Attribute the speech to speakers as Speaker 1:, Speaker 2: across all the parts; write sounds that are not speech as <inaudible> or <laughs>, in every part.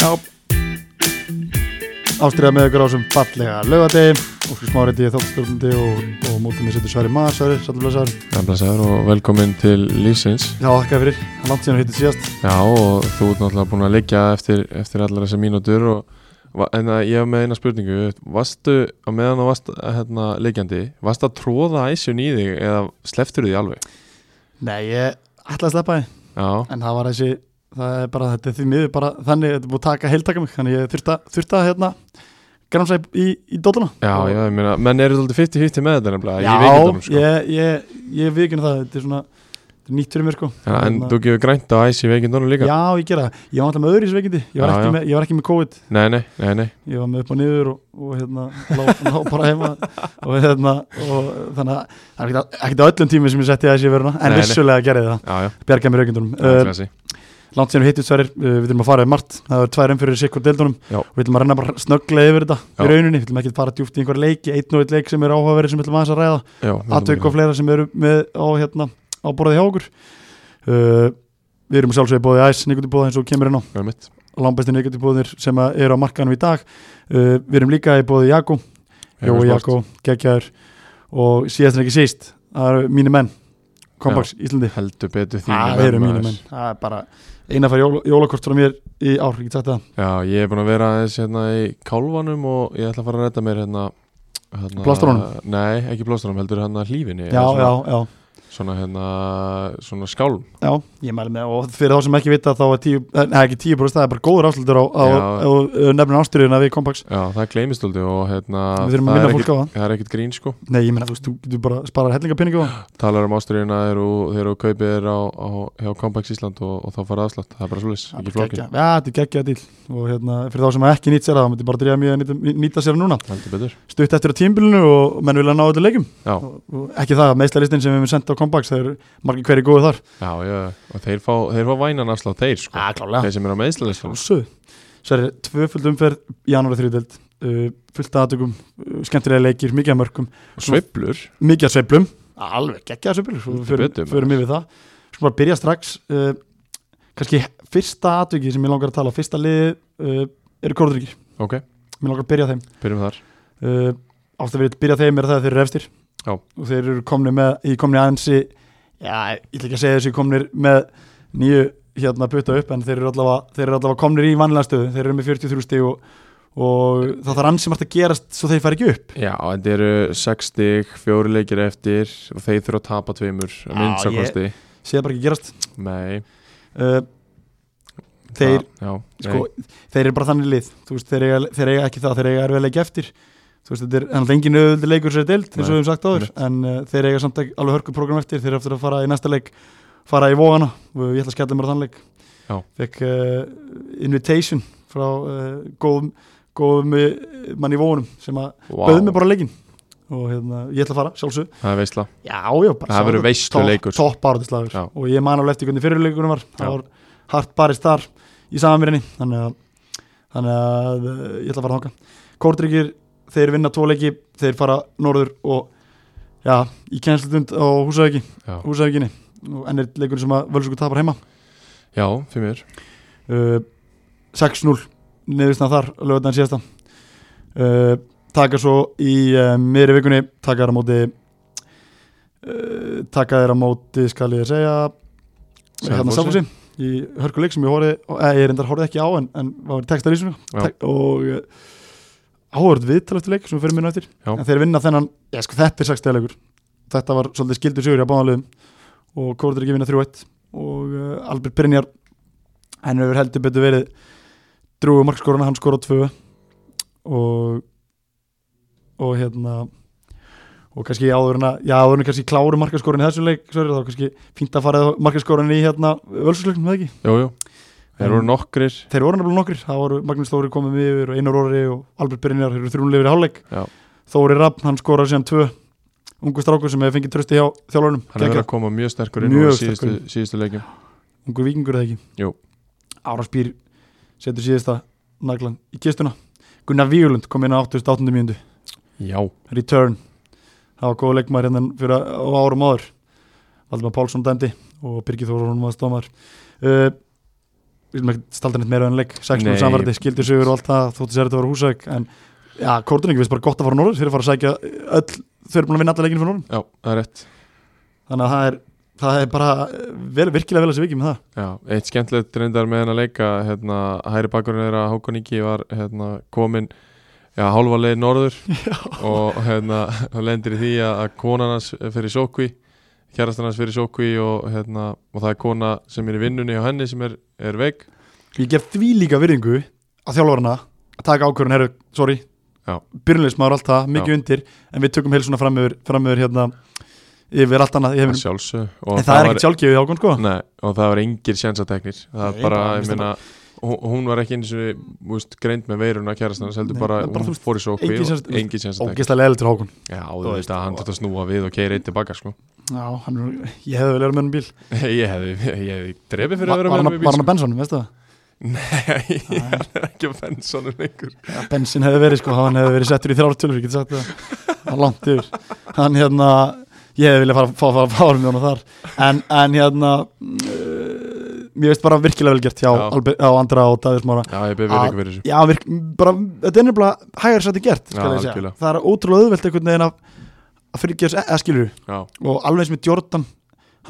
Speaker 1: Já Ástriða með ykkur á sem fallega lögadegi Óskar Smáreiti, þóttstjórnandi og, og mútið mér setur Sværi Mar, Sværi, Sallublaðsar
Speaker 2: Já, blessaður og velkomin til lífsins.
Speaker 1: Já, þakka þér fyrir, hann langt síðan að hittu síðast
Speaker 2: Já, og þú ert náttúrulega búin að leggja eftir, eftir allar þessar mínútur og va- en að ég hef með eina spurningu. Vastu, á meðan að varst hérna, leggjandi, varst að tróða æsjun í þig eða sleftur því alveg?
Speaker 1: Nei, ég ætlaði að sleppa þið
Speaker 2: Já,
Speaker 1: En það var þessi, það er bara þetta er því miður bara þannig, þetta er búið að taka heiltaka mig Þannig ég þurfti að, þurfti að hérna, gramsa í, í, í dótuna
Speaker 2: já, já, ég meina, menn eru þetta 50-50 með þetta nefnilega,
Speaker 1: Já,
Speaker 2: ég veikindanum sko.
Speaker 1: ég, ég, ég vikinu það, þetta er svona, þetta er nýtt fyrir mér sko
Speaker 2: Já, en
Speaker 1: Hérna,
Speaker 2: þú gefur grænt á æs í veikindunum líka?
Speaker 1: Já, ég gera það, ég var alltaf með öðru í sveikindi ég, var
Speaker 2: Já,
Speaker 1: ekki
Speaker 2: já.
Speaker 1: með- ég var ekki með COVID
Speaker 2: Nei, nei, nei, nei.
Speaker 1: ég var með upp og niður og, og hérna lá, lá bara heima og hérna og þannig að það er ekkert- ekkert á öllum tími sem ég setti þessi í veruna en
Speaker 2: Nei, nei.
Speaker 1: vissulega gerði það,
Speaker 2: Já, já,
Speaker 1: bjargaði mér aukendunum
Speaker 2: það er
Speaker 1: uh,
Speaker 2: klassi.
Speaker 1: langt síðan við hittum sverjir, uh, við þurfum að fara í margt það er tvær umfyrir sikkur deildunum
Speaker 2: Já.
Speaker 1: og við ætlum að renna bara snögglega yfir þetta
Speaker 2: Já.
Speaker 1: í rauninni, við ætlum ekki að fara djúpt í einhver leiki einn og einn leik sem er áhugaverið sem við ætlum aðeins að ræða
Speaker 2: Já,
Speaker 1: aðtök og fleira sem eru með á, hérna, á borðið hjá okkur uh, við erum sjálfsögði bóðið æs, nikutibóða eins og kemur inn á
Speaker 2: Það er mitt.
Speaker 1: langbæstin ykkertibúðir sem að eru á markanum í dag uh, við erum líka í bóði Jakko Jói Jakko, Gekjaður og síðast en ekki síst, það eru mínu menn Kompaks Íslandi
Speaker 2: Heldur betur því.
Speaker 1: það eru mínu menn, það er bara eina fær jól, jólakort frá mér í ár, ekki sagt það
Speaker 2: Já, ég er búin að vera aðeins hérna í kálvanum og ég ætla að fara að redda mér hérna, hérna
Speaker 1: Plástrunum?
Speaker 2: Nei, ekki plástrunum, heldur hérna hlífinni
Speaker 1: já,
Speaker 2: eða
Speaker 1: já,
Speaker 2: svona,
Speaker 1: já,
Speaker 2: Svona hérna, svona skálm
Speaker 1: já, ég mæli með og fyrir þá sem ekki vita þá er tíu, neða ekki tíu brúst það er bara góður afslutur á, á,
Speaker 2: Já.
Speaker 1: á uh, nefnum ástyrjuna við Kompaks
Speaker 2: Já, það gleymist aldrei og hérna
Speaker 1: við þurfum að
Speaker 2: það er
Speaker 1: minna fólk
Speaker 2: ekkit-
Speaker 1: á það
Speaker 2: Það er ekkit grín sko
Speaker 1: nei, ég menna, þú veist, þú getur bara sparar hellingapenningu á það
Speaker 2: Talar um ástriðina þegar þú- þegar þú kaupir þér á, á, hjá Compax Ísland og, og þá fara aðslátt Það er bara svoleiðis,
Speaker 1: Það er bara
Speaker 2: ekki flókin
Speaker 1: geggjað. Já, þetta er geggjað dýl og hérna, fyrir þá sem hafa ekki nýtt sér það þá myndi ég bara dríða mjög að nýta, nýta sér það núna
Speaker 2: Heldur betur
Speaker 1: stutt eftir á tímbilinu og menn vilja ná þetta leikum
Speaker 2: Já,
Speaker 1: og, og ekki það, meðslalistin sem við erum sendt á Combax það eru margir hverju góðu þar
Speaker 2: já, já, og þeir fá, þeir fá vænan afslátt þeir sko
Speaker 1: klálega
Speaker 2: Þeir sem eru á meðslæðisfólk
Speaker 1: Sko, Sér er tvöfuld umferð í janúar þriðdelt uh, fullt aðtökum, uh, skemmtilega leikir mikið að mörgum,
Speaker 2: Sveiflur
Speaker 1: mikið að sveiflum alveg geggja að sveiflum og
Speaker 2: Heldur
Speaker 1: við
Speaker 2: betur,
Speaker 1: förum- förum yfir það Svo bara byrja strax uh, kannski fyrsta aðtöki sem ég langar að tala á, fyrsta liði uh, eru Kórðuríkir,
Speaker 2: Ok,
Speaker 1: mér langar að byrja á þeim
Speaker 2: byrjum þar
Speaker 1: uh, átt að vera byrja á þeim er það að þeir eru eftir
Speaker 2: Já.
Speaker 1: og þeir eru komni með í komni aðeinsi já, ég ætla ekki að segja þessu komnir með nýju hérna putta upp en þeir eru allavega, þeir eru allavega komnir í vanlega stöðu þeir eru með 43 stíg og, og það þarf ansi margt að gerast svo þeir fara ekki upp
Speaker 2: Já, þetta eru 6 stig, fjóri leikir eftir og þeir þurfa að tapa tveimur að minnsta
Speaker 1: ég-
Speaker 2: kosti.
Speaker 1: séð bara ekki að gerast
Speaker 2: Nei.
Speaker 1: uh, Þeir-
Speaker 2: það- já,
Speaker 1: sko, þeir eru bara þannig lið þú veist, þeir, eiga, þeir eiga ekki það, þeir eiga erfið leiki eftir þú veist, þetta er hann engin auðvöldi leikur sér deild, eins og við höfum sagt áður en uh, þeir eiga samt ekki alveg hörku program eftir þeir eru eftir að fara í næsta leik fara í vógana og ég ætla að skella mér á þann leik
Speaker 2: Já.
Speaker 1: fekk uh, invitation frá uh, góðum, góðum uh, mann í vógunum sem að
Speaker 2: wow,
Speaker 1: bauð mér bara leikin og hérna, ég ætla að fara, sjálfsög
Speaker 2: Það er veistla.
Speaker 1: Já, já, bara
Speaker 2: Það verður
Speaker 1: sjálfsög.
Speaker 2: veisluleikur.
Speaker 1: Topp top barðislagur
Speaker 2: Já.
Speaker 1: Og ég man alveg eftir hvernig fyrirleikunum var
Speaker 2: Já.
Speaker 1: Það var hart barist þar í samanverðinni Þannig að, þannig að uh, ég ætla að fara þangað Kórdryggir, þeir vinna tvo leiki Þeir fara norður og Já, í kennslutund á Húsavíki
Speaker 2: Já,
Speaker 1: Húsavíkinni Og enn er leikunum sem að völsugur tapar heima
Speaker 2: já fyrir mér.
Speaker 1: uh, 6-0 Niðurstan þar, lögðan síðasta uh, Taka svo í uh, miðri vikunni Taka þér á móti uh, Taka þér á móti Skal ég segja Hérna Selfossi
Speaker 2: Selfossi.
Speaker 1: Í hörkuleik sem ég horfði eh, Ég reyndar horfði ekki á en, en var textar í svona
Speaker 2: Já.
Speaker 1: Og uh, áhverð viðtal eftir leik sem við fyrir minna eftir
Speaker 2: Já.
Speaker 1: En þeir vinna þennan ég, sko, Þetta er 6 leikur Þetta var svolítið skildur sigur hjá báðanlegum og Kóruður ekki vinna 3-1 og uh, Albert Brynjar hann hefur heldur betur verið drúið markskoruna, hann skora 2 og og hérna og kannski áður en að, já áður en að kannski kláru markaskorin í þessu leik, sorry, þá kannski fínt að fara markaskorin í hérna völsusleiknum eða ekki,
Speaker 2: Jú, jú. Þeir voru nokkrir.
Speaker 1: þeir voru nefnilega nokkrir það voru Magnús Þóri komið með yfir og Einar Orri og Albert Brynjar, þeir eru þrjúnleifir í hálfleik
Speaker 2: Já.
Speaker 1: Þóri Rapp, hann skorar síðan 2 ungu strákur sem hefur fengið trösti hjá þjálfurnum,
Speaker 2: Hann er verið
Speaker 1: geggjað.
Speaker 2: að koma mjög sterkur inn
Speaker 1: Mjög
Speaker 2: á síðustu,
Speaker 1: sterkur.
Speaker 2: síðustu leikjum.
Speaker 1: ungu vikingur eða ekki
Speaker 2: Jú.
Speaker 1: Áraspýr setur síðasta naglan í kistuna Gunnar Víulund kom inn á 88. mínundu
Speaker 2: Já.
Speaker 1: Return það var góð leikmaður hérna fyrir á árum áður Valdimar Pálsson dæmdi og Birgir Þórunum var stómar uh, við erum ekki staldan eitt meira en leik 6-0
Speaker 2: Nei.
Speaker 1: samverði, skildi sigur og allt það þóttu sér þetta var húsæk en já, Kortunik viðst bara gott að fara á norður þeir eru að fara að sækja öll, þau eru búin að vinna alla leikinu fyrir norður
Speaker 2: já, það er rétt
Speaker 1: þannig að það er, það er bara eh, vel, virkilega vel að sér vikið með það
Speaker 2: já, eitt skemmtilegt reyndar með hennar leika hérna, hæri bakkurinn er að Hákon Ingi var hérna, komin já, hálfa leið norður
Speaker 1: <laughs>
Speaker 2: og hérna, hann lendir í því að að konan hans fyrir sókví kærastan hans fyrir sókví og, hérna, og það er kona sem er í vinnunni hjá henni sem er, er veik
Speaker 1: ég gef því líka virðingu að þjálfarana að taka ákvörðun, herru, sorry
Speaker 2: Já.
Speaker 1: byrjunleismar allt það, mikið undir en við tökum heil svona fram yfir, fram yfir hérna, yfir allt annað í
Speaker 2: að
Speaker 1: heiminum.
Speaker 2: sjálfsög
Speaker 1: en það er ekkert sjálfgefið ákvörðun sko
Speaker 2: Nei, og það var engir sjensateknir það
Speaker 1: Nei,
Speaker 2: er bara,
Speaker 1: bara,
Speaker 2: ég
Speaker 1: minnst
Speaker 2: meina hún- hún var ekki eins og úst, greind með veiruna kærast hann, heldur
Speaker 1: Nei,
Speaker 2: bara,
Speaker 1: bara, þú
Speaker 2: hún
Speaker 1: veist,
Speaker 2: fór í sókvi
Speaker 1: engin sjens-
Speaker 2: og engin sjensateknir
Speaker 1: ógeðslega leðileg til Hákon
Speaker 2: Já,
Speaker 1: þú veist,
Speaker 2: þetta, hann
Speaker 1: og-
Speaker 2: þurfti að snúa við og keira eitt tilbaka sko.
Speaker 1: Já, hann, er- ég hefði vel verið með hann bíl
Speaker 2: ég hefði, ég hefði drefið fyrir að
Speaker 1: Var
Speaker 2: vera
Speaker 1: var
Speaker 2: með
Speaker 1: hann
Speaker 2: hann
Speaker 1: að-
Speaker 2: í
Speaker 1: var hann
Speaker 2: bíl
Speaker 1: að bensa hann, veistu það?
Speaker 2: <laughs> Nei, hann er ekki að fenn svona lengur
Speaker 1: Ja, bensin hefði verið sko, hann hefði verið settur í þrjártölur, ég geti sagt það Það er langt yfir Hann hérna, ég hefði viljað fara, fara, fara, fara með hann þar En, en hérna, uh, ég veist bara virkilega vel gert hjá,
Speaker 2: Já.
Speaker 1: Albe, á Andra og Davies Mára
Speaker 2: Já, ég beðið
Speaker 1: Að-
Speaker 2: ykkur fyrir þessu
Speaker 1: Já, virk, bara, þetta er nefnilega hægar sætti gert, skal
Speaker 2: Já,
Speaker 1: ég segja
Speaker 2: algjörlega.
Speaker 1: Það er ótrúlega auðvelt einhvern veginn að, að fyrirgeðs, eða skilur
Speaker 2: Já,
Speaker 1: og alveg eins með Jordan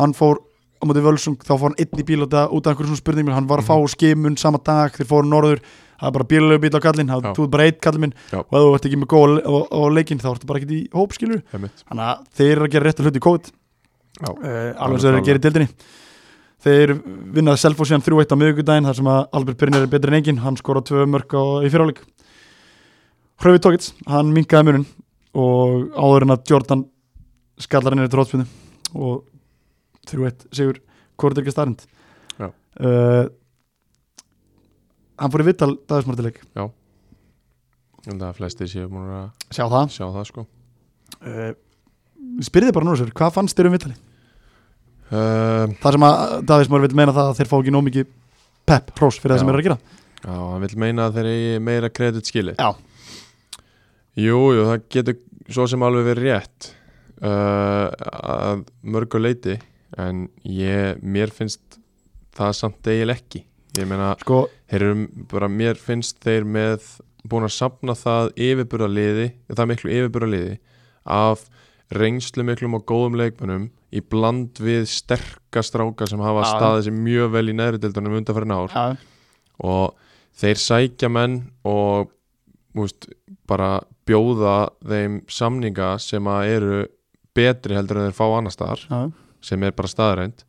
Speaker 1: hann fór á móti Völsung þá fór hann einn í bíl og það út af einhverjum svona spurningum hann var að fá
Speaker 2: Mhm.
Speaker 1: skimun sama dag þeir fóru norður það var bara bílalegu bíl á kallin það
Speaker 2: Já.
Speaker 1: tóð bara eitt kallin minn
Speaker 2: Já.
Speaker 1: og ef þú ert ekki með góð á, á, á leikin þá ertu bara ekki í hóp skilur
Speaker 2: heimitt
Speaker 1: þannig að þeir eru að gera réttu hluti í COVID
Speaker 2: Já.
Speaker 1: uh, alveg eins og þeir eru að gera í dildinni þeir vinnaði Selfos síðan 3-1 á miðugudaginn þar sem að Albert Brynjar er betri en engin hann skora tvö mörg á, í fyriráleik Hröfi Tókits, hann minkaði munin og áður en að Jordan skallar hann í trótspunni og 3-1 sigur Kortir ekki starrend
Speaker 2: Já.
Speaker 1: uh, hann fór í vittal dagismartileik,
Speaker 2: Ég held að flestir séu múin að
Speaker 1: sjá það
Speaker 2: sjá það sko
Speaker 1: uh, spyrði bara núna sér, hvað fannst þér um vittali?
Speaker 2: um,
Speaker 1: Það sem að dagismar vil meina það að þeir fá ekki nóg mikið pepp, hrós fyrir það
Speaker 2: Já.
Speaker 1: sem er að gera
Speaker 2: Já, hann vil meina að þeir eigi meira kredit skili
Speaker 1: Já.
Speaker 2: Jú, jú, það getur svo sem alveg verið rétt uh, að mörgu leiti en ég, mér finnst það samt eiginlega ekki ég meina,
Speaker 1: sko,
Speaker 2: þeir eru bara, mér finnst þeir með búin að sapna það yfirburðaliði, það miklu yfirburðaliði af reynslu miklum og góðum leikmönnum í bland við sterka stráka sem hafa
Speaker 1: Já.
Speaker 2: staðið sér mjög vel í neðri deildunum undanferðin ár
Speaker 1: já,
Speaker 2: og þeir sækja menn og úst, bara bjóða þeim samninga sem að eru betri heldur en þeir fá annar staðar
Speaker 1: já.
Speaker 2: sem er bara staðreind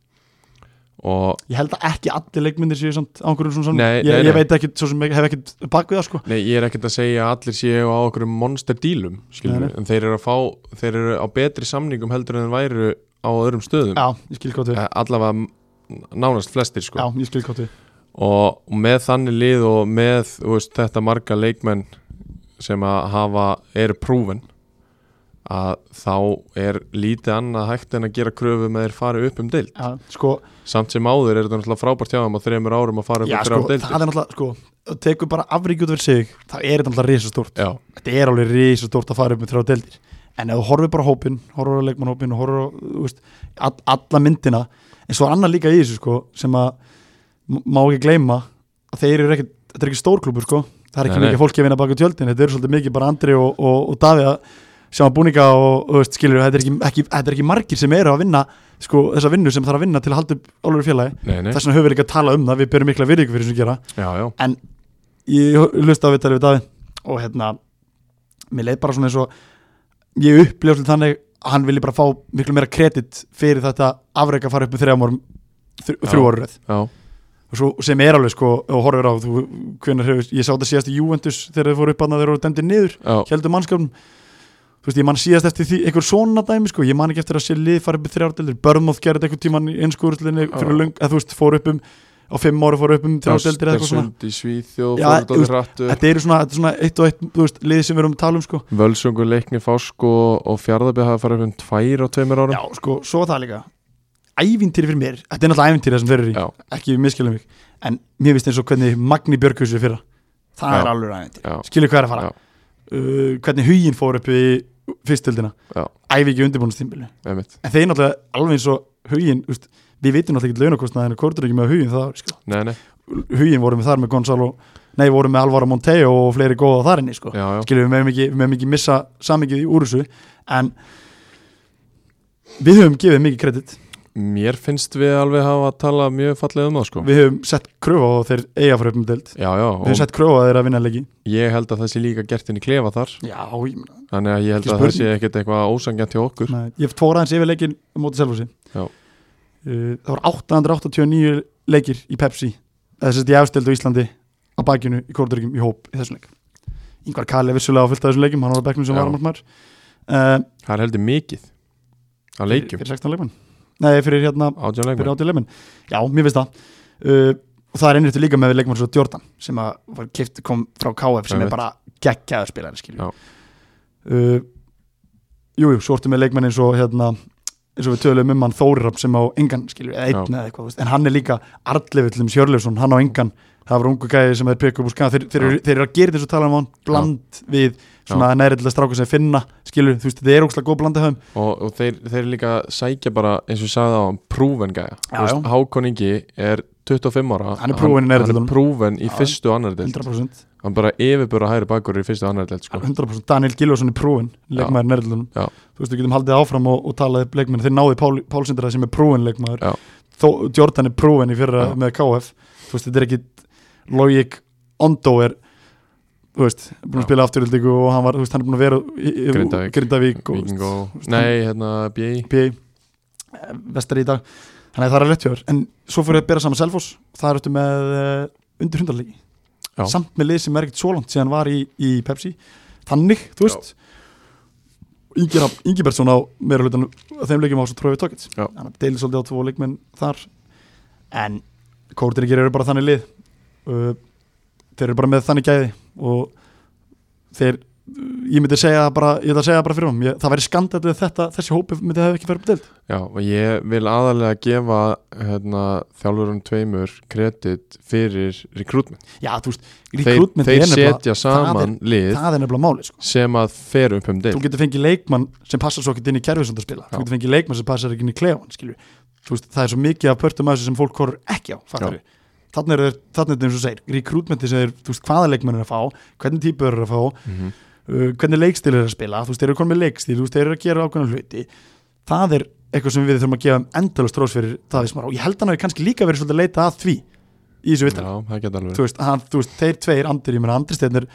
Speaker 2: og
Speaker 1: ég held að ekki allir leikmyndir séu samt á einhverjum svona samning.
Speaker 2: Nei,
Speaker 1: ég,
Speaker 2: nei,
Speaker 1: ég
Speaker 2: nei.
Speaker 1: veit ekki, svo sem ég hef ekki bak við það sko
Speaker 2: nei, ég er ekkert að segja að allir séu á okkur monster dílum skilur,
Speaker 1: Nei,
Speaker 2: en þeir eru, að fá, þeir eru á betri samningum heldur en þeir væru á öðrum stöðum
Speaker 1: já, ég skil gott við,
Speaker 2: Eh, allavega m- nánast flestir sko
Speaker 1: já, ég skil gott við
Speaker 2: og, og með þannig lið og með þú veist, þetta marga leikmenn sem að hafa, eru prúven að þá er lítið annað hægt en að gera kröfu með þeir fari upp um deild
Speaker 1: já, sko,
Speaker 2: samt sem áður er þetta náttúrulega frábært hjá þeim að þreymur árum að fara upp
Speaker 1: já,
Speaker 2: um
Speaker 1: sko
Speaker 2: þrjár
Speaker 1: það er
Speaker 2: deildir
Speaker 1: náttúrulega, sko það tekur bara afrík út fyrir sig, það er þetta náttúrulega risastórt
Speaker 2: Já,
Speaker 1: þetta er alveg risastórt að fara upp með þrjá deildir en ef þú horfir bara á hópinn, horfir á leikmannhópin og horfir á, þú veist, all, alla myndina en svo er annað líka í þessu sko sem að m- má ekki gleyma að þeir eru ekki, þetta er ekki stórklúpur sko það er ekki
Speaker 2: Nei, nei.
Speaker 1: mikið fólki að vinna baka tjöldin þetta eru svolítið mikið bara Andri og, og, og Davíð að sjá að búninga og, og veist, skilur þetta er, ekki, ekki, þetta er ekki margir sem eru að vinna sko, þessa vinnu sem þarf að vinna til að halda upp álur félagi,
Speaker 2: nei, nei,
Speaker 1: þess vegna höfum við líka að tala um það við berum mikla virðingu fyrir þessum gera
Speaker 2: já, já,
Speaker 1: en ég hlusta á viðtalið við Davíð og hérna mér leið bara svona eins og ég uppljóð svolítið þannig að hann vilji bara fá miklu meira kredit fyrir þetta afreika að fara upp með þrjá árum þr
Speaker 2: Já.
Speaker 1: þrjú árið
Speaker 2: já,
Speaker 1: og svo, sem er alveg sko og horfir á þú, hvenar hefur, ég sá þetta síðast í Juventus þegar þau fóru upp að þeir eru dæmdir niður
Speaker 2: já,
Speaker 1: heldur mannskapnum þú veist, ég man síðast eftir því, einhver svona dæmi sko, ég man ekki eftir að sé lið fara upp í þrjárdeldir Börmóð gerði eitthvað tíman í einskúrlinni fyrir
Speaker 2: Já.
Speaker 1: löng, að þú veist, fór upp um á fimm ára fór upp um þrjárdeldir eða eitthvað svona
Speaker 2: Östersund í Svíþjóð,
Speaker 1: Já,
Speaker 2: fóruð
Speaker 1: þú veist,
Speaker 2: alveg rattur
Speaker 1: þetta eru svona, þetta er svona eitt og eitt þú veist, liði sem við erum að tala um sko
Speaker 2: Völsungur, Leikni, Fásk og, og Fjárðabæð hafa farið upp um tvær á tveimur árum
Speaker 1: já, sko, svo það líka ævintýri fyrir mér, þetta er náttúrulega ævintýri það sem þeir eru í,
Speaker 2: já,
Speaker 1: ekki miskilum mig en mér finnst eins og hvernig Magni Björghúsi fyrra það
Speaker 2: Já.
Speaker 1: er alveg ævintýri,
Speaker 2: já,
Speaker 1: skilur hvað er að
Speaker 2: Já.
Speaker 1: fara uh, hvernig huginn fór upp í fyrstöldina,
Speaker 2: Já.
Speaker 1: æfi ekki undirbúinastímbilu
Speaker 2: einmitt
Speaker 1: en þeir náttúrulega alveg eins og huginn, við vitum náttúrulega ekki launakostnaðinu, hvort er ekki með huginn það, sko.
Speaker 2: Nei, nei,
Speaker 1: hugin vorum við þar með Gonzalo nei, vorum með Alvaro Monteo og fleiri góða þar inni sko.
Speaker 2: já, já,
Speaker 1: skilum við meðum ekki, við megum ekki missa samingið í úr þessu en við höfum gefið mikið kredit
Speaker 2: mér finnst við alveg hafa að tala mjög fallega um það sko
Speaker 1: við höfum sett kröfa á þá þeir eiga fyrir uppum deild
Speaker 2: já,
Speaker 1: við
Speaker 2: já,
Speaker 1: höfum
Speaker 2: og
Speaker 1: sett kröfa á þeir að vinna leiki
Speaker 2: ég held að það sé líka gert inn í klefa þar
Speaker 1: já, ég meina
Speaker 2: þannig að ég held
Speaker 1: Ekki
Speaker 2: að það sé
Speaker 1: spurning.
Speaker 2: ekkert eitthvað ósangjant hjá okkur
Speaker 1: Nei, ég fór aðeins yfir leikin á móti Selfossi
Speaker 2: Já.
Speaker 1: uh, það voru 889 leikir í Pepsi eða sérst í afstild á Íslandi á bakinu í Kórdurkjum í hóp í þessum leik yngvar Kali er vissulega á fullt af þessum leikum hann var á bekknum sem
Speaker 2: Já.
Speaker 1: varamálsmaður uh,
Speaker 2: það er heldur mikið á leikjum,
Speaker 1: fyrir 16 leikmann nei fyrir hérna
Speaker 2: átján
Speaker 1: fyrir
Speaker 2: leikmenn
Speaker 1: 80 leikmann já mér finnst það uh, og það er einrættu líka með leikmann svo Jordan sem að var kift, kom frá KF sem
Speaker 2: Einmitt.
Speaker 1: er bara geggjaður spilari skilju
Speaker 2: Já.
Speaker 1: uh, jújú, svo ertu með leikmann eins og hérna, eins og við töluðum um hann Þórirab sem á engan skilju, eða einn
Speaker 2: Já.
Speaker 1: eða eitthvað, þú veist. en hann er líka Arlefill um Sjörlefsson, hann á engan það var ungu gæði sem þeir pekka upp úr skana þeir, þeir, eru- þeir eru að gera þessu tala um hann bland við svona næriðilega stráka sem finna skilju, þú veist, þetta er ógslag góð blanda hjá þeim
Speaker 2: og, og þeir, þeir líka sækja bara eins og ég sagði á hann, prúven gæja
Speaker 1: Já,
Speaker 2: Þú veist,
Speaker 1: já.
Speaker 2: Hákon Ingi er 25 ára
Speaker 1: Hann er prúven í neðri
Speaker 2: hann
Speaker 1: deildunum.
Speaker 2: er prúven í
Speaker 1: Já,
Speaker 2: fyrstu og annar delt
Speaker 1: 100%,
Speaker 2: hann bara yfirbúra hægri bakur í fyrstu og annar delt sko.
Speaker 1: 100% Daniel Gilvason er prófin, leikmaður nærlunum
Speaker 2: Já.
Speaker 1: þú veist, við getum haldið áfram og, og talað upp leikmenn, þeir náði Pál, Pálsindrað sem er prófin leikmaður,
Speaker 2: Já.
Speaker 1: Þó, Jordan er prófin í fyrra
Speaker 2: Já.
Speaker 1: með KF, þú veist, þetta er ekki Logic Ondo er þú veist, búin
Speaker 2: Já.
Speaker 1: að spila afturöldingu og hann var, þú veist, hann er búin að vera í- í-
Speaker 2: Grindavík.
Speaker 1: Grindavík og
Speaker 2: Víking og-
Speaker 1: veist,
Speaker 2: nei, hérna B.I.
Speaker 1: PA vestari eh, í dag, þannig að það er rétt hjá þér en svo fyrir að bera saman Selfoss það er eftir með uh, undir hundarlegi
Speaker 2: Já.
Speaker 1: samt með lið sem er ekkert svo langt síðan var í, í Pepsi, þannig, þú veist Ingi Rafn- Ingibertsson á meira hlutan af þeim leikjum á svo trófið tókett,
Speaker 2: Já.
Speaker 1: hann deilir svolítið á tvo leikmenn þar en kórdinir eru bara þannig lið uh, þeir eru bara með þannig gæði og þeir ég myndi segja bara, ég ætla að segja bara fyrir hann það væri skandalt við þetta, þessi hópi myndi hafa ekki verið upp deild
Speaker 2: Já, og ég vil aðalega gefa hérna, þjálfurum tveimur kredit fyrir rekrútment.
Speaker 1: Já, þú veist,
Speaker 2: Þeir,
Speaker 1: recruitment
Speaker 2: þeir
Speaker 1: er nefnilega-
Speaker 2: setja saman lið
Speaker 1: það er nefnilega máli, sko
Speaker 2: sem að fer upp um
Speaker 1: Þú
Speaker 2: deild.
Speaker 1: getur fengið leikmann sem passar svo ekki inn í kerfisundarspila
Speaker 2: Já.
Speaker 1: Þú getur fengið leikmann sem passar ekki inn í klefan, skilju Þú veist, það er svo mikið af pörtum að þessu sem fólk korur ekki á, fattar við Þannig er þetta eins og þú segir, recruitmenti sem er, þú veist, hvaða leikmenn er að fá, hvernig típu er að fá
Speaker 2: Mm
Speaker 1: uh, hvernig leikstíl er að spila, þú veist, þeir eru konum með leikstíl þú veist, þeir eru að gera ákveðna hluti það er eitthvað sem við þurfum að gefa um endalust rós fyrir það við smá og ég held hann að við kannski líka verið svolítið að leita að því í þessu vittal,
Speaker 2: Já, það geta alveg.
Speaker 1: þú veist, hann, þú veist, þeir tveir andri, ég meina andri steinir,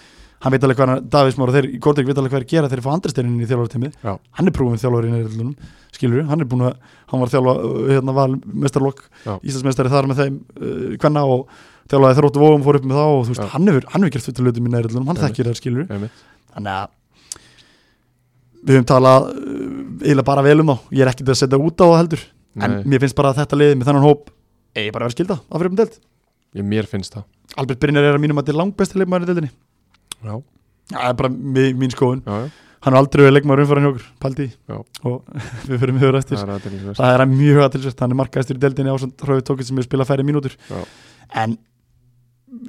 Speaker 1: hann veit alveg hvað hann, Davís Már og þeir í Gordrik veit alveg hvað er að gera þeir fá andri steinin í þjálfartimið,
Speaker 2: Já.
Speaker 1: hann er prófum þjálfarinn í erðlunum, skilur við, hann er búin að hann var þjálfa, uh, hérna var mestarlokk
Speaker 2: Já.
Speaker 1: Íslandsmeistari þar með þeim uh, hvenna og þjálfaði þróttu vóum fór upp með þá og þú veist,
Speaker 2: Já.
Speaker 1: hann hefur, hann hefur gert fullt af hlutum í nærðlunum, hann
Speaker 2: Einmitt.
Speaker 1: þekkir það skilur
Speaker 2: Einmitt.
Speaker 1: þannig að við höfum talað uh, eiginlega bara vel um þá, ég er ekkert að setja út á það heldur en
Speaker 2: Nei,
Speaker 1: mér finnst bara að þetta liðið með þennan hóp eigi bara að vera skilda af fyrirum deild
Speaker 2: ég, mér finnst það.
Speaker 1: Albert Brynjar er að mínum að þetta er langbesti leikmaður í deildinni
Speaker 2: Já,
Speaker 1: það er bara mi- mín skoðun,
Speaker 2: já, já.
Speaker 1: hann er aldrei verið leikmaður umfæran hjá okkur, paldi
Speaker 2: Já.
Speaker 1: og <laughs> við förum yfir eftir
Speaker 2: það er aðeins.
Speaker 1: það er að mjög aðtilsvægt, hann er markaðistur í deildinni ásand Hröfi Tókins sem hefur spilað færri mínútur
Speaker 2: Já.
Speaker 1: en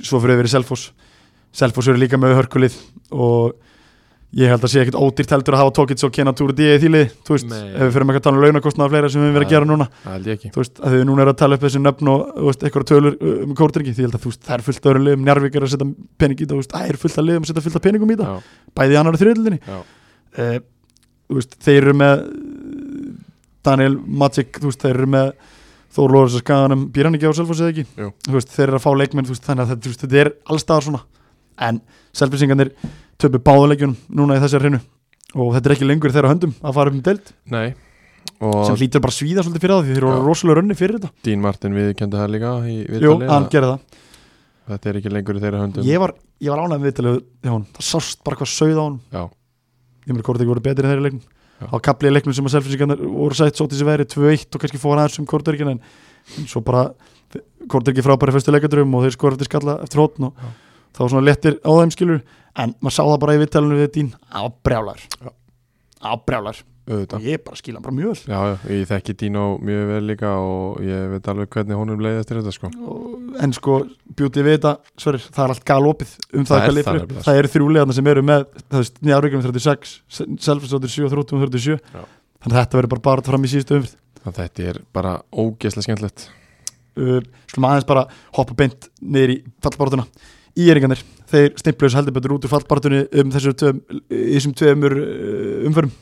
Speaker 1: svo fyrir við í Selfoss Selfoss eru líka með hörkulið og ég held að sé ekkit ódýrt heldur að hafa Tókins og Kenan Túri D.E. í þýlið, þú veist,
Speaker 2: Nei.
Speaker 1: ef við fyrir með að tala um launakostnaða fleira sem við verðum að
Speaker 2: Nei.
Speaker 1: gera núna
Speaker 2: Það held ég ekki.
Speaker 1: þú veist, að þau núna eru að tala upp þessi nöfn og þú veist, eitthvað tölur uh, um kórdringi því ég held að þú veist, það er fullt af öðrum liðum, Njarvík er að setja pening í það, þú veist, það er fullt af liðum að setja fullt af peningum í það,
Speaker 2: Já,
Speaker 1: bæði í annar og þriðlunni
Speaker 2: já,
Speaker 1: uh, þú veist, þeir eru með Daniel Magic þú veist, þeir eru með Þór Lóris að skaganum, býr hann ekki á Selfossi eða ekki
Speaker 2: Jú.
Speaker 1: þú veist, þeir eru að fá leikmenn, þú veist, þannig að þetta, þú veist, þetta er allstaðar svona, en Selfossingarnir töpu báðuleikjunum núna í þessar hreinu og þetta er ekki lengur í þeirra höndum að fara upp um deild,
Speaker 2: nei. Og
Speaker 1: sem hlýtur bara að svíða svolítið fyrir það því þeir eru
Speaker 2: Já.
Speaker 1: rosalega rönni fyrir þetta
Speaker 2: Dín Martin viðkendi það líka í
Speaker 1: Jú,
Speaker 2: viðtalið.
Speaker 1: hann
Speaker 2: að
Speaker 1: gerði það
Speaker 2: Þetta er ekki lengur í þeirra höndum.
Speaker 1: ég var, ég var ánægð með viðtalið hjá hann það sást bara hvað sauð á hann
Speaker 2: Já.
Speaker 1: ég meður hvort ekki voru betri en þeirri leiknum
Speaker 2: Já.
Speaker 1: á kaplið leiknum sem að selfinsingarnar voru sætt svo til þessi veri 2-1 og kannski fóra aðeins um hvort er ekki en en svo bara hvort er ekki frábæri fyrstu leikadröfum og þeir skora eftir skalla eftir hótn og
Speaker 2: Já.
Speaker 1: þá var svona léttir á þeim skilur en maður sá það bara í viðtalinu við dín á brjálar
Speaker 2: Já.
Speaker 1: á brjálar
Speaker 2: Auðvitað.
Speaker 1: og ég bara skil hann bara mjög vel
Speaker 2: Já, já, ég þekki Dino mjög vel líka og ég veit alveg hvernig honum leiði eftir þetta sko.
Speaker 1: Og- en sko bjútið við þetta sverir, það er allt galopið um það,
Speaker 2: Það er
Speaker 1: það,
Speaker 2: það
Speaker 1: það,
Speaker 2: nefnilega, sko.
Speaker 1: það eru þrjúlegarna sem eru með það veist, nýjarvíkjum 36, Selfos 37 og Þróttum 37
Speaker 2: Já.
Speaker 1: þannig að þetta verður bara bara fram í síðustu umfyrð
Speaker 2: Þannig að þetta er bara ógeðslega skemmtilegt.
Speaker 1: uh, slum aðeins bara hoppa beint niður í fallbaratuna íeringarnir, þeir stimplaus heldur betur út úr fallbaratunni um þessu tveim, í þessum tveimur uh, umförum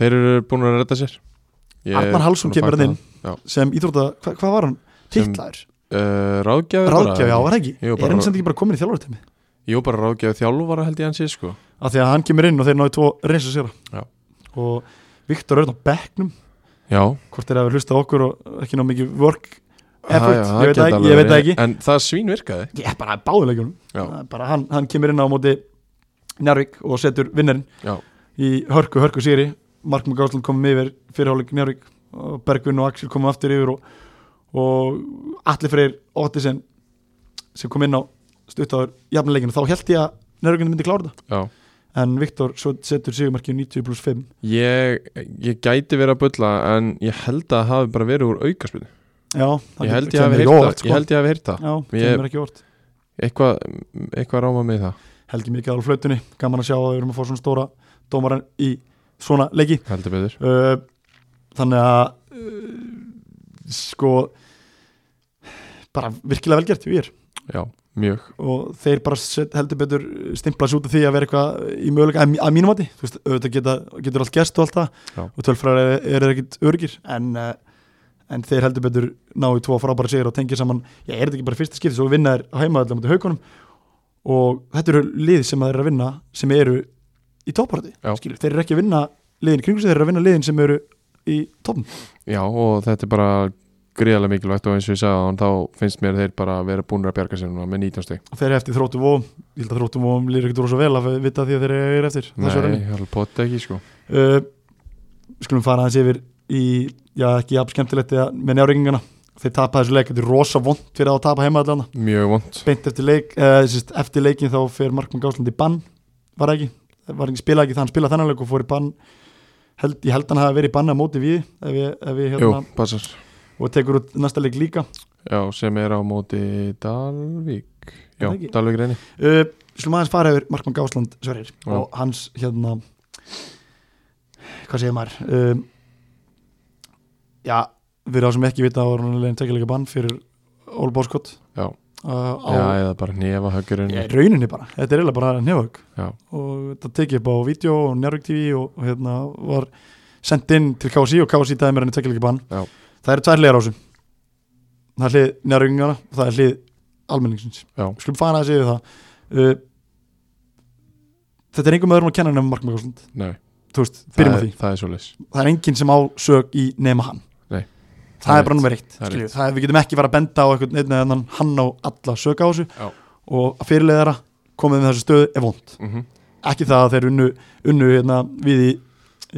Speaker 2: Þeir eru búin að redda sér Ég er
Speaker 1: Arnar Hallsson
Speaker 2: búinn að
Speaker 1: kemur
Speaker 2: fagna
Speaker 1: hann sem íþróta, hva, hvað var hann?
Speaker 2: Sem-
Speaker 1: Tittlaður,
Speaker 2: það. uh, Ráðgjafi
Speaker 1: ráðgjafi, já, var það ekki
Speaker 2: Jú, bara-
Speaker 1: er hann sem ekki bara komin í þjálfurteimi?
Speaker 2: Jú, bara ráðgjafi þjálfara held ég hann sé sko
Speaker 1: Af því að hann kemur inn og þeir náðu tvo reynsir
Speaker 2: Já.
Speaker 1: sér og Viktor Örn á bekknum
Speaker 2: Já,
Speaker 1: hvort þeir hafa hlustað á okkur og ekki ná mikið work
Speaker 2: það-
Speaker 1: effort,
Speaker 2: já,
Speaker 1: ég veit
Speaker 2: gæti
Speaker 1: það ekki,
Speaker 2: alveg
Speaker 1: ég veit það
Speaker 2: verið.
Speaker 1: ekki
Speaker 2: En það svín virkaði
Speaker 1: ég er bara báðulegjum
Speaker 2: Já,
Speaker 1: bara hann, hann kemur inn á móti Njárvík og setur vinnerinn
Speaker 2: Já.
Speaker 1: í hörku, hörku sýri Mark McGáslund komum yfir fyrirháleik Njárvík og Bergvin og Axel komum aftur yfir og, og Atli Freyr Ottisen sem kom inn á stuttaður jafnileikinu þá held ég að Njárvíkinu myndi klára þetta
Speaker 2: já
Speaker 1: en Viktor svo setur sigurmarkið 90 pluss 5
Speaker 2: Ég, ég gæti verið að bulla en ég held að það hafi bara verið úr aukaspil
Speaker 1: Já, það
Speaker 2: Ég held ég
Speaker 1: kemur
Speaker 2: hafi
Speaker 1: ekki
Speaker 2: heyrt
Speaker 1: óvart,
Speaker 2: það, ég held ég hafi heyrt það
Speaker 1: Já,
Speaker 2: Ég-
Speaker 1: kemur ekki óvart
Speaker 2: Eitthvað, eitthvað ráma mig það
Speaker 1: heldur mikið alveg flautunni, gaman að sjá að við erum að fá svona stóra dómaran í svona leiki
Speaker 2: heldur betur
Speaker 1: uh, þannig að uh, sko bara virkilega velgjert við er
Speaker 2: Já, mjög
Speaker 1: og þeir bara set, heldur betur stimpla sig út af því að vera eitthvað í möguleika að, að mínum mati, þú veist, auðvitað geta, getur allt gerst og allt
Speaker 2: Já.
Speaker 1: það og tölfræðar eru er eru ekkit örgir en, uh, en þeir heldur betur náðu tvo frábæra sigur og tengja saman, já, er þetta ekki bara fyrsta skipti svo vinna þeir á heimaðallum út í haukunum og þetta eru lið sem þeir eru að vinna sem eru í topparati
Speaker 2: Já.
Speaker 1: skilur, þeir eru ekki að vinna liðin í kringu sig þeir eru að vinna liðin sem eru í toppum
Speaker 2: Já, og þetta er bara gríðarlega mikilvægt og eins og ég sagði hann, þá finnst mér þeir bara vera búnir að bjarga sér núna með 19 stig
Speaker 1: og þeir eru eftir þróttu vóum, ég held að þróttu vóum lýr ekkert úr svo vel að vita því að þeir eru eftir
Speaker 2: Nei,
Speaker 1: þessu rauninni.
Speaker 2: hann poti ekki sko
Speaker 1: uh, skulum fara aðeins yfir í, já ekki jafn skemmtilegt eða með njárreikingana, þeir tapa þessu leik þetta er rosa vond fyrir að tapa heima allan
Speaker 2: Mjög vond
Speaker 1: beint eftir leik, uh, sérst, eftir leikin þá fer Markmann Gásland í bann, var það ekki var ekki spilað ekki það, hann spilað þennan leik og fór í bann held, ég held hann hafi verið í bann á móti við, ef ég, ef ég
Speaker 2: Jú,
Speaker 1: hérna
Speaker 2: passar
Speaker 1: og tekur út næsta leik líka
Speaker 2: Já, sem er á móti Dalvík
Speaker 1: Er
Speaker 2: Já,
Speaker 1: það ekki?
Speaker 2: Dalvík reyni
Speaker 1: uh, slum aðeins fara yfir Markmann Gásland Sverrir
Speaker 2: Já.
Speaker 1: og hans hérna hvað segir maður um, já, við erum sem ekki vita að voru hann leginn tekja líka bann fyrir Ól Bóskott
Speaker 2: Já.
Speaker 1: uh, á
Speaker 2: Já, eða bara nefa höggurinn
Speaker 1: í rauninni bara, þetta er eiginlega bara nefnvögg
Speaker 2: Já.
Speaker 1: og þetta tekið upp á vídeo og Njárvík TV og, og hérna var sendt inn til KSI og KSI dæði mér henni tekja líka bann
Speaker 2: Já.
Speaker 1: það eru tvær hliðar á þessu það er hlið Njárvíkingana og það er hlið almenningsins
Speaker 2: Já.
Speaker 1: skulum fara að segja það uh, þetta er einhverjum öðrum að kenna nefnum Markmann Gásland
Speaker 2: Nei,
Speaker 1: þú veist,
Speaker 2: það
Speaker 1: byrjum á
Speaker 2: er,
Speaker 1: því
Speaker 2: það er svo leys
Speaker 1: það er enginn sem á sög í nema hann
Speaker 2: Nei.
Speaker 1: það,
Speaker 2: Það er
Speaker 1: er bara
Speaker 2: rétt.
Speaker 1: nummer eitt
Speaker 2: Það er
Speaker 1: skilju.
Speaker 2: rétt.
Speaker 1: það er, við getum ekki fara að benda á einhvern einn eða annan hann á alla sög á þessu
Speaker 2: Já.
Speaker 1: og að fyrirlega komið með þessu stöðu er vond
Speaker 2: Mhm.
Speaker 1: ekki það að þeir unnu, unnu hérna, við í,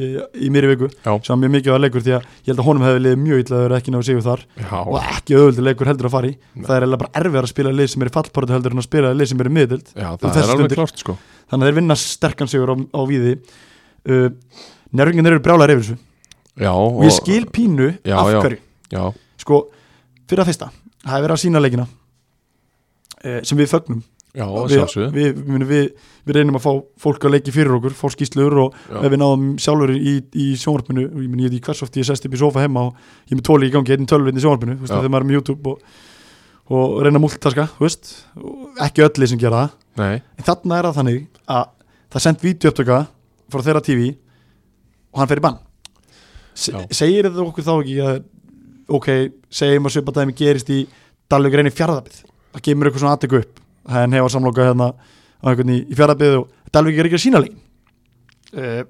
Speaker 1: í, í mér viku
Speaker 2: Já.
Speaker 1: sem var mjög mikið var leikur því að ég held að honum hefði liðið mjög illa að vera ekki náðu sigur þar
Speaker 2: Já,
Speaker 1: og ekki auðvöldi leikur heldur að fara í
Speaker 2: Nei.
Speaker 1: það er eiginlega bara erfiðar að spila lið sem er í fallparatu heldur en að spila lið sem er í miðdild
Speaker 2: já,
Speaker 1: og
Speaker 2: það
Speaker 1: þessar
Speaker 2: er alveg
Speaker 1: stundir-
Speaker 2: klárt sko
Speaker 1: þannig að þeir vinna sterkan sigur á, á víði uh, njörfingin eru brjálæðir yfir þessu
Speaker 2: Já,
Speaker 1: og ég skil pínu
Speaker 2: Já,
Speaker 1: af
Speaker 2: já.
Speaker 1: hverju
Speaker 2: Já,
Speaker 1: sko, fyrir að fyrsta, það hefur verið að sína leikina uh, sem við fögnum
Speaker 2: já,
Speaker 1: við,
Speaker 2: sjálfsögðu
Speaker 1: við, við, við, við reynum að fá fólk að leiki fyrir okkur, fá skýslur og
Speaker 2: Já.
Speaker 1: ef við náðum sjálfur í, í sjónvarpinu og ég meni ég veit ekki hvers oft ég sest upp í sofa heima og ég er með tóli í gangi, einn tölvinn í sjónvarpinu þú veist,
Speaker 2: Já.
Speaker 1: þegar maður er með YouTube og, og reyna að multitaska, þú veist og ekki öllu sem gera það,
Speaker 2: Nei,
Speaker 1: en þarna er það þannig að það er sendt vídeoöptöka frá þeirra TV og hann fer í bann Se,
Speaker 2: Já.
Speaker 1: segir þetta okkur þá ekki að ok, segjum að svipa dæmi gerist í Dalvik reyni fjárðabið það kemur eitthvað svona aðtöku upp hann hefur samloka hérna á einhvern í, í fjárðabið og Dalvik er ekki að sína leik uh,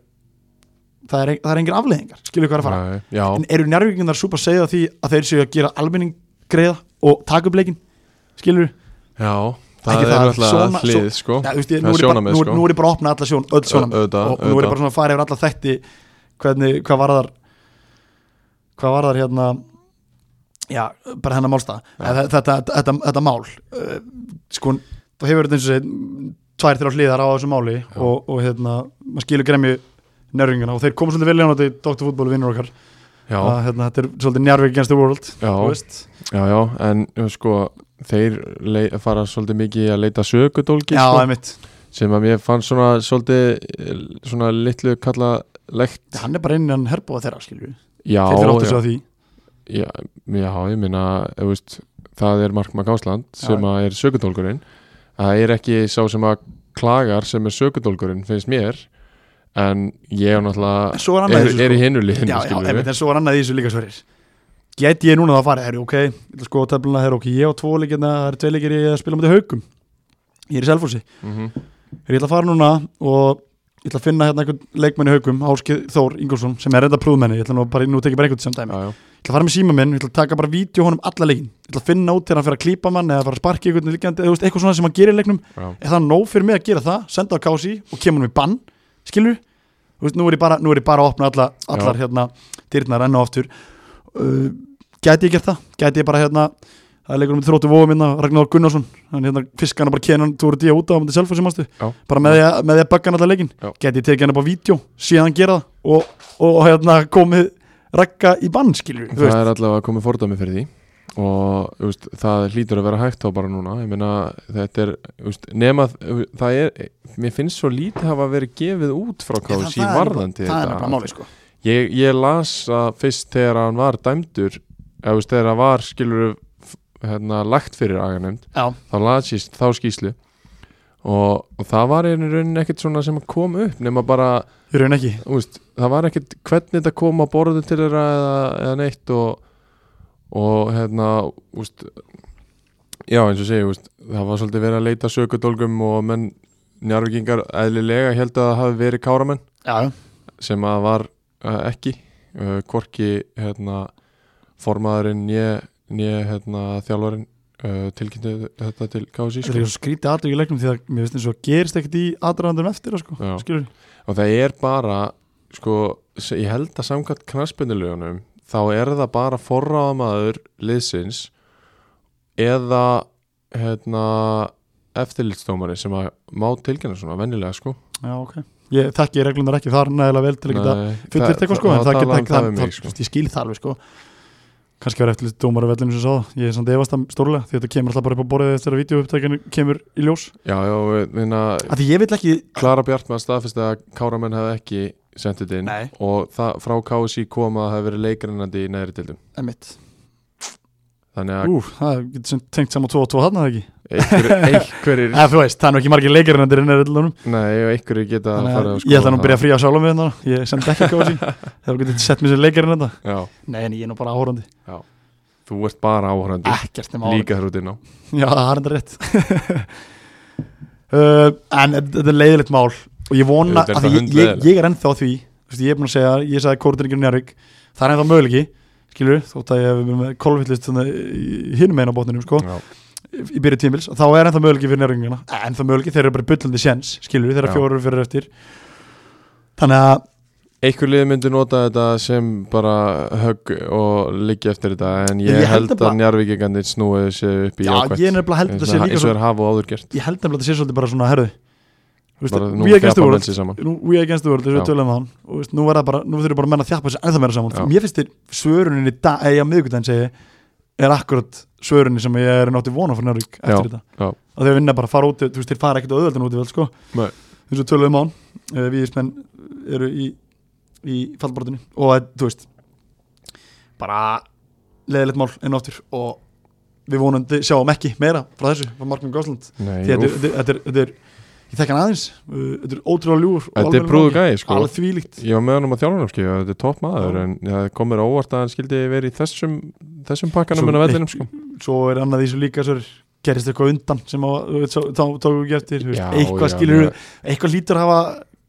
Speaker 1: það, er, ein- það er engin afleðingar skilur hvað er að fara
Speaker 2: nei, já,
Speaker 1: en eru njárvíkingar súpa að segja því að þeir séu að gera almenning greiða og taka upp leikin skilur
Speaker 2: já
Speaker 1: Ekki
Speaker 2: Það er
Speaker 1: það,
Speaker 2: alltaf
Speaker 1: svona-
Speaker 2: hlið sko
Speaker 1: Já, þú veist, ég,
Speaker 2: Það
Speaker 1: nú, er
Speaker 2: er
Speaker 1: ég bara,
Speaker 2: sjónarmið,
Speaker 1: nú,
Speaker 2: sko.
Speaker 1: nú er ég bara að opna alla sjón, öll sjónum
Speaker 2: Ö- auðvitað,
Speaker 1: og nú er
Speaker 2: auðvitað.
Speaker 1: ég bara svona að fara yfir alla þætti hvernig, hvað var þar hvað var þar hérna já, bara hennar málsta þetta, þetta, þetta, þetta mál uh, sko, þá hefur þetta eins og segið tvær þrjá hliðar á þessu máli og, og hérna, maður skilur gremju njörfingana og þeir komu svolítið vel í hann þetta doktorfútból vinnur okkar,
Speaker 2: Já,
Speaker 1: að, hérna, þetta er svolítið njárvík against the world,
Speaker 2: já,
Speaker 1: þú veist
Speaker 2: já, já En uh, sko, þeir lei- fara svolítið mikið í að leita sögudólki
Speaker 1: já,
Speaker 2: sko,
Speaker 1: einmitt,
Speaker 2: Sem að mér fann svona svolítið eh, Svona litlu kalla legt
Speaker 1: hann er bara innan herbúa þeirra skilju,
Speaker 2: Já,
Speaker 1: þeir þurfa átt
Speaker 2: já,
Speaker 1: þessu á því
Speaker 2: já, já, ég minna veist, það er Markmann Gásland sem
Speaker 1: Já.
Speaker 2: að er sökudólkurinn það er ekki sá sem að klagar sem er sökudólkurinn, finnst mér en ég er náttúrulega
Speaker 1: svo er annað
Speaker 2: er,
Speaker 1: í þessu
Speaker 2: er í
Speaker 1: sko.
Speaker 2: hinu liðinu
Speaker 1: já, já,
Speaker 2: skilurðu.
Speaker 1: einmitt, en svo er annað í þessu líka sverir get ég núna það að fara, herri, ok ég ætla sko að tefluna, herri, ok, ég á tvo leikina það eru tvei leikir í að spila mútið haugum ég er í Selfossi,
Speaker 2: Mhm.
Speaker 1: herri, ég ætla að fara núna og ég ætla að finna hérna einhvern leikmann í haugum, Áskið Þór Ingolson sem er reynda prúðmenni, ég ætla nú bara, nú tekið bara einhvern sem dæmi
Speaker 2: já, já.
Speaker 1: ég ætla að fara með síma minn, ég ætla að taka bara vídeo honum alla leikin, ég ætla að finna út þegar hann fyrir að klípa mann eða fara að sparki ykkur líkjandi, eða þú veist, eitthvað svona sem hann gerir í leiknum
Speaker 2: Já.
Speaker 1: er það nóg fyrir mig að gera það, senda á kási og kemur hann í bann, skilur þú veist, nú er ég bara, nú er ég bara að opna alla, allar hérna, dyrnar enn og aftur uh, gæti ég gert það gæti ég bara hérna, það er leikur um þróttu vóðum minna, Ragnar Gunnarsson hann hérna fiskar hann bara kenan, þú eru díja út á hann til selfa sem ástu,
Speaker 2: Já.
Speaker 1: bara með því að- með því að bugga hann allar leikin,
Speaker 2: Já.
Speaker 1: gæti ég tekið hann upp á vídeo síðan gera það og, og hérna komið Ragga í bann, skilur
Speaker 2: það er allavega komið fordæmi fyrir því og þú veist, það hlýtur að vera hægt á bara núna ég meina þetta er þú veist, nema það er, mér finnst svo lítið hafa verið gefið út frá
Speaker 1: Já, það-
Speaker 2: kási
Speaker 1: það er
Speaker 2: varðandi
Speaker 1: það er
Speaker 2: þetta.
Speaker 1: nefnilega máli sko
Speaker 2: ég, ég las að fyrst þegar hann var dæmdur eða þú veist, þegar hann var skilur hérna, lagt fyrir aganemd
Speaker 1: já,
Speaker 2: þá las ég þá skýslu og, og það var einu raunin ekkert svona sem kom upp nema bara
Speaker 1: í raun ekki
Speaker 2: þú veist, það var ekkert hvernig þetta kom á borðu til þeirra eða, eða neitt og, og hérna úst, já eins og segi úst, það var svolítið verið að leita sökudólgum og menn njárvikingar eðlilega held að það hafi verið káramenn
Speaker 1: já,
Speaker 2: sem að var uh, ekki uh, hvorki hérna formaðurinn né, né hérna, þjálfarinn uh, tilkynnti þetta til KSI
Speaker 1: þetta er svo
Speaker 2: sko.
Speaker 1: skrítið aðrið í leiknum því að mér finnst eins og gerist ekkert í aðræðandum eftir það, sko,
Speaker 2: Já.
Speaker 1: skilur
Speaker 2: og það er bara sko, s- ég held að samkvæmt knaspindulegunum þá er það bara forráðamaður liðsins eða hérna eftirlitsdómari sem að má tilkynna svona vennilega sko
Speaker 1: já, ok ég þekki reglunar ekki þar nægilega vel til að geta
Speaker 2: Nei,
Speaker 1: fullir
Speaker 2: það-
Speaker 1: eitthvað sko, en
Speaker 2: það
Speaker 1: það
Speaker 2: tala
Speaker 1: geta
Speaker 2: um
Speaker 1: ekki
Speaker 2: það
Speaker 1: það,
Speaker 2: við
Speaker 1: það,
Speaker 2: mig sko
Speaker 1: það ég skil það alveg sko kannski var eftir lítið dómar af vellinu sem sá það ég er samt efast það stórlega því þetta kemur alltaf bara upp á borðið þegar vídeoupptækinu kemur í ljós
Speaker 2: já, já, við- minna,
Speaker 1: af því ég vil ekki
Speaker 2: Klara Bjartmann staðfist að Káramenn hefði ekki sendið inn
Speaker 1: Nei.
Speaker 2: og það, frá KSI kom að það hefði verið leikrinnandi í neðri dildum
Speaker 1: Einmitt.
Speaker 2: þannig að
Speaker 1: Ú, það getur sem tengt saman 2 og 2 hann það ekki <laughs>
Speaker 2: einhverjir, einhverjir
Speaker 1: eða þú veist, það er nú ekki margir leikir en þetta er innræðilunum
Speaker 2: nei, og einhverjir geta
Speaker 1: Þannig
Speaker 2: farið
Speaker 1: að eh, ég ætla nú að byrja að fría sjálf með hérna Ég sendi ekki á þessi <laughs> Þegar þú getur sett mér sem leikarinn hérna. þetta
Speaker 2: já,
Speaker 1: Nei, en ég er nú bara áhórandi
Speaker 2: þú ert bara áhorandi
Speaker 1: Ekkert nema áhórandi
Speaker 2: Líka þar út inn á
Speaker 1: Já, það er þetta rétt <laughs> uh, En þetta er leiðilegt mál Og ég vona
Speaker 2: Auðvitað er
Speaker 1: að
Speaker 2: það
Speaker 1: ég, ég,
Speaker 2: hundleiðilegt.
Speaker 1: ég er ennþá á því þú veist, Ég er búin að segja, ég sagði Kórdringin Njárvík Það er ennþá möguleiki Skilur, þótt að ég hef verið með kolvillist Hinnum einu á botninum, sko
Speaker 2: Já,
Speaker 1: í byrju tímils þá er ennþá möguleiki fyrir njárvíkingana ennþá möguleiki, þeir eru bara í bullandi sjens skilur þeir eru
Speaker 2: Já.
Speaker 1: fjóru fyrir eftir þannig að
Speaker 2: Einhver lið myndi nota þetta sem bara högg og liggja eftir þetta en ég,
Speaker 1: Ég held
Speaker 2: held
Speaker 1: nefnilega-
Speaker 2: að njárvíkingandi snúið sér upp í
Speaker 1: Já,
Speaker 2: jákvætt
Speaker 1: ég er nefnilega held að þetta sé líka
Speaker 2: Eins og
Speaker 1: svo,
Speaker 2: þeir hafa og áður gert
Speaker 1: Ég held nefnilega að þetta sé svolítið bara svona herðu Þú veist,
Speaker 2: Bara nú
Speaker 1: We against the
Speaker 2: þjapa menn
Speaker 1: world
Speaker 2: sér saman
Speaker 1: nú- We against the world, þess að við
Speaker 2: Já.
Speaker 1: tölum það og veist, nú, verða bara, nú þurfum bara menn að þjappa þessu ennþá meira saman
Speaker 2: Já.
Speaker 1: Mér finnst þér svörunin í dag eða miðvikudaginn segi er akkurat svörunin sem ég er náttið vona fyrir Njárvík eftir
Speaker 2: Já,
Speaker 1: þetta
Speaker 2: já.
Speaker 1: að þeir vinna bara að fara út þú veist, þeir fara ekkert á auðvöldan út í vel sko
Speaker 2: Nei.
Speaker 1: eins og tölum án, eh, víðismenn eru í, í fallbortinni og eh, þú veist bara leðilegt mál enn og aftur og við vonandi sjáum ekki meira frá þessu frá Markmann Gásland
Speaker 2: Nei,
Speaker 1: Því að
Speaker 2: úff.
Speaker 1: þetta er- þetta er, þetta er ég þekk hann aðeins, uh, þetta er ótrúlega ljúr
Speaker 2: Þetta er brúðu gæði sko
Speaker 1: alveg þvílíkt
Speaker 2: Ég var með hann um að þjálfarnarski og þetta er topp maður
Speaker 1: Já.
Speaker 2: en það komir óvart að hann skildi verið í þessum þessum pakkanum en að vellinum sko
Speaker 1: svo er annað því sem líka svo er gerist eitthvað undan sem að, þú veit, þá tókum við eftir þú veist,
Speaker 2: Já,
Speaker 1: eitthvað
Speaker 2: já,
Speaker 1: skilur,
Speaker 2: ég-
Speaker 1: eitthvað lítur að hafa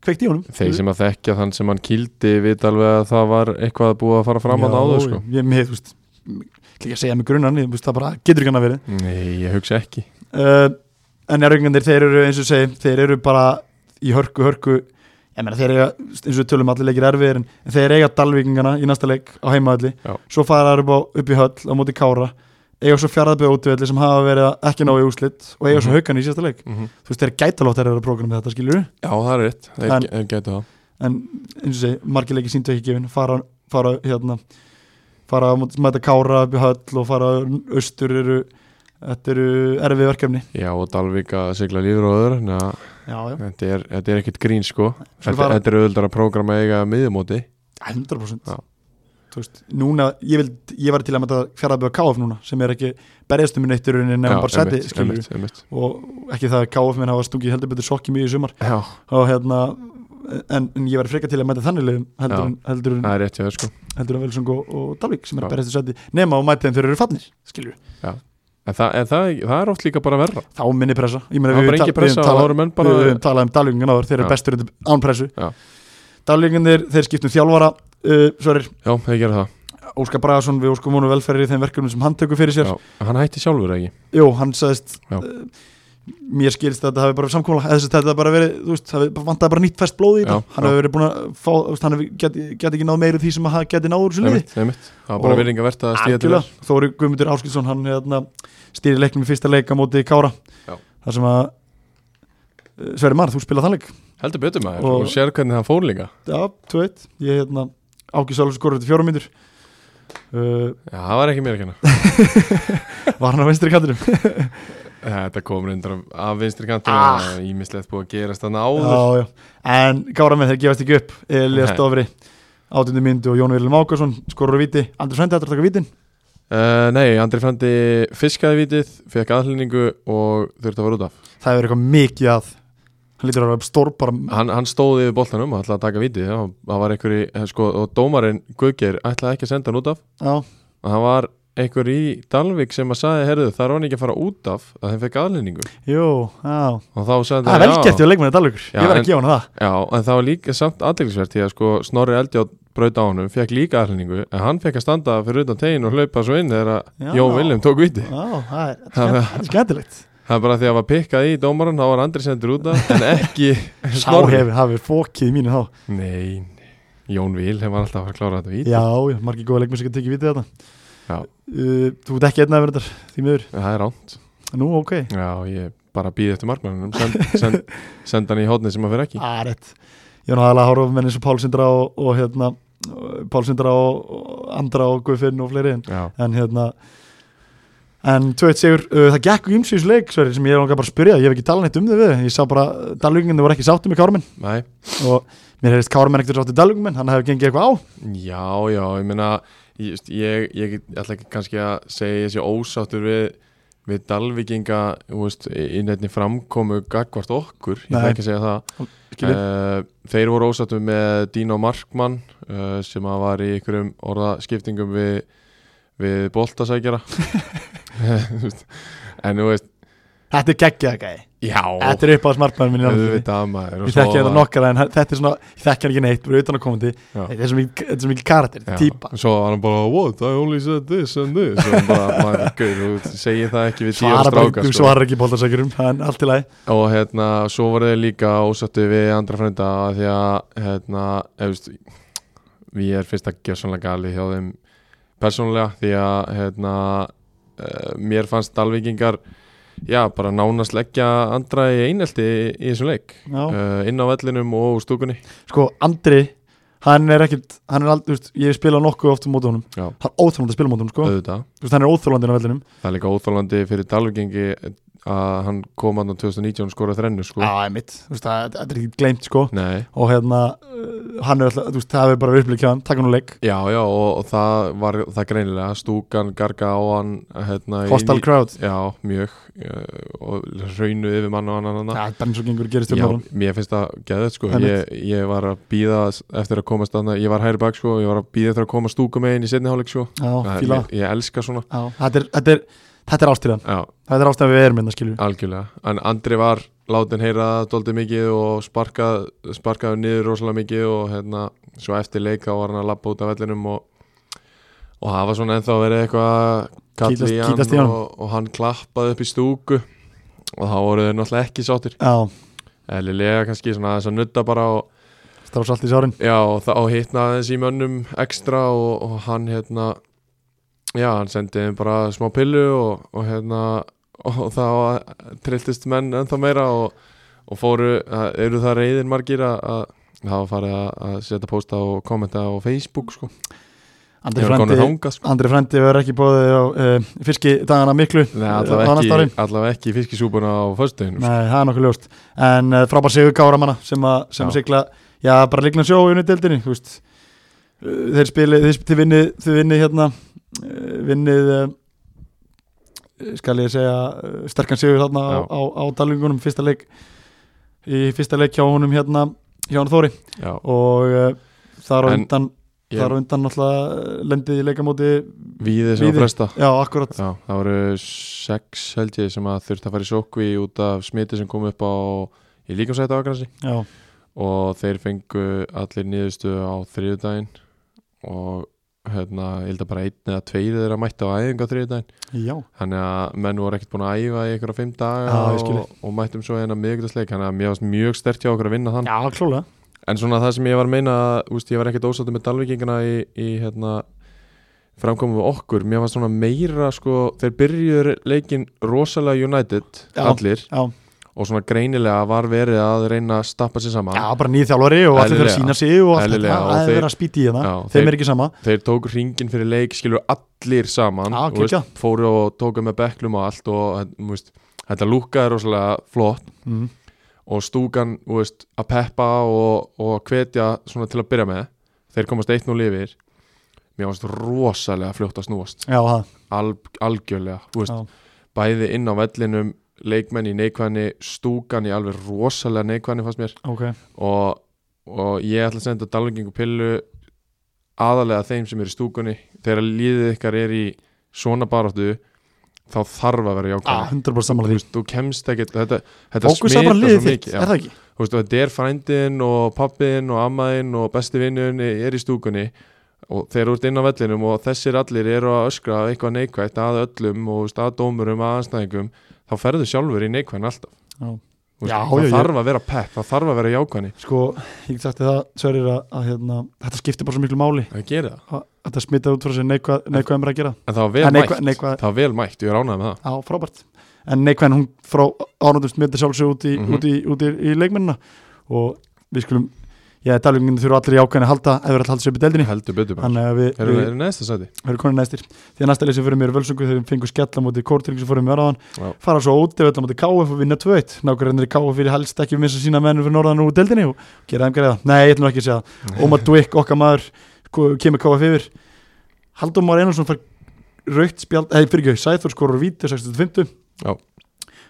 Speaker 1: kveikt í honum
Speaker 2: Þeir sem að þekkja þann sem hann kildi vita alveg að það var eitthvað að búa að fara fram að
Speaker 1: Já,
Speaker 2: það áður sko
Speaker 1: ég, mér, þú veist, ég ekki að segja mig grunan ég, þú veist, það bara getur ekki hann að verið
Speaker 2: Nei, ég hugsa ekki
Speaker 1: uh, en erfingandir, þeir eru eins og segi, þeir eru bara í hörku, hörku ég meina þeir eiga, eins og við tölum allir leikir erfiðir en, en þeir eiga dalvíkingana í næsta leik á heimaðalli,
Speaker 2: Já.
Speaker 1: svo fara þeir upp, á- upp í höll á móti kára, eiga svo fjaraðbyrð útvelli sem hafa verið að ekki náðu í úslitt og eiga svo
Speaker 2: Mhm.
Speaker 1: haukan í síðasta leik
Speaker 2: mm
Speaker 1: þú veist, þeir gæta lótt þeir eru að prógrama þetta, skilur
Speaker 2: Já, það er rétt, þeir,
Speaker 1: En-
Speaker 2: þeir gætu það
Speaker 1: en eins og segi, margir leikir síndu ekki gefin fara, fara hérna fara að móti- mæta kára upp í höll og fara austur eru þetta eru erfið verkefni
Speaker 2: Já, og Dalvik að sigla lífur og öður Næ,
Speaker 1: já, já,
Speaker 2: þetta, er, þetta er ekkit grín sko
Speaker 1: Skulum
Speaker 2: Þetta,
Speaker 1: fara-
Speaker 2: þetta er auðvöldar að prógrama eiga miðumóti
Speaker 1: 100%
Speaker 2: Já.
Speaker 1: þú veist, núna, ég, vil, ég var til að mæta fjaraðbjöða KF núna, sem er ekki berjastum minn eitt í rauninni nefnum bara seti, skilur
Speaker 2: einmitt, einmitt.
Speaker 1: og ekki það að KF minn hafa stungið heldur betur sokki mjög í sumar
Speaker 2: Já,
Speaker 1: og hérna, en, en ég var frekar til að mæta þannig liðum heldur,
Speaker 2: Já.
Speaker 1: en, heldur,
Speaker 2: það
Speaker 1: en,
Speaker 2: er rétt hjá þér sko
Speaker 1: heldur en Velsung og, og Dalvik sem er
Speaker 2: Já.
Speaker 1: að berjast um seti, nema og mæta þeim þeir eru fallnir skilur,
Speaker 2: En það, en það, það er oft líka bara verra
Speaker 1: þá minni pressa ég meina við
Speaker 2: Það er bara
Speaker 1: tal-
Speaker 2: engi pressa
Speaker 1: við
Speaker 2: og
Speaker 1: tala,
Speaker 2: það voru menn bara
Speaker 1: við höfum talað um Dalvingan áður, þeir eru
Speaker 2: Já.
Speaker 1: bestur undir- án pressu
Speaker 2: Já.
Speaker 1: Dalvinganir, þeir skiptum þjálfara uh, Sverrir,
Speaker 2: Já, þeir gera það
Speaker 1: Óskar Bragason við óskum honum velferðir í þeim verkefnum sem hann tekur fyrir sér
Speaker 2: Já, Hann hætti sjálfur ekki
Speaker 1: Jú, hann sagðist
Speaker 2: Já.
Speaker 1: uh, mér skilst að þetta hafi bara samkóla eða þess að þetta hafi bara verið, þú veist, það vantaði bara nýtt fest blóð í þetta,
Speaker 2: Já,
Speaker 1: hann
Speaker 2: já.
Speaker 1: hefur verið búin að fá, þú veist, hann get, get ekki náð meira því sem að hann geti náður svo liði
Speaker 2: Einmitt, einmitt Það var bara
Speaker 1: Og-
Speaker 2: verðinga verðt að stíða til
Speaker 1: Algjörlega, Þóri Guðmundur Áskilsson hann hérna, stýri leiknum í fyrsta leika móti Kára,
Speaker 2: Já.
Speaker 1: þar sem að eh, Sverri Mar, þú spilað þann leik
Speaker 2: vel Heldur betur maður
Speaker 1: Og-
Speaker 2: og, sér hvernig það fór líka
Speaker 1: Já, 2-1, ég hérna Áki Sálu skorur þetta fjórum myndur uh,
Speaker 2: Já, það var ekki mér ekki hana
Speaker 1: <laughs> var hann á vinstri kantinum
Speaker 2: Eh, Þetta kom reyndar af- af vinstri kantur
Speaker 1: Ah.
Speaker 2: ah. Ímislegt búið að gerast þannig áður
Speaker 1: já, já. En Kára með þeir gefast ekki upp Elias
Speaker 2: Nei.
Speaker 1: Dofri, átundu myndu og Jón Vilhelm Ákarsson skorur á víti, Andri Frendi hættur að taka vítin
Speaker 2: uh, Nei, Andri Frandi fiskaði vitið Fekk aðhlýningu og þurfti að fara út af
Speaker 1: það hefur eitthvað mikið að hann lítur að vera stór bara
Speaker 2: hann, hann stóði yfir boltanum og ætlaði að taka vitið og það var einhver í, sko, og dómarinn Guðgeir ætlaði ekki að senda hann út af
Speaker 1: já,
Speaker 2: og það var einhver í Dalvik sem að sagði, herðu, það er hann ekki að fara út af að þeim fekk aðlendingu
Speaker 1: jú, já
Speaker 2: og þá sagði
Speaker 1: það er vel gert
Speaker 2: já,
Speaker 1: hjá leikmennið Dalvíkur,
Speaker 2: Já,
Speaker 1: ég verð
Speaker 2: en-
Speaker 1: að gefa hann það
Speaker 2: já, en það var líka samt aðdeglisvert því að sko Snorri Eldjátt braut á honum, fekk líka aðlendingu en hann fekk að standa fyrir utan tegin og hlaupa svo inn
Speaker 1: Já.
Speaker 2: þegar að Jón Viljum tók viti
Speaker 1: já, það er,
Speaker 2: <laughs>
Speaker 1: það er skemmt- skemmtilegt
Speaker 2: það er bara því að var pikkað í dómarinn þá var Andri sendur út af en ekki
Speaker 1: <laughs>
Speaker 2: <laughs>
Speaker 1: sá hefur, hafið fókið í mínu þá
Speaker 2: Nei, nei. Jón Viljum var alltaf að fara að klára þetta viti
Speaker 1: já, já, margir góða leikmenn sem getur tekið vitið þetta
Speaker 2: Já.
Speaker 1: Uh, þú ert ekki einn að vera þetta, því miður
Speaker 2: það er ránt
Speaker 1: nú, ok,
Speaker 2: Já, ég bara býði eftir markmannunum send,
Speaker 1: <laughs>
Speaker 2: send, send hann í hótni sem að vera ekki
Speaker 1: að Ah, rétt ég var náðalega að horfa á menn eins og Pál Sindra og, og hérna, Pál Sindra og, og Andra og Guðfinn og fleiri en,
Speaker 2: Já,
Speaker 1: en hérna en 2-1 sigur, uh, það gekk um síðus leik sverri, sem ég er langar bara að spyrja, ég hef ekki talað neitt um þau við ég sá bara, Dalvíkingin voru ekki sátti með Kármenn
Speaker 2: næ,
Speaker 1: og mér hefðist Kármenn ekkert sátti Dalvíkingin, hann hefði gengið eitthvað á
Speaker 2: já, já, ég meina ég, ég, ég ætla ekki kannski að segja þessi ósáttur við við Dalvíkinga, þú veist innrætni framkomu gagvart okkur ég ætla
Speaker 1: Nei.
Speaker 2: ekki að segja það
Speaker 1: Skilji.
Speaker 2: uh, Þeir voru ósáttur með Dino Markmann uh, sem að var í einhverjum orðaskiptingum við, við boltasækjara
Speaker 1: <laughs>
Speaker 2: <laughs> Þú veist, En þú veist,
Speaker 1: þetta er geggjað gæði,
Speaker 2: já
Speaker 1: þetta er upp á smartmann minn í náttúrunni.
Speaker 2: auðvitað maður og
Speaker 1: ég
Speaker 2: svo
Speaker 1: þekki hérna þetta
Speaker 2: var-
Speaker 1: nokkara en þetta er svona, ég þekki hann ekki neitt bara utan að komandi,
Speaker 2: Já.
Speaker 1: þetta er svo mikið þetta er svo mikið karakter,
Speaker 2: Já,
Speaker 1: þetta er típa
Speaker 2: Svo var hann bara, what, I only said this and this Og hann bara, maður, gaur, þú segir það ekki við tíu
Speaker 1: svara bara,
Speaker 2: stráka
Speaker 1: þú
Speaker 2: sko.
Speaker 1: svarar ekki bóltarsækjurum, en allt í lagi
Speaker 2: Og hérna, svo voru þeir líka ósattu við andra frænda af Því að, hérna, efust Við er fyrst að gjöra sannlega gali hjá þeim persónulega Því að, hérna, uh, mér fannst dalvíkingar Já, bara nánast leggja andra í einelti í þessum leik
Speaker 1: Já.
Speaker 2: uh, Inn á vellinum og úr stúkunni
Speaker 1: sko, Andri, hann er ekkit hann er aldrei, veist, ég spila nokkuð oft á móti honum
Speaker 2: Já,
Speaker 1: hann er óþrólandi að spila á móti honum, sko
Speaker 2: auðvitað
Speaker 1: Þú veist, hann er óþrólandi á vellinum
Speaker 2: Það er líka óþálandi fyrir Dalvigengi að hann kom hann á 2019 og skoraði þrennu sko.
Speaker 1: það er mitt, þú veist, það þetta er ekki gleymt, sko
Speaker 2: Nei,
Speaker 1: og hérna, uh, hann er alltaf, þú veist, það hefur bara verið upplikjað hann, takk hann úr leik
Speaker 2: já, já, og, og það var það greinilega, stúkan, garga á hann hérna, í-
Speaker 1: hostile crowd,
Speaker 2: Já, mjög eh, og hraunu yfir mann og annan
Speaker 1: það
Speaker 2: annan
Speaker 1: er bara eins og gengur gerist um
Speaker 2: Já,
Speaker 1: hann
Speaker 2: mér finnst það geðið sko.
Speaker 1: Einmitt.
Speaker 2: ég, ég var að býða eftir að komast annað, ég var hægri bak sko, ég var að býða eftir að koma stúkum megin í setni hálfleik sko.
Speaker 1: já,
Speaker 2: Það er-
Speaker 1: fíla
Speaker 2: ég, ég elska svona
Speaker 1: Já, þetta er, þetta er, þetta er ástæðan
Speaker 2: Já,
Speaker 1: þetta er ástæðan við erum hérna, skilju
Speaker 2: Algjörlega, en Andri var látin heyra það doldið mikið og sparkað, sparkaði niður rosalega mikið og hérna, svo eftir leik þá var hann að lappa út af vellinum og, og það var svona ennþá verið eitthvað kall
Speaker 1: Kýtast-
Speaker 2: í hann
Speaker 1: kýtast í hann.
Speaker 2: og, og hann klappaði upp í stúku og þá voru þau náttúrulega ekki sáttir
Speaker 1: já,
Speaker 2: eðlilega kannski svona þess að nutta bara og,
Speaker 1: það var svolítið sárin
Speaker 2: já, og þá hittnaði þessi mönnum ekstra og, og hann hérna já, hann sendi þeim bara smá pillu og, og hérna og þá trilltist menn ennþá meira og, og fóru, að- eru það reyðir margir að, að hafa farið að, að setja posta og kommenta á Facebook sko,
Speaker 1: Andri
Speaker 2: þeir eru
Speaker 1: Frendi,
Speaker 2: konur þangað sko
Speaker 1: Andri Frendi verður ekki bóðið á uh, fiski dagana miklu
Speaker 2: Nei,
Speaker 1: eh, á
Speaker 2: allavega
Speaker 1: næsta ári.
Speaker 2: ekki, allavega ekki fiskisúbuna á sko. föstudeginu
Speaker 1: Nei, það er nokkuð ljóst eh, En uh, frábær sigur Gáramanna sem, a, sem
Speaker 2: Já.
Speaker 1: sigla Já, bara líkna sjó í unni deildinni þú veist. Uh, þeir spili, þeir, þeir vinnið þeir vinnið hérna uh, vinnið uh, skal ég segja uh, sterkan sigur þarna á,
Speaker 2: Já.
Speaker 1: á, á dalingunum fyrsta leik í fyrsta leik hjá honum hérna hjá hann Þóri
Speaker 2: já,
Speaker 1: og uh, þar á
Speaker 2: En
Speaker 1: undan þar á
Speaker 2: ég,
Speaker 1: undan náttúrulega eh, lendið í leikamóti
Speaker 2: Víði sem
Speaker 1: Víði.
Speaker 2: að fresta
Speaker 1: já, akkurat,
Speaker 2: Já, það voru sex held ég sem að þurfti að fara í sókvi út af smiti sem kom upp á um í líkamsæta ákvæmsi
Speaker 1: já,
Speaker 2: og þeir fengu allir nýðustu á þriðudaginn og hérna, ég held að bara einn eða tveir þeirra mætti á æfingu á þriðudaginn
Speaker 1: já
Speaker 2: þannig að menn voru ekkert búin að æfa í einhverja fimm daga
Speaker 1: Já, ég skil
Speaker 2: og, og mættum svo hérna miðugdagsleik þannig að mér varst mjög stert hjá okkur að vinna þann
Speaker 1: já, klálega
Speaker 2: En svona það sem ég var að meina úst, ég var ekkert ósáttu með Dalvíkingana í, í hérna, framkomum við okkur mér var svona meira sko þeir byrjuður leikin rosalega United
Speaker 1: Já.
Speaker 2: allir
Speaker 1: já,
Speaker 2: og svona greinilega var verið að reyna að stappa sér saman
Speaker 1: já bara nýð þjálfari og allir fyrir að
Speaker 2: Eðlilega.
Speaker 1: sína sig og allt
Speaker 2: Eðlilega,
Speaker 1: þetta,
Speaker 2: og
Speaker 1: það er
Speaker 2: þeir-
Speaker 1: verið að spýti í hérna
Speaker 2: Já,
Speaker 1: þeim
Speaker 2: þeir-
Speaker 1: er ekki sama,
Speaker 2: þeir tók ringin fyrir leik skilur allir saman
Speaker 1: Já,
Speaker 2: þú veist,
Speaker 1: Ah, geggjað.
Speaker 2: fóru og tóku með beklum og allt og þú veist, þetta lúkaði rosalega flott
Speaker 1: mm.
Speaker 2: og stúkan þú veist, að peppa og, og hvetja svona til að byrja með þeir komast 1-0 yfir mér varst rosalega fljótt að snúast
Speaker 1: já, það,
Speaker 2: al, algjörlega þú veist,
Speaker 1: Já.
Speaker 2: bæði inn á vellinum leikmenn í neikvæðni, stúkan í alveg rosalega neikvæðni fannst mér
Speaker 1: ok
Speaker 2: og, og ég ætla að senda dalvingingu pillu aðalega þeim sem eru í stúkunni þegar líðið ykkar er í svona baráttu þá þarf að vera
Speaker 1: ah,
Speaker 2: jákvæðni
Speaker 1: 100% sammála
Speaker 2: þú,
Speaker 1: því
Speaker 2: veist, þú kemst ekkert þetta, þetta
Speaker 1: fókus er
Speaker 2: smitar
Speaker 1: bara
Speaker 2: svo
Speaker 1: liðið þitt,
Speaker 2: mikið já.
Speaker 1: er það ekki?
Speaker 2: Þú veist, og þetta er frændin og pappin og ammaðin og besti vinnun er í stúkunni og þeir eru út inn á vellinum og þessir allir eru að öskra eitthvað neikvægt að öllum og þú veist, að dómurum, að anstæðingum þá ferðu sjálfur í neikvæðin alltaf
Speaker 1: Já.
Speaker 2: Þú veist,
Speaker 1: Já,
Speaker 2: það
Speaker 1: já, já.
Speaker 2: þarf að vera pepp, það þarf að vera jákvæðni
Speaker 1: sko, ég get sagt þér það, Sverir að, að hérna, þetta skiptir bara svo miklu máli
Speaker 2: það gerir það,
Speaker 1: að þetta smittar út frá sér neikvæð, neikvæðum er að gera
Speaker 2: en það var vel
Speaker 1: En neikvæð-
Speaker 2: mætt
Speaker 1: neikvæð-
Speaker 2: það var vel mætt, ég er ánægð með það
Speaker 1: á frábært, en neikvæðin hún frá ánáttum smittar sjálfsög út, í,
Speaker 2: Mhm.
Speaker 1: út, í, út í, í leikmennina og við skulum, já, talvingin þurfa allir í ákveðin að halda ef við erum að halda sér upp í deildinni
Speaker 2: heldur betur maður,
Speaker 1: þannig að við,
Speaker 2: eru
Speaker 1: við
Speaker 2: er næsta sæti
Speaker 1: höfum konið næstir því að næsta leysið fyrir mér er völsungu þegar við fengum skella mútið kórtýring sem fórum við
Speaker 2: Já.
Speaker 1: aðraðan fara svo út ef öllum mútið KF og vinna 2-1 nákvæmlega KF fyrir helst ekki missa sína mennur fyrir norðan úr deildinni og gera þeim greiða nei, ég ætlum ekki að segja það
Speaker 2: <laughs>
Speaker 1: Ómar Dwick, okkar maður, ko- kemur KF yfir Haldur Már Einarsson fær raukt spjald, eða fyrir ekki, Sæþór skorur víti á 65.
Speaker 2: Já.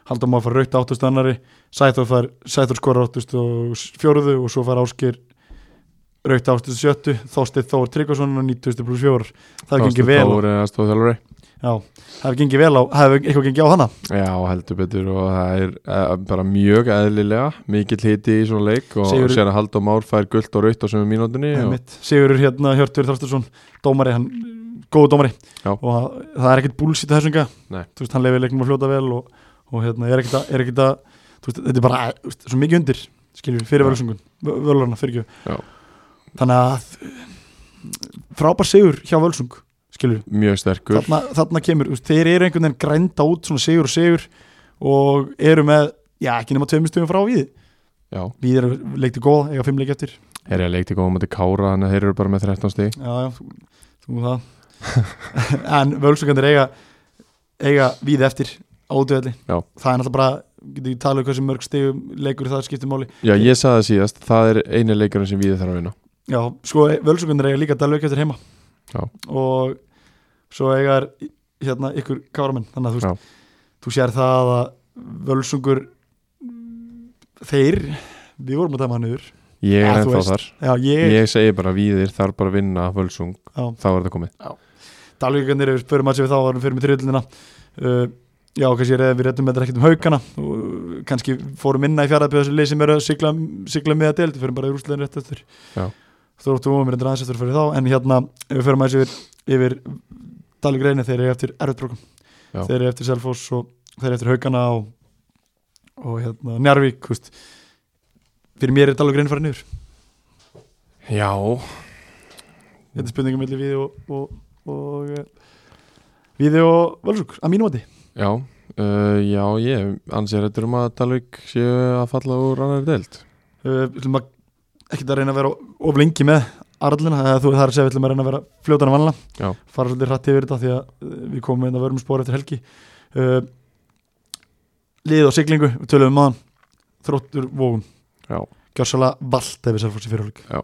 Speaker 1: Haldur Már fær raukt áttustu annari Sæþór, fær, Sæþór skorur áttustu og fjóruðu og svo fær Áskir raukt áttustu sjöttu Þósteinn Þór Tryggvason og 90 pluss 4 það hefur gengið vel á,
Speaker 2: vel
Speaker 1: já, það hefur gengið vel á það hefur eitthvað gengið á hana
Speaker 2: já, heldur betur og það er eh, bara mjög eðlilega mikill hiti í svona leik og
Speaker 1: Sigurður-
Speaker 2: sér að halda og már fær gullt og raut á sömu mínútinni og
Speaker 1: Einmitt. Sigurur hérna Hjörtur Þorstursson dómari, hann góðu dómari
Speaker 2: Já.
Speaker 1: og það, það er ekkert búlsýtt að þessum
Speaker 2: Nei.
Speaker 1: þú veist, hann leifir leiknum að fljóta vel og, og hérna, er ekkert að, er ekkert að þú veist, þetta er bara, þú veist, svo mikið undir skiljum, fyrir
Speaker 2: Já.
Speaker 1: völusungun, völurna, fyrir
Speaker 2: Já.
Speaker 1: þannig að frábær sigur hjá völsung skiljum,
Speaker 2: mjög sterkur
Speaker 1: þarna, þarna kemur þú veist, þeir eru einhvern veginn grænda út svona sigur og sigur og eru með já, ekki nema tveimur stugum frá við
Speaker 2: Já,
Speaker 1: við erum leikti góða, eiga fimm leik eftir
Speaker 2: þeir eru að leikti góða mútið Kára þannig að þeir eru bara með 13 stík
Speaker 1: Já, já, þú, þú það <laughs> En völsungandir eiga eiga við eftir ádöðli
Speaker 2: Já.
Speaker 1: Það er náttúrulega bara, getur ekki talað um hversu mörg stegum leikur það skiptir máli
Speaker 2: Já, ég sagði það síðast, það er eini leikurinn sem við þarf að vinna
Speaker 1: Já, sko völsungandir eiga líka dalveik eftir heima
Speaker 2: Já.
Speaker 1: Og svo eiga er hérna ykkur káramenn Þannig að þú, veist, þú sér það að völsungur mm, þeir, við vorum að dæma hann yfir
Speaker 2: Ég er
Speaker 1: Já, þú
Speaker 2: ennþá
Speaker 1: veist.
Speaker 2: þar,
Speaker 1: Já, ég,
Speaker 2: ég segi bara viðir þarf bara að vinna völsung,
Speaker 1: Já.
Speaker 2: þá er það komið
Speaker 1: Dalvíkarnir yfir spörum að sér við þá varum fyrir með þriðluna uh, já, kannski reyðum við réttum með þetta ekkert um haugana og uh, kannski fórum minna í fjaraðbyrðu þessu leið sem eru að sigla, sigla með að deild við fyrir bara í rúslegin rétt eftir
Speaker 2: Já.
Speaker 1: þó rúttum við reyndir aðeins eftir fyrir þá en hérna, ef við förum aðeins yfir, yfir Dalvíkarnir, þeir eru eftir erfittbrókum
Speaker 2: Já.
Speaker 1: þeir eru eftir Selfoss og þeir eru eftir haugana og, og hérna, Njarvík þú veist. fyrir mér er Dalvíkarnir farin yfir
Speaker 2: Já,
Speaker 1: þetta er spurningum mellir við og, og, og við og Valsúk, að mínum vati
Speaker 2: já, uh, já, ég ansið þetta um að Dalvik séu að falla úr annar deild
Speaker 1: Uh, Við ætlum að ekki að reyna að vera of lengi með Arlina, eða þú það er að segja við ætlum að reyna að vera fljótan að vanla,
Speaker 2: Já.
Speaker 1: fara svolítið hratt yfir þetta því að uh, við komum inn að vörum spór eftir helgi uh, Lið og siglingu, við tölum um aðan þróttur vógum,
Speaker 2: Já.
Speaker 1: gjörsalega vald ef við sér fórst í fyrirhólík
Speaker 2: Já.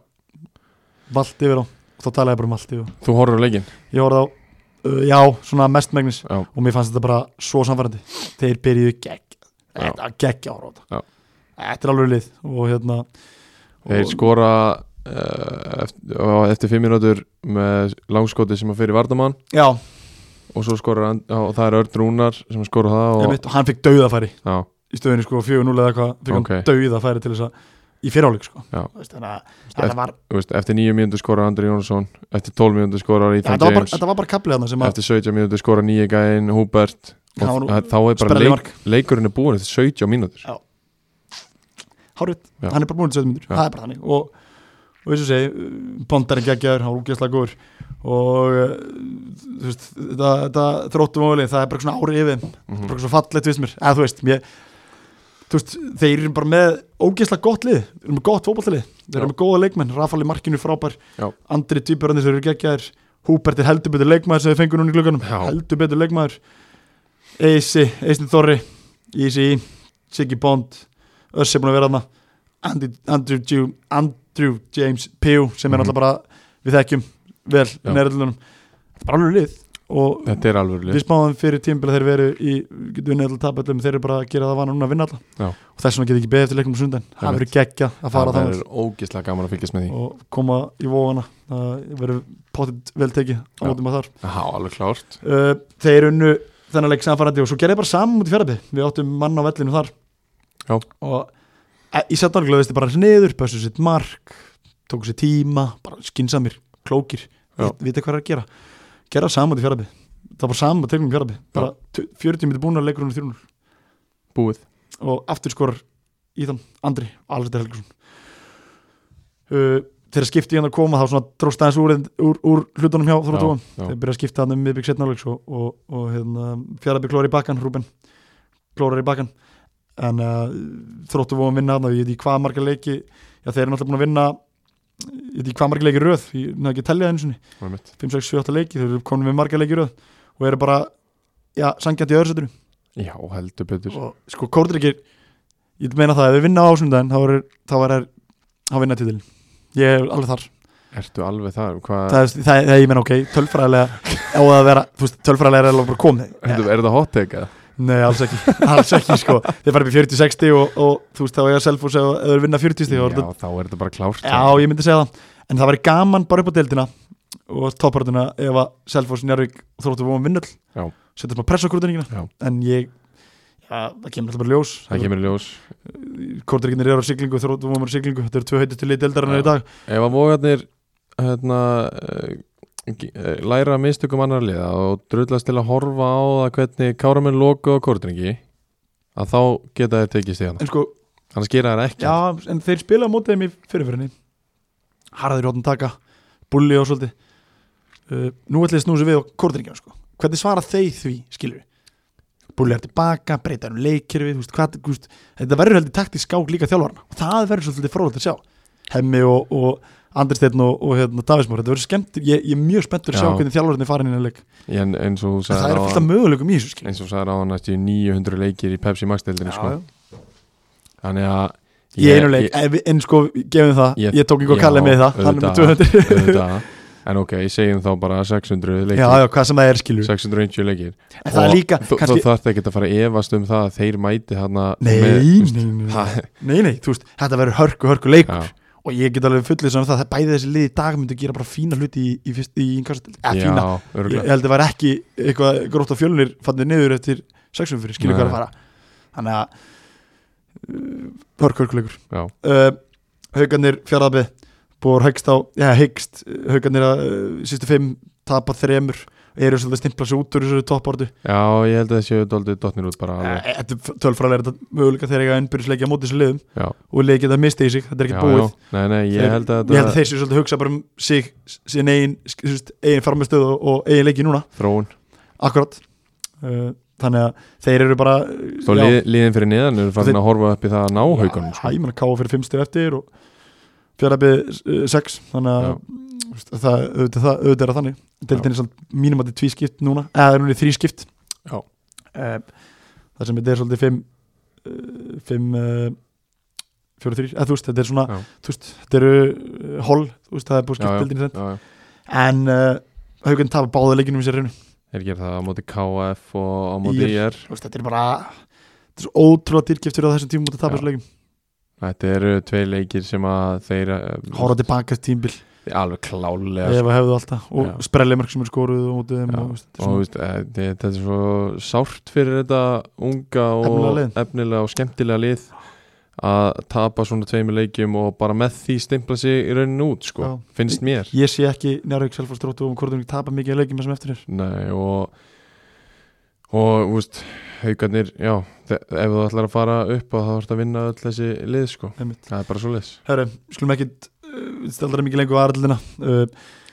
Speaker 1: Vald yfir á og þá talaði ég bara um allt og
Speaker 2: Þú horfður á leikinn
Speaker 1: ég horfði á, uh, já, svona mestmegnis
Speaker 2: Já,
Speaker 1: og mér fannst þetta bara svo samfærandi þeir byrjuðu gegg
Speaker 2: Já.
Speaker 1: þetta var gegg ára á
Speaker 2: Já.
Speaker 1: þetta þetta er alveg lið og hérna
Speaker 2: þeir skora uh, eftir, á- eftir fimm minútur með langskoti sem að fyrir Vardamann
Speaker 1: já,
Speaker 2: og svo skora and, og það er Örn Rúnar sem skora það og,
Speaker 1: einmitt, og hann fekk dauðafæri
Speaker 2: já,
Speaker 1: í stöðinni sko 4-0 eða eitthvað fekk
Speaker 2: Ókei.
Speaker 1: hann dauðafæri til þess að í fyriráleik sko
Speaker 2: Já.
Speaker 1: Þú veist, þannig að þetta var,
Speaker 2: þú veist, eftir nýju mínútur skora Andri Jónsson eftir tól mínútur skora
Speaker 1: ja,
Speaker 2: Ethan
Speaker 1: þetta var bara,
Speaker 2: James
Speaker 1: þetta var bara kaplið hann sem að
Speaker 2: eftir 17 mínútur skora nýja gæinn Húbert og
Speaker 1: Það var nú
Speaker 2: þa- þá er bara
Speaker 1: sprelli
Speaker 2: leik,
Speaker 1: mark.
Speaker 2: leikurinn er búin eftir 17 mínútur
Speaker 1: hárið,
Speaker 2: Já.
Speaker 1: hann er bara búin til 17 myndur
Speaker 2: Já.
Speaker 1: það er bara þannig og, og eins og segi, bondar er geggjaður hann er úgeðslega góður og uh, þú veist, þetta, þetta þróttum og það er bara svona ári yfir þeim.
Speaker 2: mm
Speaker 1: bara svo fallegt við mér eða þú veist, mér, þú veist þeir eru bara með ógeðslega gott lið þeir eru með gott fótballtalið, þeir
Speaker 2: Já.
Speaker 1: eru með góða leikmenn Rafal í markinu frábær,
Speaker 2: Já.
Speaker 1: Andri Týpurandi sem eru geggjaðir, Húbert er heldur betur leikmaður sem við fengum núna í glöggunum,
Speaker 2: Já.
Speaker 1: heldur betur leikmaður Eisi, Eisni Þorri Eisi, Siggy Bond Öss er búin að vera þarna Andy- Andrew, Ju- Andrew James Pew sem er
Speaker 2: Mhm.
Speaker 1: náttúrulega bara við þekkjum vel
Speaker 2: Já.
Speaker 1: í nærðlunum þetta er bara alveg lið og
Speaker 2: þetta er alveg
Speaker 1: við spáðum fyrir tímbil að þeir veru í getur vinnið alltaf tapallum, þeir eru bara að gera það vana núna að vinna alltaf
Speaker 2: Já.
Speaker 1: og þess vegna getur ekki beðið eftir leiknum á sundan það
Speaker 2: Einmitt.
Speaker 1: verður geggja að fara
Speaker 2: það
Speaker 1: þannig
Speaker 2: er ógislega gaman að fylgjast með því
Speaker 1: og koma í vóana það verður potið vel tekið á
Speaker 2: Já.
Speaker 1: mótum að þar
Speaker 2: já, alveg klárt
Speaker 1: uh, þeir unnu þennan leik samfærandi og svo gerði bara saman út í fjaraði við áttum mann á vellinu þar
Speaker 2: Já.
Speaker 1: og e, í setnarlega veist þið bara niður pössu sitt mark, tóku sér tíma bara skinsamir, klókir
Speaker 2: Já.
Speaker 1: vit, vita hvað er að gera gera saman út í fjaraði það var saman að tegnum fjaraði bara tu- 40 minnir búin að leikur hún í þrjúnul
Speaker 2: búið
Speaker 1: og aftur skorar í þann Andri Alfredur Helgason uh, þegar skipti hann að koma þá svona dróst aðeins úr, úr, úr hlutunum hjá þróttum
Speaker 2: Já, já.
Speaker 1: þeir byrja að skipta hann um miðbygg setnáleiks og, og, og hérna, fjaraðbygg klórar í bakkan Rúben klórar í bakkan en uh, þróttu vóðum vinna hann og ég veit í hvað marga leiki já, þeir eru náttúrulega búin að vinna ég veit í hvað marga leiki í röð ég nefnir ekki að tellja einu sinni
Speaker 2: var mitt.
Speaker 1: 5, 6, 7, 8 leiki, þeir eru komin með marga leiki í röð og eru bara já, sangjandi í öðru setinu
Speaker 2: já, heldur betur
Speaker 1: og sko Kórdryggir ég meina það, ef við vinna á ásundaginn þá er það er að vinna títilin ég er alveg þar,
Speaker 2: ertu alveg þar hvað
Speaker 1: það, er, það, það er, ég meina ok tölfræðilega, á að vera þú veist, tölfræðilega er alveg bara komið
Speaker 2: Heldur, er þetta hot take eða?
Speaker 1: nei, alls ekki, <laughs> alls ekki sko þeir fara upp í 40-60 og, og þú veist, þá er ég að selfos ef ef þeir vinna 40 stíð
Speaker 2: Já, þá er þetta bara klárt
Speaker 1: já, ég myndi segja það en það væri gaman bara upp á deildina og toppartuna ef að Selfoss, Njárvík og þróttu vóðum
Speaker 2: Já.
Speaker 1: vinnull um setja smá press á
Speaker 2: Já.
Speaker 1: kurtuningina en ég, já, það kemur alltaf bara í ljós
Speaker 2: Það kemur í ljós
Speaker 1: Kortrygginir eru á siglingu, þróttumum eru á siglingu Þetta eru tvö heitist til liðdeldarinnar
Speaker 2: Já.
Speaker 1: í dag
Speaker 2: Ef að vógarnir hérna, eh, g- eh, læra af mistökum annar liða og drullast til að horfa á það hvernig káramenn loku á kortringi að þá geta þeir tekið stíðan
Speaker 1: En sko,
Speaker 2: Þannig skýra þeir ekki
Speaker 1: já, en þeir spila á mótið þeim í fyrirfyrinni Harður Jóttan Taka, Bulli og svolítið uh, Nú ætlið snúsi við á kortringinu sko. Hvernig svara þeir því, skilur við Bulli er tilbaka, breytar um leikirfi þú veist, hvað, þú veist, Þetta verður heldur taktisk skák líka þjálfarna og það verður svolítið frólægt að sjá Hemmi og, og Andri Steinn og, og hérna, Davismór, þetta verður skemmt ég, ég er mjög spenntur að sjá
Speaker 2: Já.
Speaker 1: hvernig þjálfarnir farin inn að leik
Speaker 2: en, eins og þú
Speaker 1: það
Speaker 2: sagðir
Speaker 1: er fullt af
Speaker 2: áðan-
Speaker 1: möguleikum í þessu skilur við.
Speaker 2: eins og þú sagði á hann næstu 900 leikir í Pepsi
Speaker 1: Já,
Speaker 2: Max-deildinu sko.
Speaker 1: já.
Speaker 2: Þannig að
Speaker 1: Í einu leik, en, við- en sko, gefum það
Speaker 2: Ég-
Speaker 1: Ég, tók einhver
Speaker 2: já,
Speaker 1: kallið með í það, hann er með
Speaker 2: auðvitað.
Speaker 1: 200
Speaker 2: auðvitað. En ok, segjum þá bara 600 leikir
Speaker 1: Já, já, hvað sem það er skilur
Speaker 2: 690 leikir
Speaker 1: En það er líka,
Speaker 2: þú, kannski...
Speaker 1: kannski
Speaker 2: Þú þarf ekki að fara að efast um það að þeir mæti þarna
Speaker 1: Nei,
Speaker 2: með,
Speaker 1: nei, nei, <laughs> nei,
Speaker 2: það,
Speaker 1: nei, nei, þú veist, þetta verður hörku, hörku leikur
Speaker 2: já,
Speaker 1: Og ég get alveg fullið sem það, það bæði þessi lið í dag myndu gera bara fína hluti í, í, fyrst, í inkastatil Eða
Speaker 2: já,
Speaker 1: fína, ég
Speaker 2: örugglega.
Speaker 1: ég held að það var ekki eitthvað grótt á fjölunir fannir niður eftir sexum fyrir, skilur
Speaker 2: Nei.
Speaker 1: hvað er að fara Þannig að, uh, hörku, hörku leikur
Speaker 2: já,
Speaker 1: uh, haugarnir fjaraðabbi búið högst á, já högst haugarnir að uh, sístu fimm tapa þremur, eru svolítið að stimpla sig út úr þessu topportu,
Speaker 2: já, ég held að það séu doldið dottnir út bara alveg,
Speaker 1: Eh, þetta er tölfræðlega þetta möguleika þegar ég að innbyrjusleikja á móti þessu liðum
Speaker 2: já,
Speaker 1: og leikið geta mistið í sig, þetta er
Speaker 2: já,
Speaker 1: ekki búið
Speaker 2: já, nei, nei, ég
Speaker 1: Þeir-
Speaker 2: held
Speaker 1: ég
Speaker 2: að
Speaker 1: held að
Speaker 2: þetta
Speaker 1: þeir séu svolítið að hugsa bara um sig sín eigin, síst, eigin farmastöð og, og eigin leiki núna,
Speaker 2: þróun,
Speaker 1: akkurat uh, þannig að þeir eru bara uh,
Speaker 2: þó
Speaker 1: já.
Speaker 2: lið, liðin fyrir neðan eru farin
Speaker 1: Þeir-
Speaker 2: að horfa upp í það að ná haugunum
Speaker 1: Já,
Speaker 2: sko.
Speaker 1: ég meina K.O. fyrir fimm stið eftir og fjaraðabbi 6 þannig að
Speaker 2: Já.
Speaker 1: þú veist, það, auðvitað, það, auðvitað er það þannig Deildin er svolítið mínum að þetta er tvískipt núna eða er hún í þrískipt
Speaker 2: Já.
Speaker 1: Eh, Það sem þetta er svolítið fimm eh, fimm eh, fjóru þrýr, eða þú veist, þetta er svona
Speaker 2: Já.
Speaker 1: þú veist, þetta eru eh, hol, þú veist, það er búið
Speaker 2: Já,
Speaker 1: skipt
Speaker 2: já,
Speaker 1: deildin í þenn
Speaker 2: já, já.
Speaker 1: en uh, Haugan tapar báða leikinum í sér reynu
Speaker 2: Er ekki það á móti KF og á móti E
Speaker 1: IR.
Speaker 2: IR
Speaker 1: Þú veist, þetta er bara þetta er svo ótrúlega dýrgiftur á þessum tímum út að tapa
Speaker 2: Já.
Speaker 1: þessu leikum
Speaker 2: Þetta eru tvei leikir sem að þeir um,
Speaker 1: hóra tilbaka þessu tímbil
Speaker 2: alveg klálega
Speaker 1: ef að hefðu alltaf
Speaker 2: Já.
Speaker 1: og sprellimark sem er skoruð og mótið þeim
Speaker 2: Já.
Speaker 1: og, veist, þetta er
Speaker 2: og
Speaker 1: svona-
Speaker 2: veist, eh, þe- þetta er svo sárt fyrir þetta unga
Speaker 1: Efnilega
Speaker 2: og
Speaker 1: lið.
Speaker 2: efnilega og skemmtilega lið að tapa svona tveimur leikjum og bara með því stimpla sig í raunin út sko,
Speaker 1: Já.
Speaker 2: finnst mér
Speaker 1: ég sé ekki Njárvík Selfoss Dróttu og Kortunvík tapa mikið í leikum sem eftir er
Speaker 2: Nei, og og úst, haugarnir, já þe- ef þú ætlar að fara upp og þá ætlar að vinna öll þessi lið sko,
Speaker 1: Einmitt.
Speaker 2: það er bara svo liðs
Speaker 1: Herru, skulum ekki uh, stelðara mikið lengur á aðraldina uh,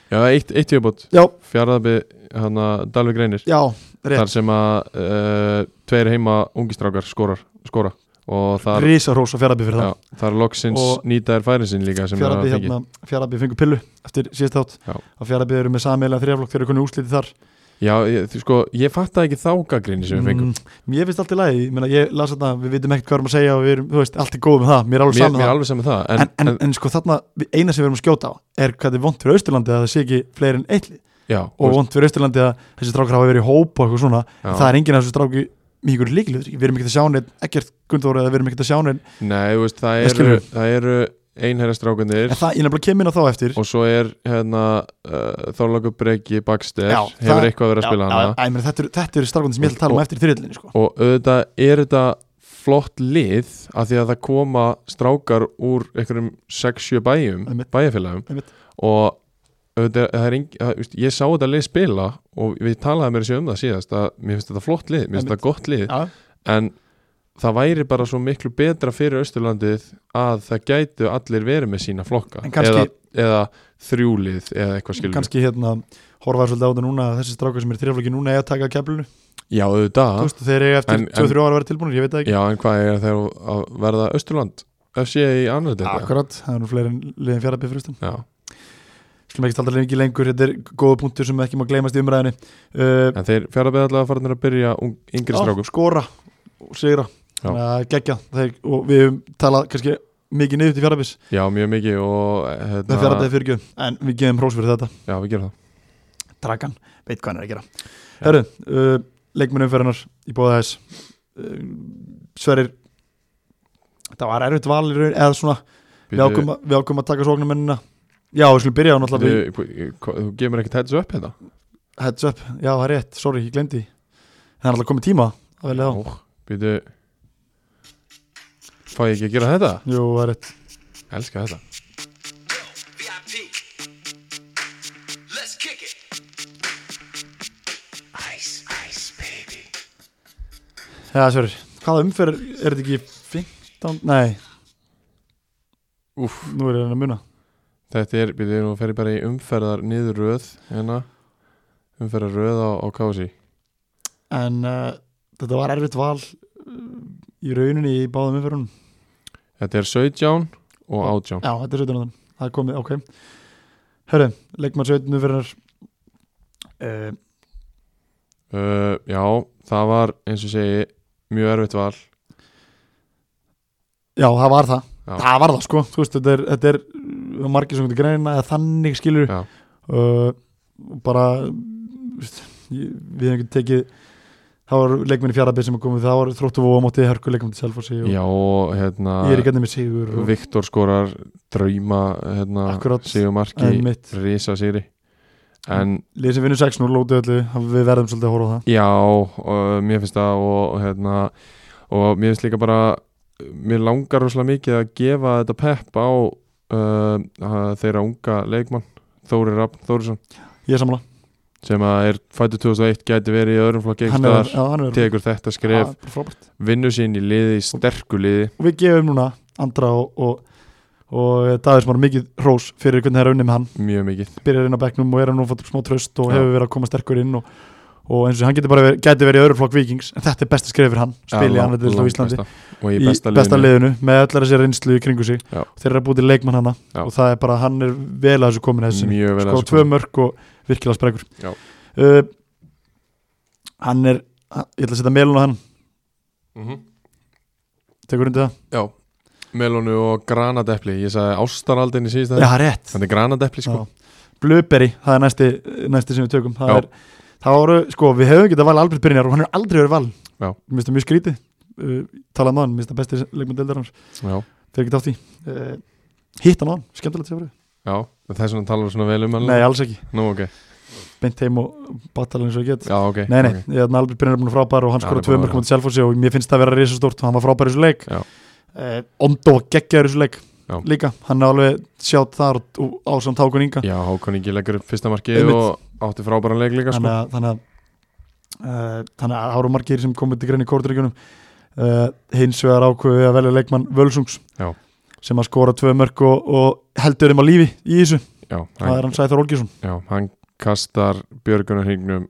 Speaker 2: Já, eitt, eitt jöfbót,
Speaker 1: já,
Speaker 2: fjaraðabi hana Dalvik Reynir,
Speaker 1: já,
Speaker 2: þar
Speaker 1: rétt
Speaker 2: sem að uh, tveir heima ungistrákar skorar, skora og þar,
Speaker 1: Rísa hrós á fjarabi fyrir
Speaker 2: já,
Speaker 1: það
Speaker 2: þar loksins
Speaker 1: Og-
Speaker 2: nýtaðir færin sín líka sem
Speaker 1: Fjarabi,
Speaker 2: það fengi
Speaker 1: hérna, fjarabi fengur pillu eftir síðast átt
Speaker 2: Já.
Speaker 1: og Fjarabi eru með samiðlega þrjaflokk þeir eru kunni úslitið þar
Speaker 2: Já, ég, þú sko, ég fattaði ekki þákagrinni
Speaker 1: Mm.
Speaker 2: sem við fengum
Speaker 1: Mér finnst allt í lagi, ég, meina, ég las þetta við vitum ekkert hvað erum að segja og við erum, þú veist, allt er góð með það Mér er alveg
Speaker 2: Mér,
Speaker 1: saman
Speaker 2: mér er
Speaker 1: það
Speaker 2: alveg sem það, en,
Speaker 1: en, en, en, sko þarna, við- eina sem við erum að skjóta á er hvað þetta er vond fyrir Austurlandi að það sé ekki fleiri en eitli
Speaker 2: já,
Speaker 1: og vond fyrir Austurlandi að þessi strákar hafa verið í hóp og eitthvað svona
Speaker 2: já.
Speaker 1: það er enginn af þessu stráki mikið líkilegur við erum ekkert að sjá neitt, ekkert Gunndóra eða við erum ekkert að sjá neitt
Speaker 2: Nei, þú veist, það
Speaker 1: Ég skil
Speaker 2: eru,
Speaker 1: þig.
Speaker 2: það eru einherjastrákundir
Speaker 1: en það, ég nefnilega kem inn á þá eftir
Speaker 2: og svo er hérna uh, Þorlóku Breki Baxter
Speaker 1: Já,
Speaker 2: hefur
Speaker 1: það-
Speaker 2: eitthvað verið að spila hana
Speaker 1: já, æ, meni, þetta, eru, þetta eru strákundir sem ég ætla að tala um eftir í þriðlinni sko.
Speaker 2: og auðvitað er þetta flott lið af því að það koma strákar úr einhverjum 6-7 bæjum
Speaker 1: Einmitt.
Speaker 2: bæjarfélagum
Speaker 1: Einmitt.
Speaker 2: og auðvitað, það er engi, það, veist, ég sá þetta lið spila og við talaði mér sér um það síðast að mér finnst þetta flott lið, mér finnst þetta gott lið
Speaker 1: Já.
Speaker 2: en það væri bara svo miklu betra fyrir Östurlandið að það gætu allir verið með sína flokka
Speaker 1: En kannski-
Speaker 2: eða, eða þrjúlið eða eitthvað skilur
Speaker 1: kannski hérna horfaði svolítið á þetta núna að þessi strákar sem eru þriðflokki núna eiga að taka keflinu
Speaker 2: já auðvitað
Speaker 1: ah. þeir eru eftir
Speaker 2: En-
Speaker 1: 2-3 ára að vera tilbúinir, ég veit það ekki
Speaker 2: já en hvað er þeir að verða Östurland FC í annar þetta
Speaker 1: akkurat, það er nú fleiri en liðin fjarafið fyrir austan
Speaker 2: já,
Speaker 1: slum ekki staldra lengi lengur, þetta er góða punktur sem ekki má gleymast í umræðinni uh,
Speaker 2: en þeir fjara beðallega að fara að byrja ung, yngri strákum
Speaker 1: skora og sigra
Speaker 2: Já.
Speaker 1: þannig að gegja þeir, og við höfum talað kannski mikið niður til fjarafis
Speaker 2: já mjög mikið og
Speaker 1: það
Speaker 2: hérna,
Speaker 1: fjarafið fyrir gjöf, en við gefum hrós fyrir þetta
Speaker 2: já við gerum það
Speaker 1: Dragan, veit hvað hann er að gera Herru, uh, leikmennumferðinar í bóða þess uh, Sverir þetta var erfitt val í raun, eða svona við
Speaker 2: Býtu,
Speaker 1: ákum, við ákum að taka sóknumennina Já, við skulum byrja á náttúrulega við
Speaker 2: við- hva- hva- þú gefur mér ekkert heads up hérna
Speaker 1: heads up, já það er rétt, sorry, ég glemdi Það er náttúrulega komið tíma að velja á
Speaker 2: Ó, býtu fæ ég ekki að gera þetta?
Speaker 1: Jú, það er rétt
Speaker 2: elska þetta
Speaker 3: VIP. Let's kick it. Ice, ice, baby.
Speaker 1: Já, Sverir, hvaða umferð er þetta ekki 15? Nei,
Speaker 2: Úff,
Speaker 1: nú er ég að reyna að muna
Speaker 2: Þetta er, við erum að ferja bara í umferðar niður röð hérna umferðar röð á, á kási
Speaker 1: En uh, þetta var erfitt val uh, í rauninni í báðum umferðunum
Speaker 2: Þetta er 17 og 18
Speaker 1: Já, þetta er 17. áðan. Það er komið, ok Hörru, leikmann 17. fyrir uh,
Speaker 2: uh, Já, það var eins og segi mjög erfitt val
Speaker 1: Já, það var það
Speaker 2: Já.
Speaker 1: Það var það, sko Þú veist, þetta er, þetta er uh, margir sem getur greina eða þannig skilur
Speaker 2: Já.
Speaker 1: uh, bara þú veist, ég- við hefum ekki tekið það var leikmenn í fjarafið sem er komið það var þróttu og á móti hörku leikmann til Selfossi og
Speaker 2: Já, og hérna
Speaker 1: ég er ekki með sigur og,
Speaker 2: Viktor skorar drauma hérna,
Speaker 1: Akkurat.
Speaker 2: sigur
Speaker 1: en
Speaker 2: marki,
Speaker 1: mitt
Speaker 2: risa sigri en
Speaker 1: lið sem vinnur 6-0 lótu öllu það- við verðum svolítið að horfa á það
Speaker 2: Já, og, mér finnst það og, og hérna og mér finnst líka bara mér langar rosalega mikið að gefa þetta pepp á uh, að þeirra unga leikmann Þóri Rafn Þórisson
Speaker 1: ég er samla
Speaker 2: sem að er fættu 2001 gæti verið í öðrum flokki
Speaker 1: hann er,
Speaker 2: einhverstaðar,
Speaker 1: já, hann er
Speaker 2: tekur þetta skref
Speaker 1: Ah, frábært
Speaker 2: vinnu sín í liði, í sterku liði
Speaker 1: og við gefum núna Andra og, og, og Dagur sem var mikið hrós fyrir hvernig það er unni með hann
Speaker 2: mjög mikið
Speaker 1: byrjar inn á bekknum og er hann nú fótt smá tröst og
Speaker 2: Já.
Speaker 1: hefur verið að koma sterkur inn og, og eins og hann getur bara verið, gæti verið í öðru flokk vikings en þetta er besta skrif fyrir hann spilið hann þetta á Íslandi
Speaker 2: besta. og í
Speaker 1: í
Speaker 2: besta,
Speaker 1: besta
Speaker 2: liðinu
Speaker 1: liðinu með öllar þessi reynslu í kringu sig
Speaker 2: Já.
Speaker 1: þeir eru að búti leikmann hana
Speaker 2: Já.
Speaker 1: og það er bara, hann er vel að þessu komin þessi
Speaker 2: mjög vel að
Speaker 1: sko
Speaker 2: þessu
Speaker 1: tvö
Speaker 2: koma.
Speaker 1: mörg og virkilega spregur
Speaker 2: Já.
Speaker 1: uh, hann er ég ætla að setja meilun á hann
Speaker 2: Mhm.
Speaker 1: tekur undir það,
Speaker 2: Já, melónu og granadepli ég sagði ástaraldin í síðasta
Speaker 1: já rétt
Speaker 2: þetta er granadepli sko
Speaker 1: Já. Blueberry, það er næsti, næsti sem við tökum það
Speaker 2: Já.
Speaker 1: er, það voru, sko, við hefum getað val Albert Brynjar og hann er aldrei verið val
Speaker 2: Já.
Speaker 1: mér finnst það mjög skrítið, uh, talað um hann mér finnst það besti leikmann deildar hans,
Speaker 2: já,
Speaker 1: þeir ekki dátt í uh, hitt hann á hann, skemmtilegt sér verið
Speaker 2: já það er svona talar svona vel um hann
Speaker 1: nei, alls ekki,
Speaker 2: nú ok,
Speaker 1: beint heim og battala eins og ég get
Speaker 2: já ok
Speaker 1: nei, nei,
Speaker 2: ok.
Speaker 1: okay. Albert Brynjar er búin að frábær og hann
Speaker 2: Já,
Speaker 1: skora
Speaker 2: hann er
Speaker 1: tvö
Speaker 2: búinn að
Speaker 1: mörgum á Selfossi og mér finnst það vera risastórt og hann var frábær í þessu leik
Speaker 2: Já.
Speaker 1: uh, Ondo geggjaður í þessu leik
Speaker 2: Já.
Speaker 1: líka, hann er alveg sjátt þar og- og ásamt Hákon Inga
Speaker 2: já, Hákon Ingi leggur upp fyrsta marki
Speaker 1: Einmitt.
Speaker 2: og átti frábæran leik líka
Speaker 1: þannig
Speaker 2: sko.
Speaker 1: að þannig að, uh, þannig að árum margir sem komið til greinu í kórdryggjunum uh, hins vegar ákveðu við að velja leikmann Völsungs
Speaker 2: Já.
Speaker 1: sem að skora tvö mörg og, og heldur um á lífi í þessu,
Speaker 2: já,
Speaker 1: það
Speaker 2: hann,
Speaker 1: er hann Sæþór Olgjesson
Speaker 2: já, hann kastar björgunarhingnum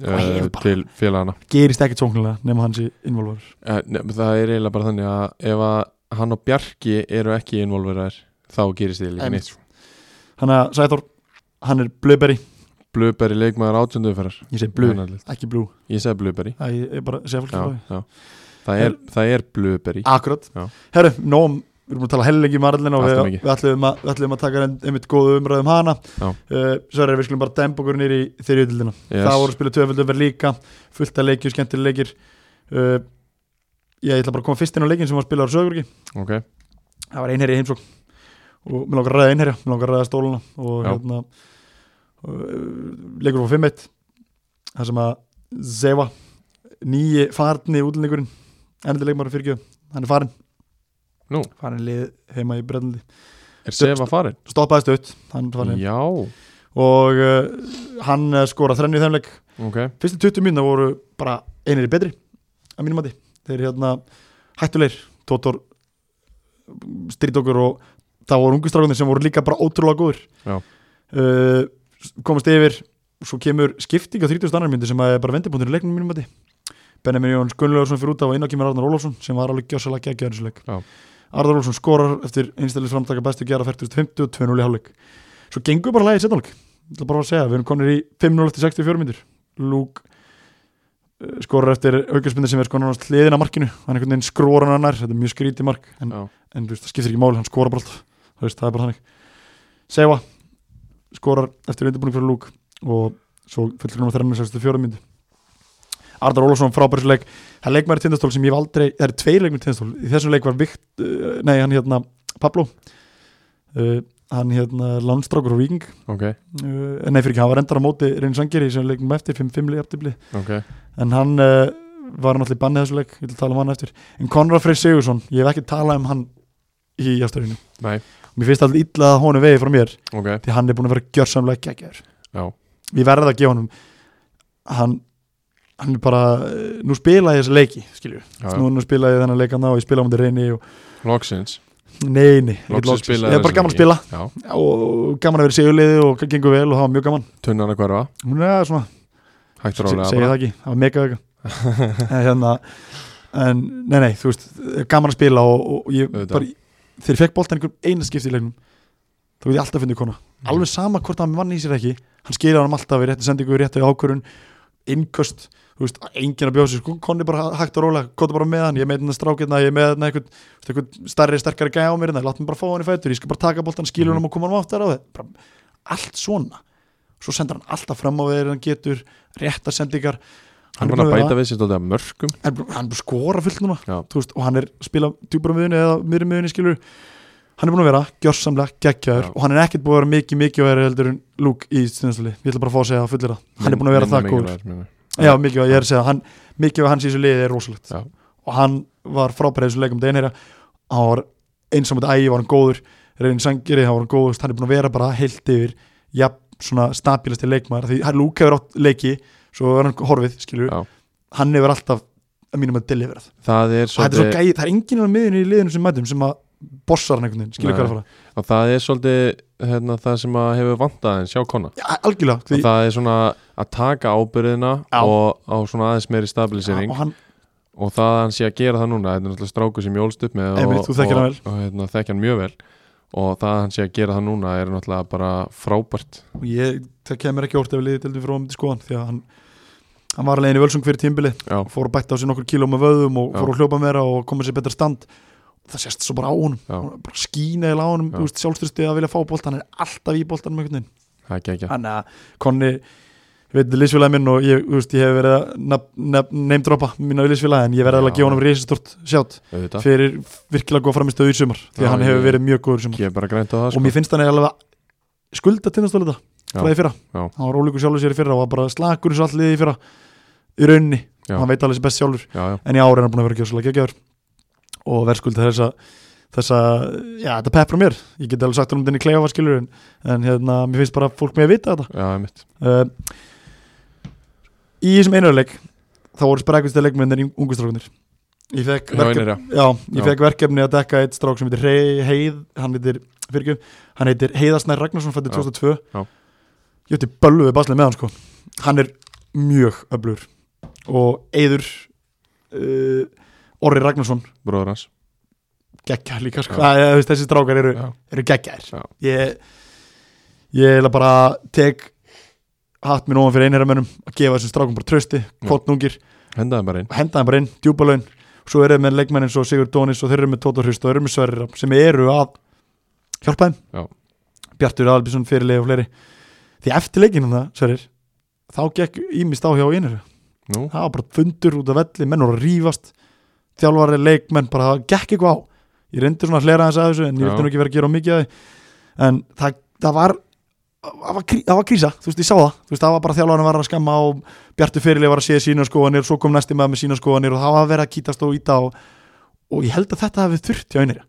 Speaker 1: Æ,
Speaker 2: uh,
Speaker 1: ég bara-
Speaker 2: til félagana
Speaker 1: gerist ekkert sóknulega nema hans í involvar
Speaker 2: Eh, Nei, men það er eiginlega bara þannig að ef að hann og Bjarki eru ekki involverar þá gerist þið líka
Speaker 1: Einmitt.
Speaker 2: neitt sko.
Speaker 1: hann að Sæþór, hann er blöberi
Speaker 2: Blöberi leikmaður átjönduferðar
Speaker 1: ég segi blö,
Speaker 2: Ég
Speaker 1: ekki blú
Speaker 2: segi Blöberi
Speaker 1: það ég- ég bara segja fólk
Speaker 2: já,
Speaker 1: frá því.
Speaker 2: já. Það, er, það er Blöberi
Speaker 1: akkurat,
Speaker 2: Já.
Speaker 1: herru, nóum við erum að tala hellingi um Arlina og
Speaker 2: Allt
Speaker 1: við,
Speaker 2: of mikið.
Speaker 1: við, ætlum að, við ætlum að taka ein- einmitt góðu umræðum hana
Speaker 2: Já.
Speaker 1: uh, Sverri, við skulum bara dempa okkur nýri í þriðutildina
Speaker 2: yes.
Speaker 1: það voru að spila tvöföldumverð líka fullt af leikjum, skemmtileg leikir uh, ég ætla bara að koma fyrst inn á leikin sem var að spila á Sögurki
Speaker 2: Ok,
Speaker 1: það var einherja í heimsókn og mér langar að ræða einherja, mér langar að ræða stóluna og
Speaker 2: Já.
Speaker 1: hérna uh, leikur fór 5-1 það sem að Zeva nýji farni útlendingurinn ennandi leikmaru fyrirgjöf, hann er farin
Speaker 2: Nú.
Speaker 1: farin í lið heima í Breitlandi
Speaker 2: er Sefa farin?
Speaker 1: stoppaði stöðt, hann er farin heim
Speaker 2: Já,
Speaker 1: og uh, hann eh, skoraði þrennu í þeim leik
Speaker 2: ok
Speaker 1: fyrstu 20 mínuna voru bara einir betri að mínum mati þeir hérna hættulegir Tóttor strýtt okkur og það voru ungu strákunir sem voru líka bara ótrúlega góður
Speaker 2: Já.
Speaker 1: uh, komast yfir svo kemur skipting á 30. annar myndu sem að er bara vendipunktur í leiknum að mínum mati Benjamin Jóns Gunnlaugarsson fyrir út af og inn á kemur Arnar Ólafsson sem var alveg gjössalega geggjaður í þessu leik
Speaker 2: Já.
Speaker 1: Arnar Ólafsson skorar eftir einstæðlis framtaka bestu gera 40.50 og 2-0 í hálfleik svo gengur bara lagið setnáleik ég ætla bara að segja, við erum konir í 5-0 eftir 64 myndur Luke eh, skorar eftir aukjörspindir sem er sko nánast hliðin að markinu hann einhvern veginn skróar hann annar, þetta er mjög skrítið mark en,
Speaker 2: Já.
Speaker 1: en þú veist, það skiptir ekki máli, hann skorar bara alltaf þú veist, það er bara þannig Seva skorar eftir undirbúning fyrir Luke og svo fyllir hann á 364 myndu Ardar Ólafsson frábærsleik það er leikmæri tindastól sem ég hef aldrei það eru tveir leikmæri tindastól, í þessum leik var Vikt, eh, nei hann hérna Pablo uh, hann hérna Landstrákur og Víking
Speaker 2: Ok,
Speaker 1: uh, nei fyrir ekki, hann var endar á móti Reyn Sangeri sem leikum eftir 5-5 jafntefli.
Speaker 2: ok
Speaker 1: en hann uh, var náttúrulega í banni þessu leik, ég vil tala um hann eftir en Konrad Frey Sigursson, ég hef ekki talað um hann í jafnstöðinu
Speaker 2: Nei,
Speaker 1: mér finnst alltaf illa að honum vegi frá mér
Speaker 2: ok,
Speaker 1: því hann er búin að vera gjörsamlega geggjaður
Speaker 2: já,
Speaker 1: ég verði að gefa honum hann, hann er bara eh, nú spilaði þessu leiki, skilju
Speaker 2: já, já.
Speaker 1: nú, nú spilaði ég þennan leikanna og ég spilaði á mútið reyni og
Speaker 2: Loksins
Speaker 1: nei, nei, ekkert
Speaker 2: Loksins
Speaker 1: loksins.
Speaker 2: spilaði
Speaker 1: ég er
Speaker 2: þessu
Speaker 1: bara gaman að
Speaker 2: leiki.
Speaker 1: spila
Speaker 2: Já,
Speaker 1: og gaman að vera í sigurliði og gengur vel og það var mjög gaman
Speaker 2: tunnan að hverfa,
Speaker 1: hún er svona
Speaker 2: hægt
Speaker 1: Se-
Speaker 2: rálega
Speaker 1: segi það ekki, það var mega vega en hérna en nei nei, þú veist, gaman að spila og, og ég
Speaker 2: Auðvitað.
Speaker 1: bara, þegar ég fekk boltan einhver eina skipti í leiknum þá veit ég alltaf að finna kona, alveg sama hvort hann vann í sér ekki, hann skilja hann alltaf í rétti sendingu, í rétti ákvörun, innköst þú veist, enginn að bjóða sér, sko, konni bara hægt og rólega, kóta bara með hann, ég er með hérna strákirna ég er með hérna einhvern, þú veist, einhvern starri, sterkari gæja á mér, hérna, látt mig bara fá hann í fætur ég skal bara taka boltan, skilja hann og koma hann aftar á þeir bara, allt svona, svo sendur hann alltaf fram á þeir, hann getur réttar sendingar
Speaker 2: Hann er búin að bæta við sér tóttið að mörgum
Speaker 1: hann, er- hann er búin að skora fullt núna
Speaker 2: Já.
Speaker 1: þú veist, og hann er að spila djúpar á miðunni eða miðri miðunni skilur hann er búin að vera gjörsamlega geggjaður
Speaker 2: Já.
Speaker 1: og hann er ekkert búin að vera mikið mikið verið heldur en Luke í stundastöli ég ætla bara að fá að segja það fullir það hann er búin að vera það góður
Speaker 2: góður
Speaker 1: já, mikið ég er að segja það, hann, mikið hans í þessu liði er rosalegt
Speaker 2: Já.
Speaker 1: og hann var frábærið þessu leikum deginherja hann var eins og mútið ægi var hann góður reynin sangiri, hann var hann góður þú veist, hann er búin að vera bara heilt yfir já, svona stabilasti leikmaður því hann Luke hefur átt leiki svo er hann horfið, skilur
Speaker 2: Já.
Speaker 1: hann hefur alltaf að mínum að deliverað
Speaker 2: Það
Speaker 1: það
Speaker 2: er
Speaker 1: er svo
Speaker 2: svolítið
Speaker 1: gæi, það er enginn á miðinu í liðinu sem mætum sem að bossar hann einhvern veginn, skilur
Speaker 2: Nei.
Speaker 1: hvað er að fara
Speaker 2: og það er svolítið hérna, það sem að hefur vantað en sjá kona
Speaker 1: já, algjörlega,
Speaker 2: og
Speaker 1: því,
Speaker 2: það er svona að taka ábyrðina
Speaker 1: Já.
Speaker 2: og, og svona aðeins meiri
Speaker 1: ja,
Speaker 2: stabilisering
Speaker 1: og hann,
Speaker 2: og það að hann sé að gera það núna þetta er náttúrulega stráku sem ég ólst upp með
Speaker 1: Einmitt,
Speaker 2: og,
Speaker 1: þú þekkir
Speaker 2: og,
Speaker 1: hann vel.
Speaker 2: og, hérna, þekkir hann mjög vel og það að hann sé að gera það núna er náttúrulega bara frábært
Speaker 1: og ég, það kemur ekki órt ef liðið deildum frá um til skoðan, því að hann hann var alveg í völsung fyrir tímbili
Speaker 2: já,
Speaker 1: fór að bætta á sig nokkur kíló með vöðum og
Speaker 2: Já.
Speaker 1: fór að hljópa meira og koma sér betra stand það sést svo bara á honum
Speaker 2: Já.
Speaker 1: Hún er bara skína í lá honum,
Speaker 2: Já.
Speaker 1: sjálfstyrstið að vilja fá bóltan hann er alltaf í bóltanum einhvern veginn
Speaker 2: það er ekki
Speaker 1: Þannig að konni veitir liðsfélagi minn og ég, þú veist, ég hef verið að neymdropa mína liðsfélagi en ég verði alveg að
Speaker 2: Já.
Speaker 1: gefa honum risastort sjátt
Speaker 2: auðvitað
Speaker 1: fyrir virkilega góð framistöðu í sumar því
Speaker 2: Já,
Speaker 1: að hann hefur
Speaker 2: ég-
Speaker 1: verið mjög góður í sumar
Speaker 2: Ég er bara grænt á það
Speaker 1: og
Speaker 2: sko.
Speaker 1: mér finnst hann alveg skulda tindastóliða frá
Speaker 2: Já,
Speaker 1: því fyrra,
Speaker 2: já.
Speaker 1: hann var ólíkur sjálfur sér í fyrra og var bara slakur eins og allt liðið í fyrra í rauninni,
Speaker 2: Já.
Speaker 1: hann veit alveg sér best sjálfur
Speaker 2: já, já,
Speaker 1: en í ári er hann búin að vera gjössalega geggjör og verðskulda þessa þessa, já þetta pepp frá mér ég get alveg sagt um þenni klefa skilur en, en hérna, mér finnst bara fólk með að vita þetta
Speaker 2: já, mitt
Speaker 1: uh, í þessum einarleik þá voru sprækustu leikmennir ungustrákunir ég fekk
Speaker 2: Já, einir, já,
Speaker 1: Já, ég
Speaker 2: Já.
Speaker 1: fekk verkefni að dekka eitt strák sem heitir Hei, Heið, hann heitir, fyrirgjum, hann heitir Heiðarsnær Ragnarsson, fættir
Speaker 2: Já,
Speaker 1: 2002.
Speaker 2: já.
Speaker 1: Ég ætti böllu við baslið með hann, sko. Hann er mjög öflur og Eiður uh, Orri Ragnarsson,
Speaker 2: bróður hans
Speaker 1: geggjær líka, sko.
Speaker 2: Já.
Speaker 1: Að, að, þessi strákar eru,
Speaker 2: Já,
Speaker 1: eru geggjær.
Speaker 2: Já.
Speaker 1: Ég, ég er bara tek hatt minn ofan fyrir einherjamönnum að gefa þessum strákum bara trösti,
Speaker 2: Já.
Speaker 1: kvotnungir
Speaker 2: hendaði bara inn
Speaker 1: og henda þeim bara inn, djúpa laun svo eru þeir með leikmenn eins og Sigur Dónis og þeir eru með Tóta Hrist og þeir eru með Sverrir Rapp sem eru að hjálpa þeim
Speaker 2: Já.
Speaker 1: Bjartur Albísson, fyrirlið og fleiri því eftir leikinn hann það, Sverrir þá gekk ímist á hjá einir
Speaker 2: Nú,
Speaker 1: það var bara fundur út af velli, menn voru að rífast þjálfari, leikmenn, bara það gekk eitthvað á ég reyndi svona að hlera þess að þessu en ég
Speaker 2: Já.
Speaker 1: vildi nú ekki vera að gera of mikið að því en það, það var það var, krí, það var krísa, þú veist, ég sá það þú veist, það var bara þjálfarinn var að skamma og Bjartur Fyrirlið var að séð sína skoðanir, svo kom næsti maður með sína skoðanir og það var að vera að kýtast og íta og, og ég held að þetta hafi þurft hjá einir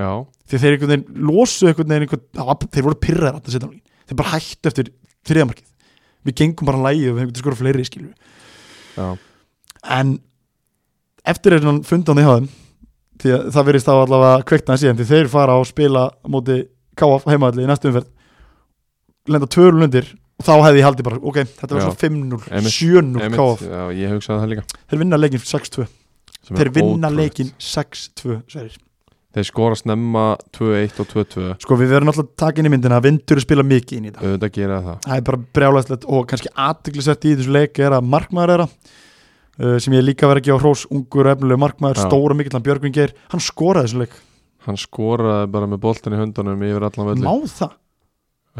Speaker 2: já,
Speaker 1: því þeir einhvern veginn losu einhvern veginn einhvern, það var, þeir voru pyrraðar að setja þeir bara hættu eftir þriðamarkið við gengum bara lægið og við hefum getur skora fleiri skilju
Speaker 2: já,
Speaker 1: en eftir er hann fundan í hafðum því að það verðist þá allavega kveikna síðan því þeir fara á að spila á móti KF heimaðalli í næstu umferð lenda tvöru lundir og þá hefði ég haldið bara, ok, þetta var
Speaker 2: Já.
Speaker 1: svona 5-0,
Speaker 2: Einmitt,
Speaker 1: 7-0
Speaker 2: Einmitt,
Speaker 1: KF
Speaker 2: já, ég hugsaði það líka
Speaker 1: þeir vinna leikin 6-2
Speaker 2: sem er
Speaker 1: þeir vinna
Speaker 2: ótrúlegt.
Speaker 1: leikin 6-2 Sverrir.
Speaker 2: Þeir skora snemma 2-1 og 2-2
Speaker 1: sko við verðum alltaf takin í myndina að vindur spila mikið inn í þetta
Speaker 2: auðvitað gera það
Speaker 1: það er bara brjálæslegt og kannski aðtiklisett í þessu leik er að markmaður er að uh, sem ég er líka verið að gefa hrós ungur og efnilegu markmaður,
Speaker 2: Já.
Speaker 1: stóra mikill hann Björgvin Geir, hann skoraði þessu leik
Speaker 2: Hann skoraði bara með boltan í höndunum yfir allan völlin
Speaker 1: má það,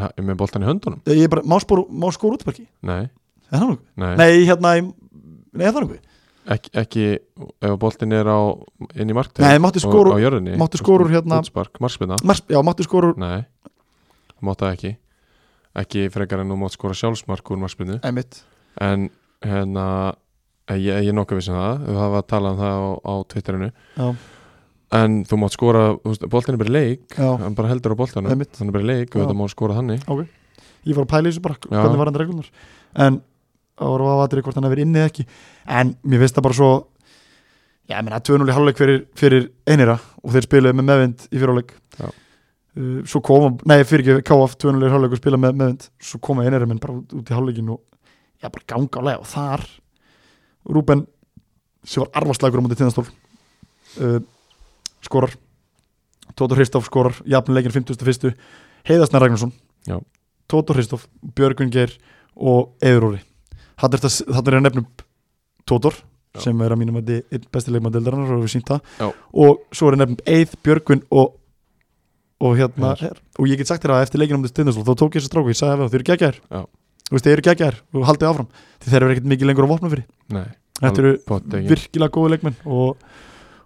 Speaker 2: ha, Með boltan í höndunum?
Speaker 1: ég er bara, má, spor, má skora útbarki
Speaker 2: Nei,
Speaker 1: er það nokkuð?
Speaker 2: nei,
Speaker 1: Nei, hérna í, nei, er það nokkuð?
Speaker 2: Ekki, ekki ef boltin er á, inn í markteg
Speaker 1: Nei, mátti skora
Speaker 2: á,
Speaker 1: úr-
Speaker 2: á jörðinni
Speaker 1: mátti skora úr hérna-
Speaker 2: Útspark, markspinna
Speaker 1: Mars, já, máttu skora úr
Speaker 2: Nei, mátti það ekki Ekki frekar en þú mátt skora sjálfsmark úr markspinnu
Speaker 1: einmitt,
Speaker 2: En hérna Ég, ég er nokkuð vissum það Það var að tala um það á, á Twitterinu
Speaker 1: já,
Speaker 2: En þú mátt skora, þú veist, boltin er bara í leik
Speaker 1: já
Speaker 2: Hann bara heldur á boltanum
Speaker 1: Einmitt.
Speaker 2: Hann er bara í leik og
Speaker 1: Já.
Speaker 2: þetta má skora þannig
Speaker 1: ég var að pæla í þessu bara,
Speaker 2: Já.
Speaker 1: hvernig var hann reglunar en, það voru að vatri hvort hann hefur inni eða ekki en mér finnst það bara svo já, ég meina, 2-0 í halvleik fyrir, fyrir einira og þeir spiluðu með meðvind í fyrirháleik
Speaker 2: Já.
Speaker 1: uh, svo koma, nei, fyrir ekki KF 2-0 í halvleik og spila með meðvind svo koma einira minn bara út, út í halvleikin og já, bara ganga á leið og þar Rúben sem var arfarslækur á móti tindastól uh, skorar Tóta Hristof skorar, jafnileikin 51. Heiðarsna Ragnarsson
Speaker 2: Já.
Speaker 1: Tóta Hristof, Björgun Geir og Eðuróri Þetta er þetta- þarna er ég að nefnum Tótor
Speaker 2: Já.
Speaker 1: sem er að mínum að þið besti leikmann deildarinnar og við sínt það
Speaker 2: Já.
Speaker 1: og svo er ég nefnum Eið, Björgun og og hérna
Speaker 2: Heiðar.
Speaker 1: og ég get sagt þér að eftir leikin á móti tindastól þá tók ég þessi stráku, ég sagði að þau eru geggjær
Speaker 2: Já.
Speaker 1: þú veist, þau eru geggjær og haldið áfram því þeir eru ekkert mikið lengur að vopna fyrir
Speaker 2: Nei,
Speaker 1: Þetta eru
Speaker 2: pottegin
Speaker 1: virkilega góði leikmenn og,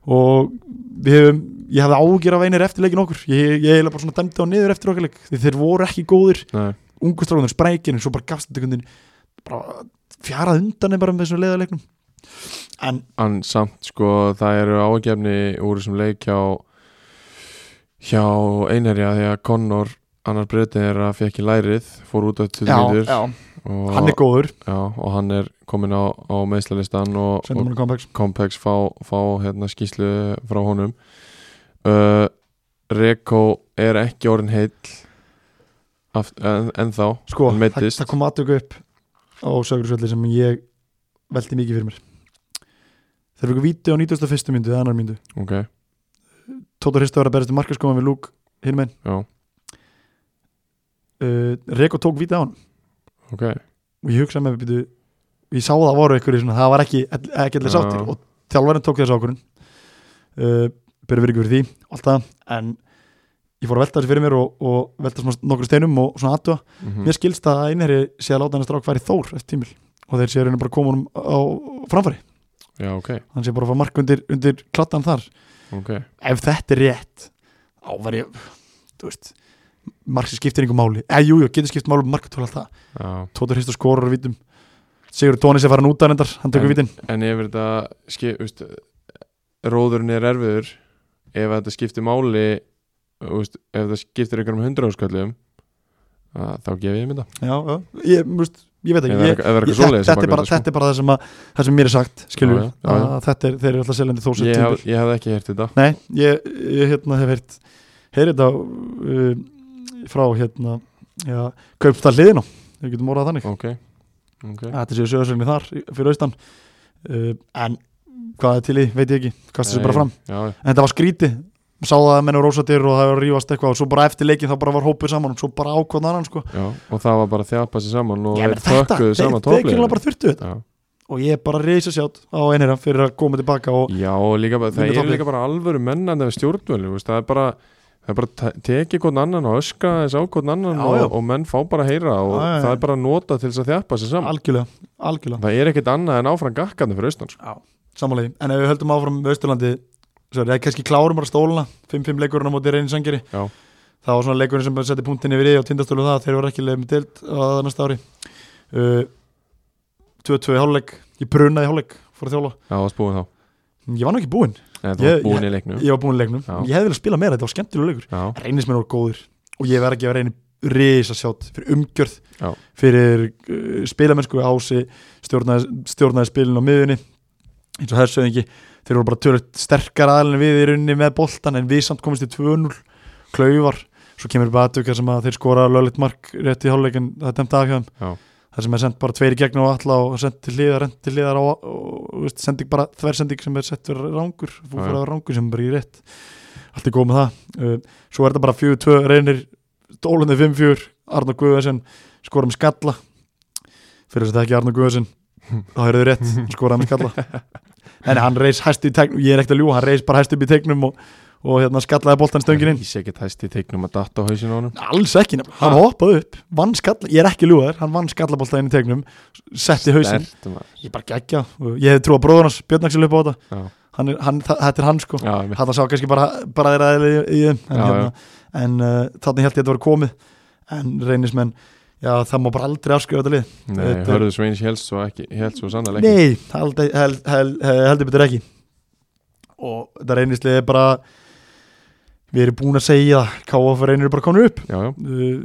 Speaker 1: og við hefum ég hefði ágjör af einir eftir leikin okkur ég, ég heila bara svona dæmdi á niður eftir okkar leik því þeir voru ekki góðir,
Speaker 2: Nei,
Speaker 1: ungu strákunar sprækin en svo bara gafst þetta kundin bara fjarað undan þeim bara með þessum leiðarleiknum en
Speaker 2: en samt sko það eru ágefni úr þessum leik hjá hjá einherja því að Connor annar breytin er að fekk í lærið fór út á 20 mínútur og,
Speaker 1: hann er góður
Speaker 2: já, og hann er komin á, á meðslalistan og,
Speaker 1: sendum
Speaker 2: og
Speaker 1: hann kompaks
Speaker 2: Compex fá, fá hérna skýslu frá honum uh, Reko er ekki orðin heill aft, en, ennþá
Speaker 1: sko,
Speaker 2: hann
Speaker 1: það,
Speaker 2: meiddist.
Speaker 1: það kom aðtöku upp á Sögursvelli sem ég velti mikið fyrir mér þeir fyrir víti á 91. myndu eða annar myndu
Speaker 2: ok,
Speaker 1: Tóta Hristo var að berast í markaskóman við Lúk hinn megin
Speaker 2: já,
Speaker 1: uh, Reko tók vítið á hann
Speaker 2: ok
Speaker 1: og ég hugsaði með mér býtu ég sá það voru ykkur í svona, það var ekki ekki allir
Speaker 2: Já.
Speaker 1: sáttir og þjálfarinn tók þessu ákvörun uh, byrju virku fyrir því alltaf, en ég fór að velta þessu fyrir mér og, og velta svona nokkur steinum og svona aðtuga
Speaker 2: Mhm. Mm.
Speaker 1: mér skilst að einherri sé að láta hann að strák færi Þór eftir tímil og þeir sé að reyna bara að koma honum á framfæri
Speaker 2: Já, ok,
Speaker 1: hann sé bara að fá mark undir, undir klattan þar
Speaker 2: ok
Speaker 1: ef þetta er rétt þá var ég, þú veist markið skiptir einhver máli, eða jújú, getur skipt máli markatól alltaf,
Speaker 2: Já.
Speaker 1: Tóta Hristo skorur á vítum, Sigur Tónis er farin út að reyndar, hann
Speaker 2: En-
Speaker 1: tökur vítin
Speaker 2: En ef þetta skip, veist, Róðurinn er erfiður Ef þetta skiptir máli veist, Ef þetta skiptir einhverjum hundra áskallum Þá gef ég mynda
Speaker 1: já, já, ég, þú veist, ég veit
Speaker 2: Ef
Speaker 1: ekki
Speaker 2: það er
Speaker 1: ég,
Speaker 2: eitthvað- ef
Speaker 1: ég,
Speaker 2: það er eitthvað
Speaker 1: þetta,
Speaker 2: svoleiðis sko.
Speaker 1: þetta, er bara, þetta er bara það sem, að, það sem mér er sagt skilur,
Speaker 2: Já, já, já, já.
Speaker 1: að þetta er, þeir eru alltaf seljandi þó
Speaker 2: sko. Ég,
Speaker 1: sem
Speaker 2: hef, ég hef ekki hert þetta
Speaker 1: Nei, ég, ég hérna hef heyrt heyrið þetta uh, frá hérna já, kaupstall hliðina, við getum orðað þannig
Speaker 2: Ok, ok
Speaker 1: að þetta séu sögursögni þar í- fyrir austan uh, en hvað er til í, veit ég ekki kasta þessu bara fram,
Speaker 2: Eh, Já, já.
Speaker 1: en þetta var skríti sá það að menn eru rósatir og það var að rífast eitthvað og svo bara eftir leikin þá bara var hópið saman og svo bara ákvæðan annan sko
Speaker 2: já, og það var bara að þjapa sér saman og
Speaker 1: Ég
Speaker 2: þeir
Speaker 1: meina, þetta,
Speaker 2: tökkuðu
Speaker 1: þeir
Speaker 2: saman
Speaker 1: þeir
Speaker 2: tóflið
Speaker 1: bara þurftu þetta
Speaker 2: Já,
Speaker 1: og ég er bara reysa sjátt á einherja fyrir að koma tilbaka og
Speaker 2: Já, og líka bara, það
Speaker 1: Vinna
Speaker 2: er
Speaker 1: topplið.
Speaker 2: líka bara alvöru mennandi af stjórnvölu, veist, það er bara það er bara te- tekið hvern annan og öskra þess á hvern annan
Speaker 1: Já,
Speaker 2: og,
Speaker 1: já.
Speaker 2: og menn fá bara að heyra og
Speaker 1: Já, já, já.
Speaker 2: það er bara að nota til þess að þjappa sér saman
Speaker 1: algjörlega, algjörlega
Speaker 2: það er ekkit annað en áfram gakkandi fyrir austan sko.
Speaker 1: Samanlegi, en ef við höldum áfram með Östurlandi sorry, eða kannski klárum bara stóluna 5-5 leikurinn á móti reynir sangeri
Speaker 2: Já.
Speaker 1: það var svona leikurinn sem setti punktin yfir í og tindastólu það, þeir voru ekki leið með deild á það næsta ári Uh, 2-2 í hálfleik ég brunaði í hálfleik, fór að þjóla
Speaker 2: Já, það varst búin þá,
Speaker 1: ég var nú ekki búinn,
Speaker 2: Nei, það
Speaker 1: Ég-
Speaker 2: var búin í leiknum
Speaker 1: ég var búinn í leiknum
Speaker 2: Já.
Speaker 1: ég hefði viljað spila meira, þetta var skemmtilega leikur
Speaker 2: Já,
Speaker 1: reynismenn voru góðir og ég verð að gefa reynir risa sjátt fyrir umgjörð
Speaker 2: Já.
Speaker 1: fyrir uh, spilamennsku ási stjórnaði, stjórnaði spilin á miðunni eins og hersöðingi þeir voru bara tölvöld sterkar aðalinn við í rauninni með boltan en við samt komist í 2-0 klaufar, svo kemur bara aðtökar sem að þeir skora löglegt mark rétt í hálfleik en það er dæmt afhjáðum
Speaker 2: Já.
Speaker 1: það sem er sendt bara tveir í gegn og alla og sendt til hliðar, rent til hliðar og, og, og veist, sending bara þversending sem er sett fyrir rángur, þú
Speaker 2: Já,
Speaker 1: fyrir
Speaker 2: já.
Speaker 1: að rángur sem er bara í rétt allt er góð með það uh, svo er þetta bara 4-2 reynir dólunni 5-4, Arnur Guðvæðsson skora með skalla fyrir þess að það ekki Arnur
Speaker 2: <laughs>
Speaker 1: Guðvæðsson þá er þau rétt, skora með skalla en hann reis hæst í tegnum, ég er ekkert að ljúa hann reis bara hæst upp í tegnum og, og hérna skallaði boltan stöngin inn
Speaker 2: Ég sé ekki tæst í teiknum að datta á hausinu á honum
Speaker 1: alls ekki nefnilega, hann hoppaði upp vann skalla, ég er ekki að ljúa þér, hann vann skallaboltan inn í tegnum, setti hausinn
Speaker 2: Sterkt, maður.
Speaker 1: ég bara geggja, ég hefði trú að bróðunars Björn Axel upp á þetta,
Speaker 2: Já,
Speaker 1: hann er, hann, þa- þetta er hann sko
Speaker 2: já, einmitt.
Speaker 1: þetta sá kannski bara, bara þeirra eðli í- í þeim en,
Speaker 2: Já,
Speaker 1: hérna, en uh, þannig held ég að þetta var komið en reynismenn, já það má bara aldrei afskrifa þetta lið
Speaker 2: Nei,
Speaker 1: þetta er-
Speaker 2: hörðu Sveins helst svo ekki helst svo sannarlega ekki.
Speaker 1: nei, held, held, held, heldur betur ekki og þetta reynislið er bara við erum búin að segja KF reynir eru bara komin upp
Speaker 2: Já, já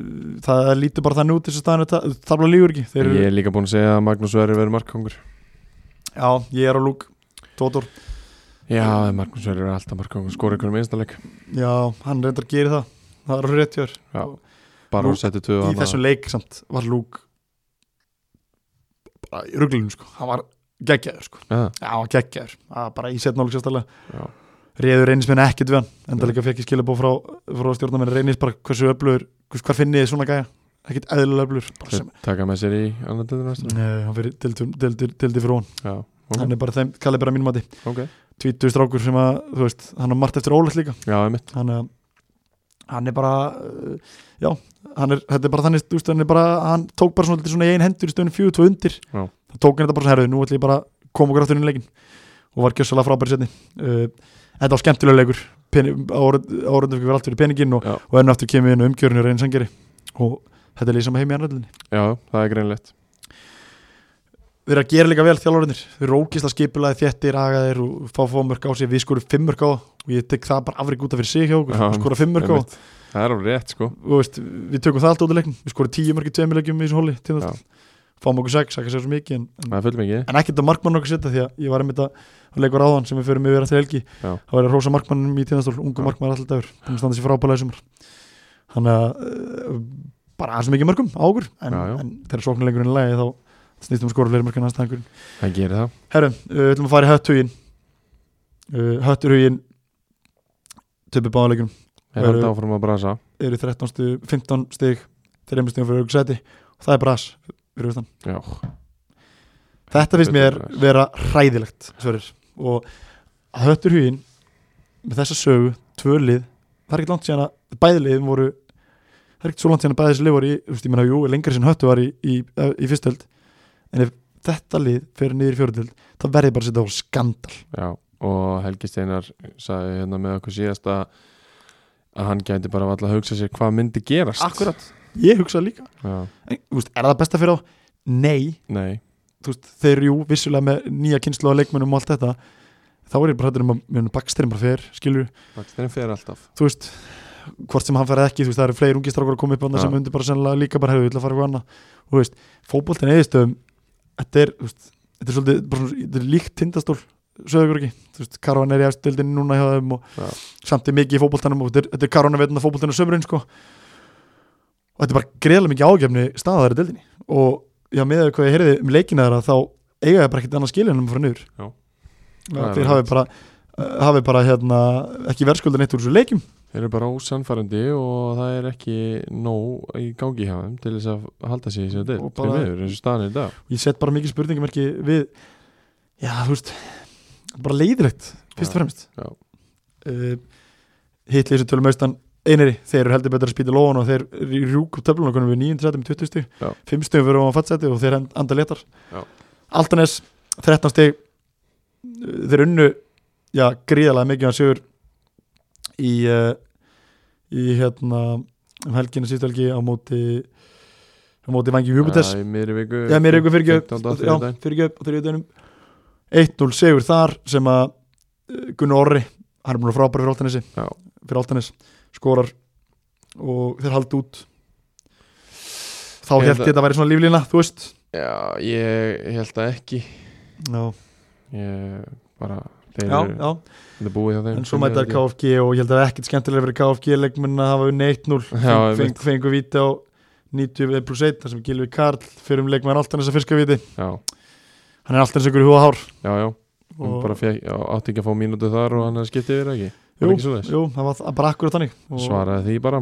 Speaker 1: Uh, það lítur bara þannig út þessu staðinu það blá lífur ekki Þeir eru,
Speaker 2: Ég er líka búin að segja að Magnús Verri verið markkongur
Speaker 1: já, ég er á lúk Tótor,
Speaker 2: Já, Magnús Verri er alltaf markkongur skora einhverjum einstaleik
Speaker 1: já, hann reyndar að gera það það er rétt hjá þér
Speaker 2: bara
Speaker 1: Nú,
Speaker 2: að setja tvö á
Speaker 1: í
Speaker 2: hana.
Speaker 1: þessum leik samt var Luke bara í ruglunum sko, hann var geggjaður sko,
Speaker 2: Já,
Speaker 1: já hann var geggjaður Það var bara í setnálu
Speaker 2: Já.
Speaker 1: sérstælega reyður reynismenn ekkert við hann, enda
Speaker 2: Nei.
Speaker 1: líka fekk ég skilabó frá, frá stjórnarmenn reynis bara hversu öflugur, hvers, hvar finnið þið svona gæja ekkert eðlilega öflugur bara
Speaker 2: Þeir
Speaker 1: sem,
Speaker 2: taka með sér í annar deildur næstu
Speaker 1: Nei, hann fyrir dildi, dildi, dildi frá hann
Speaker 2: Já,
Speaker 1: hann er bara þeim, kallið bara mínum að því
Speaker 2: ok
Speaker 1: tvítu strákur sem að, þú veist, hann á margt eftir ólega líka
Speaker 2: Já, einmitt
Speaker 1: hann, hann er bara uh, já, hann er, þetta er bara þannig úst, hann, er bara, hann tók bara svona, svolítið svona í ein hendur í stöðunum fjögur tvö undir
Speaker 2: Já.
Speaker 1: það tók hann þetta bara svona herðu, nú ætlum ég bara að koma okkur aftur inn í leikin og var gjössalega frábæri setni uh, þetta var skemmtilega leikur árundu fyrir allt fyrir peningin og,
Speaker 2: Já.
Speaker 1: og enn aftur kemur við inn á umgjörinu reyni sangeri og þetta er lýsam heim í annaðlinni
Speaker 2: Já, það er greinlegt
Speaker 1: við erum að gera líka vel þjálfurinnir við erum ókisla skipulaði þéttir agaðir og fá fá mörg á sig, við skorum fimmörk á það og ég tek það bara afrik út af fyrir sig hjá okkur
Speaker 2: Já,
Speaker 1: skora fimmörk á það.
Speaker 2: einmitt. Það er alveg rétt, sko
Speaker 1: þú veist, við tökum það allt út í leiknum við skorum tíu markið tveimur leikjum í þessum hóli tíma, fáum okkur sex, ekki sér svo mikið en, en,
Speaker 2: Það er full mikið
Speaker 1: en ekkert að markmann okkur setja því að ég var einmitt að að leikur áðan sem við förum yfir eftir helgi
Speaker 2: Já.
Speaker 1: þá var ég að rosa markmannum í tíðastól, ungu
Speaker 2: Já.
Speaker 1: markmann alltaf dagur, þannig standa sér frábælega í sumar þannig að uh, bara aðeins of mikið mörgum á okkur en,
Speaker 2: Já, já.
Speaker 1: en þegar sóknuleikurinn er lægi þá snýstum við skora fleiri mörgum næsta hengurinn
Speaker 2: Það gerir það
Speaker 1: Herru, uh, við ætlum að fara í hötthugin uh, hötturhugin töpu báðuleikunum
Speaker 2: Það er
Speaker 1: Eru-
Speaker 2: alltaf áfram að brasa
Speaker 1: eru í 13 stig, 15 stig 3 stig fyrir auðvitað seti og það er bras fyrir austan.
Speaker 2: Já
Speaker 1: þetta finnst mér
Speaker 2: Þetta er bras.
Speaker 1: vera hræðilegt sverir. og að höttur hugin með þessa sögu, tvölið það er ekkert langt síðan að bæðilegin voru það er ekkert svo langt síðan að bæðilegin voru í, þú veist, ég menna, jú, lengri sem höttu var í, í, eh, í fyrstöld en ef þetta lið fer niður í fjörutöld þá verði bara að setja á skandal
Speaker 2: Já, og Helgi Steinar sagði hérna með okkur síðast að að hann gæti bara alltaf að hugsa sér hvað myndi gerast
Speaker 1: Akkúrat. ég hugsa líka,
Speaker 2: Já,
Speaker 1: en, þú veist, er það besta fyrir þá? Nei,
Speaker 2: Nei,
Speaker 1: þú veist, þeir eru jú vissulega með nýja kynslu á leikmennum og allt þetta þá er ég bara hættur um að mjög bakstyrinn bara fer skilur,
Speaker 2: bakstæðin fer alltaf
Speaker 1: þú veist hvort sem hann færði ekki, þú veist, það eru fleiri ungi strákur að koma upp annað
Speaker 2: Já.
Speaker 1: sem undir bara sennilega líka bara hefur að fara eitthvað annað, og þú veist, fótboltin eðistöðum, þetta er, þú veist þetta er svolítið, bara svona, þetta er líkt tindastól sögur ekki, þú veist, Karvan er í aðstöldin núna hjá þeim og
Speaker 2: Já.
Speaker 1: samt er mikið í fótboltanum og þetta er, þetta er Karvan að veitna fótboltinu sömurinn sko og þetta er bara greiðlega mikið ágefni staðar í deildinni og já, með því hvað ég heyrði um leikina þeirra þá eiga það bara ekkert annað skilin um að fara niður
Speaker 2: Já.
Speaker 1: Já,
Speaker 2: Það er
Speaker 1: þeir
Speaker 2: alveg
Speaker 1: hafi bara, eh, hafi bara hérna, ekki verðskuldan eitt úr þessu leikjum
Speaker 2: Þeir eru bara ósannfærandi og það er ekki nóg í gangi hjá þeim til þess að halda sér í sér dild
Speaker 1: Og
Speaker 2: bara...
Speaker 1: bara-
Speaker 2: meður, eins og staðan er í dag
Speaker 1: og ég set bara mikið spurningamerki við já, þú veist bara leiðilegt, fyrst og
Speaker 2: Já,
Speaker 1: fremst
Speaker 2: já.
Speaker 1: uh, hitlið sem tölum austan einari, þeir eru heldur betur að spýta lóan og þeir eru í rjúk upp töflunarkunum við 930 með 20 stig,
Speaker 2: Já.
Speaker 1: 5 stig fyrir á fattsæti og þeir anda letar
Speaker 2: Já.
Speaker 1: Altanes, 13 stig Uh, þeir unnu já, gríðalega mikið hann sigur í uh, í hérna um helginu síðustu helgi á móti á móti vangi Hubertes
Speaker 2: Já, í miðri viku
Speaker 1: Já, mér er ykkur
Speaker 2: fimmtánda,
Speaker 1: fyrirgjöf
Speaker 2: þriðjudaginn.
Speaker 1: Fyrirgjöf á þriðjudaginn 1-0 segur þar sem að eh, Gunnar Orri, hann er búin að frábæra fyrir Altanesi
Speaker 2: Já.
Speaker 1: fyrir Altanes, skorar og þeir haldi út þá
Speaker 2: Ég
Speaker 1: held
Speaker 2: held
Speaker 1: ég þetta væri svona líflína, þú veist
Speaker 2: Já, ég held að ekki
Speaker 1: Já,
Speaker 2: Ég bara, þeir
Speaker 1: já,
Speaker 2: eru þetta er búið hjá þeim
Speaker 1: en svo mæta er KFG og ég held að það er ekkit skemmtilega fyrir KFG leikmenn að hafa unni 1-0
Speaker 2: Já,
Speaker 1: Feng- feng- fengu víti á 90 plus 1 þar sem Gilvi Karl fyrir um leikmenn Altanes að fiska víti,
Speaker 2: Já,
Speaker 1: hann er Altanes ykkur í húða hár
Speaker 2: já, já Hún bara fekk, já, átti ekki að fá mínútu þar og hann skipti yfir ekki Var
Speaker 1: Jú,
Speaker 2: ekki svoleiðis?
Speaker 1: jú, það var bara akkurat þannig og
Speaker 2: Svaraði því bara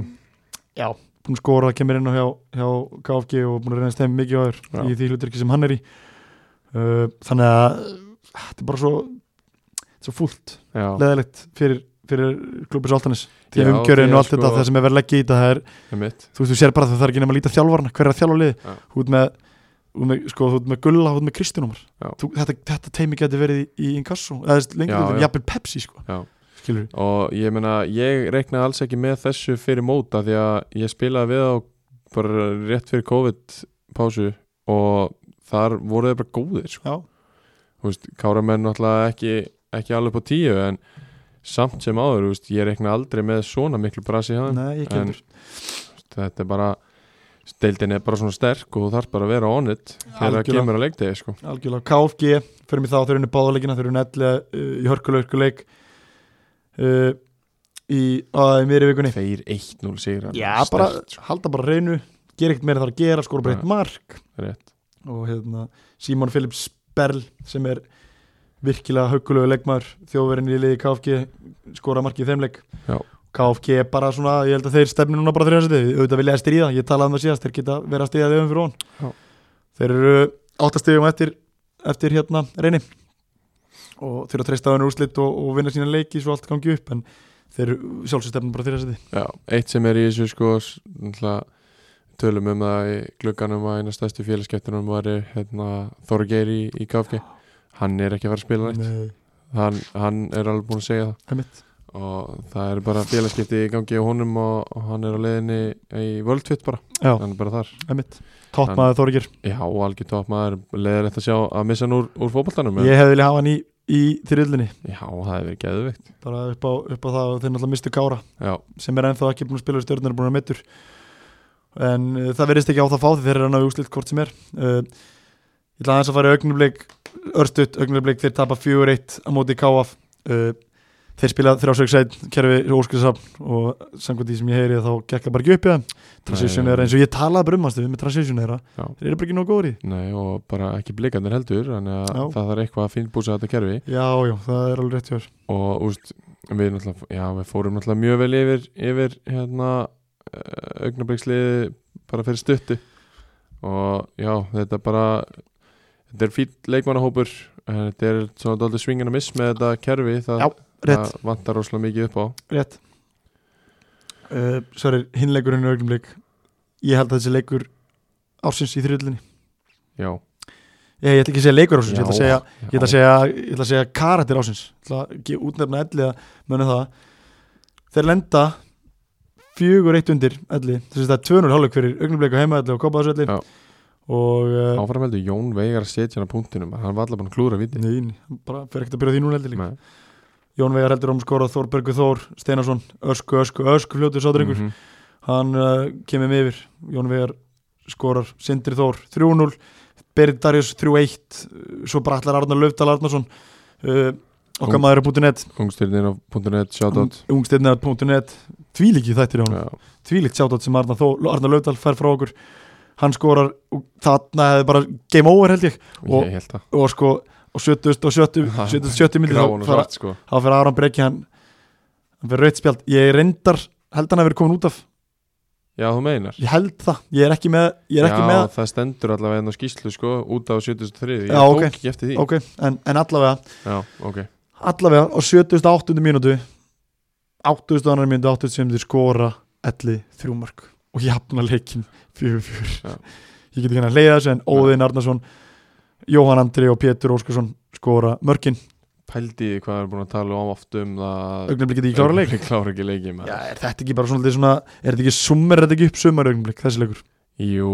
Speaker 1: já, búin að skora, kemur inn á hjá, hjá KFG og búin að reynast þeim mikið á
Speaker 2: Já.
Speaker 1: þér í því hluturki sem hann er í uh, þannig að uh, þetta er bara svo svo fúlt,
Speaker 2: Já,
Speaker 1: leðilegt fyrir, fyrir klubis Altanis
Speaker 2: Já,
Speaker 1: því umgjörðin
Speaker 2: því
Speaker 1: og
Speaker 2: að
Speaker 1: allt þetta,
Speaker 2: sko-
Speaker 1: það sem er verið leggja í þetta það er,
Speaker 2: er mitt
Speaker 1: þú veist, þú sér bara að það er ekki nema að líta þjálfarna, hver er að þjálfa liði
Speaker 2: Já.
Speaker 1: þú ert með, þú ert með, sko, þú ert með Gulla, þú ert með Kristjánumar
Speaker 2: Já.
Speaker 1: þetta, þetta teimi geti verið í, í inkasso eða lengur,
Speaker 2: Já, já.
Speaker 1: jafnvel Pepsi sko.
Speaker 2: Já.
Speaker 1: skilur
Speaker 2: Og ég meina, ég reiknaði alls ekki með þessu fyrir móta Því að ég spilaði við á bara rétt fyrir COVID-pásu Og þar voru þeir bara góðir sko.
Speaker 1: já,
Speaker 2: Þú veist, Káramenn náttúrulega ekki, ekki alveg upp á tíu En samt sem áður, þú veist, ég reiknaði aldrei með svona miklu brasi hjá þeim
Speaker 1: nei, ekki
Speaker 2: En-
Speaker 1: heldur
Speaker 2: Þetta er bara, deildin er bara svona sterk Og þú þarf bara að vera on it Þegar það
Speaker 1: Algjörlega.
Speaker 2: kemur að leikdegi, sko
Speaker 1: Algjörlega, KFG, fyrir mig þá þeir eru báðuleikina, þeir eru nefnilega uh, í hörkuleikuleik uh, í, á, í miðri vikunni
Speaker 2: 2-1-0 sigrar
Speaker 1: Já, bara halda bara reynu gera ekkert meira þar að gera, skora bara
Speaker 2: Nei.
Speaker 1: eitt mark
Speaker 2: Rétt.
Speaker 1: og hérna Simon Phillips Berl sem er virkilega haukulegu leikmaður þjóðverðin í liði KFG skora markið í þeim leik
Speaker 2: Já.
Speaker 1: KFG er bara svona, ég held að þeir stefni núna bara þrjóðansæti, auðvitað vilja að stríða, ég talaði um það síðast þeir geta verið að stríða þeim fyrir
Speaker 2: Já.
Speaker 1: hon þeir eru áttastegum eftir eftir hérna reyni og þurfa að treysta á hennar úrslit og, og vinna sína leiki svo allt gangi upp en þeir sjálfsögstefnum bara þrjóðansæti
Speaker 2: Já, eitt sem er í þessu sko s- náttúrulega, tölum um það í glugganum að eina stærstu félagskeptunum var hérna, Þorgeir í, í KFG hann er ekki að fara að spila neitt
Speaker 1: Nei,
Speaker 2: hann, hann er alveg búin að segja það
Speaker 1: það er mitt
Speaker 2: og það er bara félagskipti í gangi á honum og, og hann er á leiðinni í Worldfit bara,
Speaker 1: Já.
Speaker 2: hann er bara þar
Speaker 1: Emmitt, toppmaður Þorgir
Speaker 2: Já, og algjör topp maður, leiðilegt að sjá að missa hann úr, úr fótboltanum en-
Speaker 1: Ég hefði viljað hafa hann í, í þyrjöldinni
Speaker 2: Já, það er verið geðvikt
Speaker 1: bara upp á, upp á það og þeir náttúrulega mistu Kára
Speaker 2: Já,
Speaker 1: sem er ennþá ekki búin að spila í stjórnir búin að mittur en uh, það verðist ekki átt að fá því þeir eru að ná í úslit hvort sem er uh, Ég ætla aðeins að fara í augnublik örstuðt augnublik þeir tapa 4-1 á móti KF uh, þeir spila þrjásöksæt kerfi óskilsafn og samkvæmt því sem ég heyri þá gekk það bara ekki upp í það transition
Speaker 2: Nei,
Speaker 1: er eins og ég talaði bara um hans við með transition þeirra
Speaker 2: Já.
Speaker 1: þeir eru bara ekki nóg góður í því.
Speaker 2: nei, og bara ekki blikarnir heldur þannig að
Speaker 1: Já.
Speaker 2: það þarf eitthvað að fínbúsa þetta kerfi
Speaker 1: Já, já, það er alveg rétt hjá þér.
Speaker 2: og úst, við, náttúrulega- já, við fórum náttúrulega mjög vel yfir, yfir hérna, augnabliksliði bara fyrir stuttu og já, þetta bara þetta er fýtt leikmannahópur en þetta er svona dálítið svingin að miss með þetta kerfi það,
Speaker 1: Já, rétt,
Speaker 2: það vantar rosalega mikið upp á
Speaker 1: rétt uh, Sverri, hinleikurinn er augnumleik ég held að þessi leikur ársins í þriðlunni
Speaker 2: já,
Speaker 1: ég, ég ætla ekki að segja leikur ársins, ég ætla að
Speaker 2: Já,
Speaker 1: segja
Speaker 2: já.
Speaker 1: ég ætla að segja, ég ætla að segja karakter ásins ég ætla að ge- útnefna elli að mönnu það þeir lenda fjögur eitt undir elli þess að það er 200 hálfleik fyrir augnumleik og heima elli og kopa þessu elli
Speaker 2: Já.
Speaker 1: og uh,
Speaker 2: áfram heldur Jón Veigar að setja hann á punktinum hann var allar búin að klúra viti
Speaker 1: nein, bara fyrir ekkert að byrja á því núna elli líka
Speaker 2: mm
Speaker 1: Jón Veigar heldur um skora Þórbergur Þór Steinarsson, ösku, ösku, ösku fljótu sádrengur
Speaker 2: -hmm.
Speaker 1: hann uh, kemur með yfir Jón Veigar skorar Sindri Þór 3-0, Berit Darius 3-1 uh, svo bara allar Arnar Löfdal Arnarsson uh, okkar
Speaker 2: Ung-
Speaker 1: maður er bútið net
Speaker 2: Ungstyrnin á punktinett, shoutout
Speaker 1: ungstirnað.net tvílíki þættir hjá hann,
Speaker 2: Já,
Speaker 1: tvílíkt sjátt sem Arnar, Þó, Arnar Löfdal fær frá okkur hann skorar og þarna hefði bara game over held ég Og-
Speaker 2: ég held það
Speaker 1: og sko og 70 og 70 70 myndi
Speaker 2: Gráan og
Speaker 1: þá fara-
Speaker 2: svart sko
Speaker 1: þá fyrir Aron Breki hann hann fyrir rautspjald, ég reyndar held hann að vera komin út af,
Speaker 2: Já, þú meinar
Speaker 1: ég held það, ég er ekki með ég er ekki
Speaker 2: Já,
Speaker 1: með,
Speaker 2: það stendur allavega enn á skýslu sko út á 73 Ég
Speaker 1: Já,
Speaker 2: tók
Speaker 1: ok.
Speaker 2: ekki eftir því
Speaker 1: ok, en, en allavega
Speaker 2: Já, ok
Speaker 1: allavega á 78. mínútu 82. mínútu 87. mínútu skora elli þrjúmark og ég hafna leikin 4-4
Speaker 2: Já.
Speaker 1: ég get ekki hann að leiða þessu en Óðinn Arnarsson Jóhann Andri og Pétur Óskarsson skora mörkin,
Speaker 2: Pældi í hvað við erum búin að tala um oft um það
Speaker 1: augnablik geti ekki klára
Speaker 2: <laughs>
Speaker 1: leik
Speaker 2: Klára ekki leiki maður.
Speaker 1: Já, er þetta ekki bara svona, svona er þetta ekki summer, er þetta ekki upp sumar augnablik þessi leikur,
Speaker 2: Jú,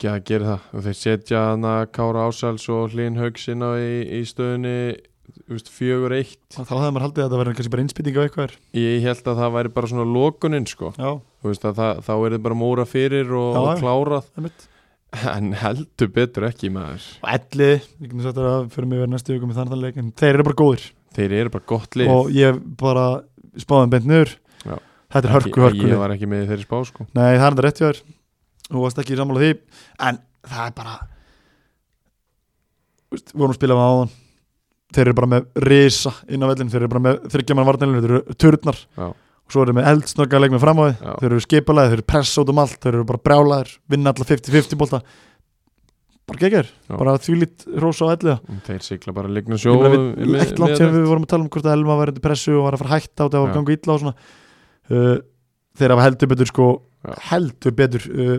Speaker 2: það gerir það og þeir setja hana Kára Ásals og Hlinn Haugsina í, í stöðunni þú veist, fjögur eitt
Speaker 1: þá hefði maður haldið að þetta verður kannski bara innspýting á eitthvað er
Speaker 2: ég held að það væri bara svona lokunin sko.
Speaker 1: Já,
Speaker 2: Þú veist, að það, þá er þið bara móra fyrir og,
Speaker 1: Já,
Speaker 2: og
Speaker 1: já.
Speaker 2: klárað
Speaker 1: það er mitt
Speaker 2: en heldur betur ekki maður
Speaker 1: Og elli, ég getur sagt að það fyrir mig verið næstu viku með þannig leik en þeir eru bara góðir
Speaker 2: þeir eru bara gott lið
Speaker 1: og ég bara spáði þeim beint niður
Speaker 2: Já.
Speaker 1: Þetta er hörku,
Speaker 2: Ekki-
Speaker 1: hörku leik.
Speaker 2: ég var ekki með í þeirri spá sko.
Speaker 1: Nei, það er þetta rétt hjá þér Þú varst ekki í sammála því En það er bara Þú veist, Við vorum að spila með áðan Þeir eru bara með risa inn á vellin Þeir eru bara með þryggjaman vartanlinu Þeir eru turnar
Speaker 2: Já.
Speaker 1: Og svo eru þeir með eldsnögga leik með framháði
Speaker 2: Já.
Speaker 1: Þeir eru skipalæði, þeir eru pressa út um allt Þeir eru bara brjálæðir, vinna alla 50-50 bólta Bara geggjær,
Speaker 2: Já.
Speaker 1: bara þvílít rosa á elliða
Speaker 2: þeir sigla bara ligna
Speaker 1: Ég
Speaker 2: sjó
Speaker 1: meina, við, ekkert langt sér við vorum að tala um hvort að Elma var undir pressu og var að fara að hætta á þetta og
Speaker 2: Já.
Speaker 1: gangu illa og svona uh, þeir hafa heldur betur sko
Speaker 2: Já.
Speaker 1: heldur betur uh,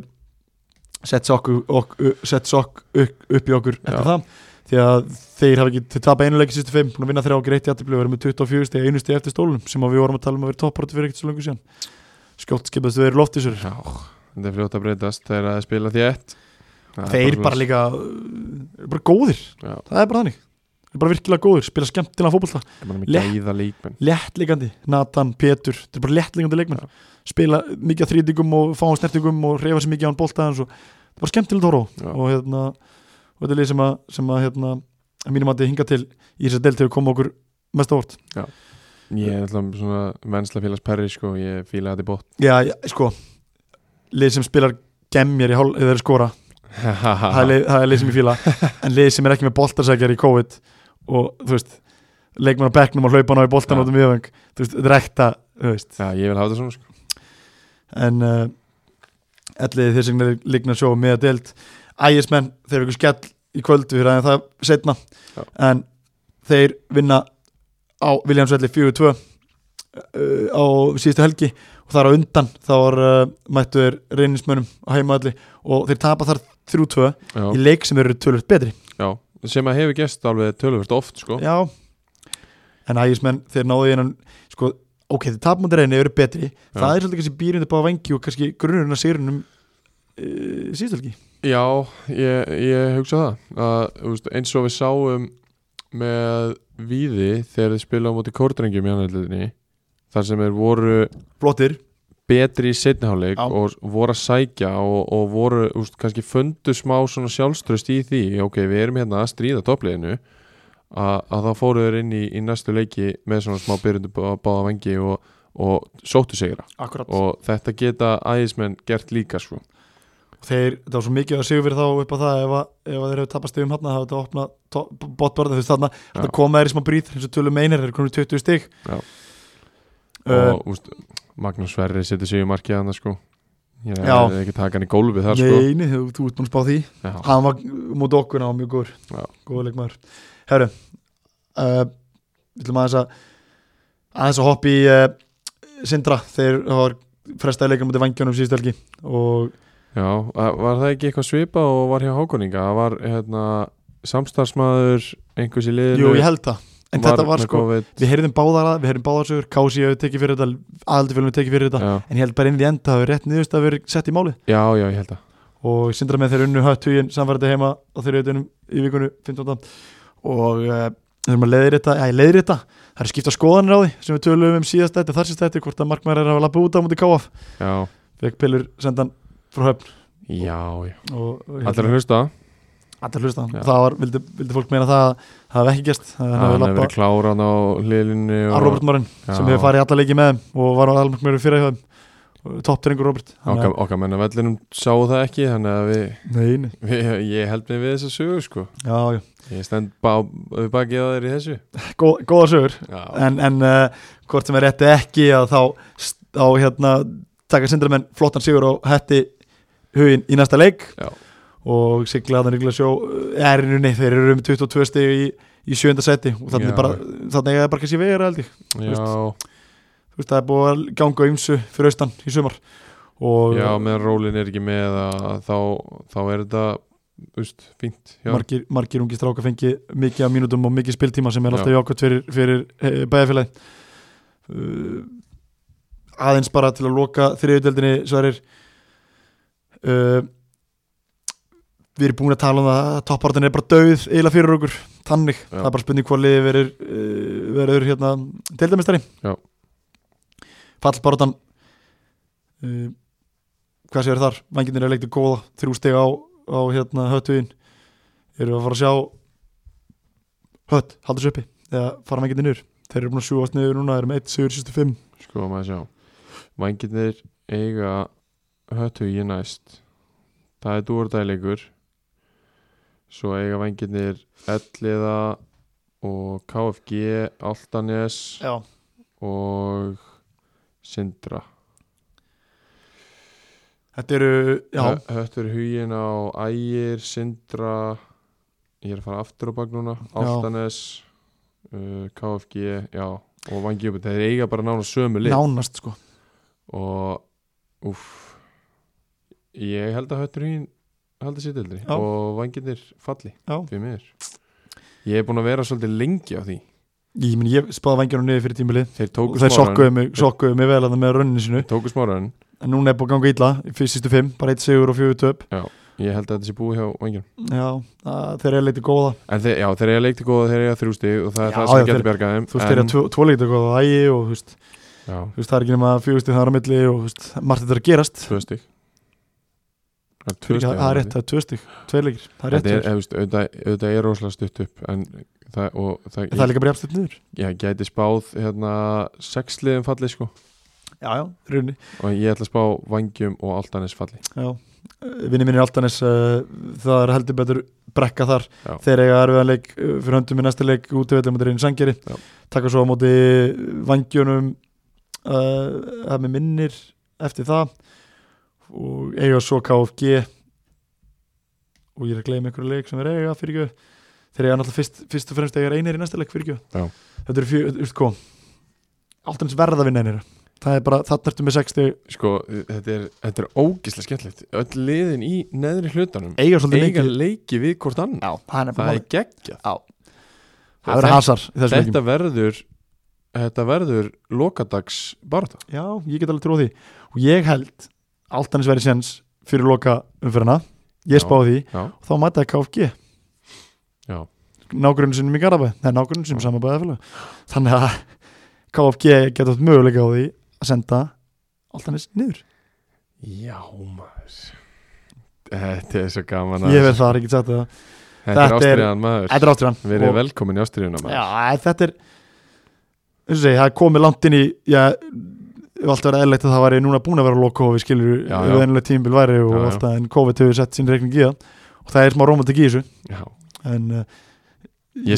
Speaker 1: sett sokk, ok, uh, sett sokk upp, upp í okkur eftir
Speaker 2: Já.
Speaker 1: það því að þeir hafa ekki, þeir tapa einu leik í sýstu fimm, búin að vinna þrjá og greitt í aðtöflu, verðum með 24 stegi einu stegi eftir stólunum sem að við vorum að tala um að vera toppáratu fyrir ekkert svo lengur síðan skjótt skipaðist við verið loftið sér
Speaker 2: Já, þetta er fljótt að breytast þegar að spila því ett Það er
Speaker 1: þeir bara líka, uh, eru bara góðir
Speaker 2: Já.
Speaker 1: það er bara þannig, Eru bara virkilega góðir spila skemmtilega fótbolta
Speaker 2: Ég meina,
Speaker 1: Le-
Speaker 2: með gæða leikmenn
Speaker 1: léttligandi, Nathan, Petur þetta er bara léttligandi leikmenn
Speaker 2: Já.
Speaker 1: spila mikið að þrýtingum og fá á snertingum og reyfa sér mikið á hann boltaðans og það var skemmtilegt að
Speaker 2: Já.
Speaker 1: horfa á. og hérna og þetta er lið sem að, sem að hérna að mínum að þið hinga til í þess að delt hefur komið okkur mest á vort
Speaker 2: Ég er alltaf svona venslafélags perri sko, ég fíla þetta í bótt
Speaker 1: já, já, sko, lið sem spilar gemjar í hálf, eða er skora það er, lið, það er lið sem ég fíla
Speaker 2: <laughs>
Speaker 1: en lið sem er ekki með boltarsækjar í COVID og þú veist leikmann á bekknum og hlaupan á í boltan
Speaker 2: Já.
Speaker 1: út um viðvöng þú veist, þetta er ekta, þú veist
Speaker 2: Já, ég vil hafa þetta svona sko.
Speaker 1: en uh, ellið þeir sem líkna sjó með að deild ægismenn, þeir eru ykkur skell í kvöld við ræðum það setna
Speaker 2: Já.
Speaker 1: en þeir vinna á Viljámsvelli 4-2 uh, á síðustu helgi og þar á undan þá var uh, mættu þeir reynismönnum á heimaðalli og þeir tapa þar 3-2 í
Speaker 2: já,
Speaker 1: leik sem þeir eru tölvöld betri
Speaker 2: já, sem að hefur gest alveg töluvert oft sko.
Speaker 1: Já En ægismenn, þeir náðu einan sko, ok, þeir tapmóti reyni eru betri það er svolítið kannski býrund upp á vengi og kannski grunnurinn að sérunum uh, síðstalgi
Speaker 2: Já, ég, ég hugsa það að, þú veist, eins og við sáum með Víði þegar þið spila á móti kórdrengjum í annaðliðinni þar sem þeir voru
Speaker 1: Flottir,
Speaker 2: betri í setniháleik
Speaker 1: Já.
Speaker 2: og voru að sækja og, og voru úst, kannski fundu smá svona sjálfströst í því ok, við erum hérna að stríða toppliðinu að, að þá fóru þeir inn í, í næstu leiki með svona smá byrjundu báða vengi og, og sóttu sigra
Speaker 1: akkurat og
Speaker 2: og þetta geta æðismenn gert líka sko.
Speaker 1: þeir, það var svo mikið að sigur fyrir þá upp á það ef, að, ef að þeir hefur tapast yfir um hann þá hefur þetta opnað botbörða þú veist þarna,
Speaker 2: Já.
Speaker 1: þetta koma þeir í smá brýð eins og tölum einir, þeir eru komin í 20 stig
Speaker 2: Já.
Speaker 1: Uh,
Speaker 2: og úst, Magnús Sverri setur sig í markið hann sko. ég
Speaker 1: Já.
Speaker 2: hefði ekki taka hann í gólfið þar sko.
Speaker 1: Neini, þú, þú ert búin að spá því
Speaker 2: Já.
Speaker 1: hann var mútið okkur á mjög góður
Speaker 2: Já.
Speaker 1: góður leikmaður herru uh, við ætlum aðeins að aðeins að hoppa í uh, Sindra þeir hafa frestaði leikum út í vangjónum síðustu helgi og
Speaker 2: Já, að- var það ekki eitthvað svipa og var hjá Hákoninga? Það var hérna, samstarfsmaður einhvers í liðinu
Speaker 1: jú, ég held það en þetta var
Speaker 2: með
Speaker 1: sko,
Speaker 2: COVID,
Speaker 1: við heyrðum báðara við heyrðum báðarsögur, Kási hefur tekið fyrir þetta aðaldufélum hefur tekið fyrir þetta,
Speaker 2: já,
Speaker 1: en ég held bara inn í enda hafi rétt niðurst að vera sett í máli
Speaker 2: já, já, ég held það
Speaker 1: og sindra með þeir unnu höttugin samfærdi heima á þeirra auðvitaðum í vikunum 15. og uh, þurfum að leiðir þetta, já ég leiðir þetta það eru skipta skoðanir á því sem við töluðum um síðast þetta þar síðast þetta hvort að markmæður er að lappa út á múti KF
Speaker 2: Já,
Speaker 1: fekk pillur sendan frá höfn
Speaker 2: já, já,
Speaker 1: og, og
Speaker 2: allir að hlusta
Speaker 1: allir hlusta
Speaker 2: Já.
Speaker 1: það var, vildi, vildi fólk meina það að það hef ekki gerst þannig að við
Speaker 2: Það hefur verið
Speaker 1: lappa
Speaker 2: kláran á liðinu og-
Speaker 1: að Robert Morin
Speaker 2: Já.
Speaker 1: sem hefur farið í alla leiki með þeim og var á almarkmæður fyrir hjá þeim topptringur Robert
Speaker 2: Okkar, okkar menna vellinum sáu það ekki þannig að við,
Speaker 1: nei, nei,
Speaker 2: við, ég held mig við þessa sögu sko
Speaker 1: já, já,
Speaker 2: Ég stend bá, við bakið á þeir í þessu
Speaker 1: Góð, góða sögur
Speaker 2: Já,
Speaker 1: en, en uh, hvort sem er rétti ekki að þá, þá hérna, taka sindramenn flottan sigur og hætti huginn í næsta leik
Speaker 2: Já.
Speaker 1: og sigla þannig að sjó erinunni, þeir eru um 22 steg í, í sjönda seti og þannig
Speaker 2: Já.
Speaker 1: er bara, þannig er bara kannski vegar held ég,
Speaker 2: já,
Speaker 1: þú veist það er búið að ganga ymsu fyrir austan í sumar og
Speaker 2: já meðan rólin er ekki með að, þá, þá er þetta úst, fínt já,
Speaker 1: margir, margir ungi stráka fengi mikið af mínútum og mikið spiltíma sem er
Speaker 2: Já.
Speaker 1: alltaf jákvæmt fyrir, fyrir bæðafélagi uh, aðeins bara til að loka þriðutöldinni sverir uh, við erum búin að tala um það að toppartin er bara dauð eiginlega fyrir okkur, þannig
Speaker 2: Já.
Speaker 1: það er bara spurning hvað liði verður uh, verður hérna deildamistari
Speaker 2: Já.
Speaker 1: fallbáratan uh, hvað séu þar, vanginir er leiktu góða þrjú steg á, á hérna höttuðin eru að fara að sjá hött, haldur sér uppi eða fara vanginir niður, þeir eru búin að sjúast niður núna, eru með 1, 7, 65
Speaker 2: sko maður sjá Vangirnir eiga höttu í næst Það er dúardæleikur Svo eiga vangirnir Elliða og KFG, Altanes
Speaker 1: já,
Speaker 2: og Sindra
Speaker 1: þetta eru já,
Speaker 2: Hö- Höttur hugin á Ægir, Sindra Ég er að fara aftur á bak núna Altanes uh, KFG, já og Vangjúpi, þeir eiga bara nána sömu lið
Speaker 1: nánast sko
Speaker 2: og uff ég held að höttur hugin held að sér dildri
Speaker 1: Já.
Speaker 2: og Vangjirnir falli
Speaker 1: Já.
Speaker 2: fyrir mér Ég er búin að vera svolítið lengi á því
Speaker 1: ég, meni, ég spáði vangjörnum niður fyrir tímili
Speaker 2: Þeir
Speaker 1: og
Speaker 2: tóku
Speaker 1: þeir
Speaker 2: smáran
Speaker 1: sokkuðu mig, sokkuðu mig vel að það með rauninni sinu
Speaker 2: Tóku smáran,
Speaker 1: en núna er búin að ganga illa, fyrst sístu fimm bara eitt sigur og fjögur töp
Speaker 2: ég held að þetta sé búið hjá Vangjirnum
Speaker 1: já, að þeir eru leiktu góða
Speaker 2: En þeir, já, þeir eiga leikti góða, þeir eiga þrjú stig og það er
Speaker 1: Já,
Speaker 2: það sem
Speaker 1: já,
Speaker 2: getur
Speaker 1: þeir-
Speaker 2: bjargað þeim
Speaker 1: þú veist, þeir eru tvo, tvo leiktu góða á ægi og þú veist,
Speaker 2: Já,
Speaker 1: þú veist, það er ekki nema fjögur stið þar á milli og þú veist, margt þetta er að gerast
Speaker 2: tvö stig Það er tvö
Speaker 1: Fyrir
Speaker 2: stig
Speaker 1: ekki, það það er rétt, það er tvö stig, tveir leikir það er rétt,
Speaker 2: Þetta er,
Speaker 1: er,
Speaker 2: eða, veist, auðvitað, auðvitað er rosalega stutt upp en það, og það,
Speaker 1: það er líka bara jafnstætt niður
Speaker 2: ég, ég gæti spáð hérna sexliðum falli sko
Speaker 1: já, já, runni
Speaker 2: og ég ætla að spá vangjum og altanis falli
Speaker 1: já. vinni minn er Altanes uh, það er heldur betur brekka þar
Speaker 2: Já.
Speaker 1: þeir eiga erfiðan leik uh, fyrir höndum í næsta leik út í veitum að reyna sangeri
Speaker 2: Já.
Speaker 1: taka svo á móti vangjónum uh, að mér minnir eftir það og eiga svo KFG og ég er að gleyma einhverju leik sem er eiga fyrir ekki þeir eiga náttúrulega fyrst, fyrst og fremst eiga einir í næsta leik fyrir
Speaker 2: Já.
Speaker 1: ekki þetta eru fyrir, þú veist hvað Altanes verða að vinna einir það er bara, þetta ertu með 60
Speaker 2: Sko, þetta er, þetta er ógislega skemmtilegt Öll liðin í neðri hlutanum
Speaker 1: eiga svolítið
Speaker 2: eiga
Speaker 1: leikið
Speaker 2: leiki við hvort annan
Speaker 1: Já, það er
Speaker 2: Það
Speaker 1: nefnilega
Speaker 2: er geggjað
Speaker 1: Já. Það verður hasar í þessum
Speaker 2: Þetta
Speaker 1: leikum
Speaker 2: verður Þetta verður lokadags barða
Speaker 1: Já, ég get alveg trúið því Og ég held Altanis verið séns fyrir loka umfyrirna Ég
Speaker 2: Já.
Speaker 1: spáði því
Speaker 2: Já,
Speaker 1: og þá mætaði KFG
Speaker 2: já
Speaker 1: Nágrunni sinum í Garabæ Nei, nágrunni sinum saman bæðafélag Þannig að KFG geta átt möguleika á því að senda Altanis niður
Speaker 2: Já maður Þetta er svo gaman
Speaker 1: Ég verð það, er ekki sagt það
Speaker 2: Þetta er
Speaker 1: þetta er-
Speaker 2: ástriðan maður
Speaker 1: Þetta er áttur hann
Speaker 2: Við erum velkomin í ástriðuna maður
Speaker 1: Já, þetta er eins og segi, það er komið langt inn í já, ef allt verið eðlægt að það væri núna búin að vera loka og við skilur
Speaker 2: Já,
Speaker 1: við
Speaker 2: já.
Speaker 1: ennilega tímbil væri og
Speaker 2: Já, já.
Speaker 1: allt það en COVID hefur sett sín reikning í það og það er smá romantik í þessu
Speaker 2: Já.
Speaker 1: en uh,
Speaker 2: Ég,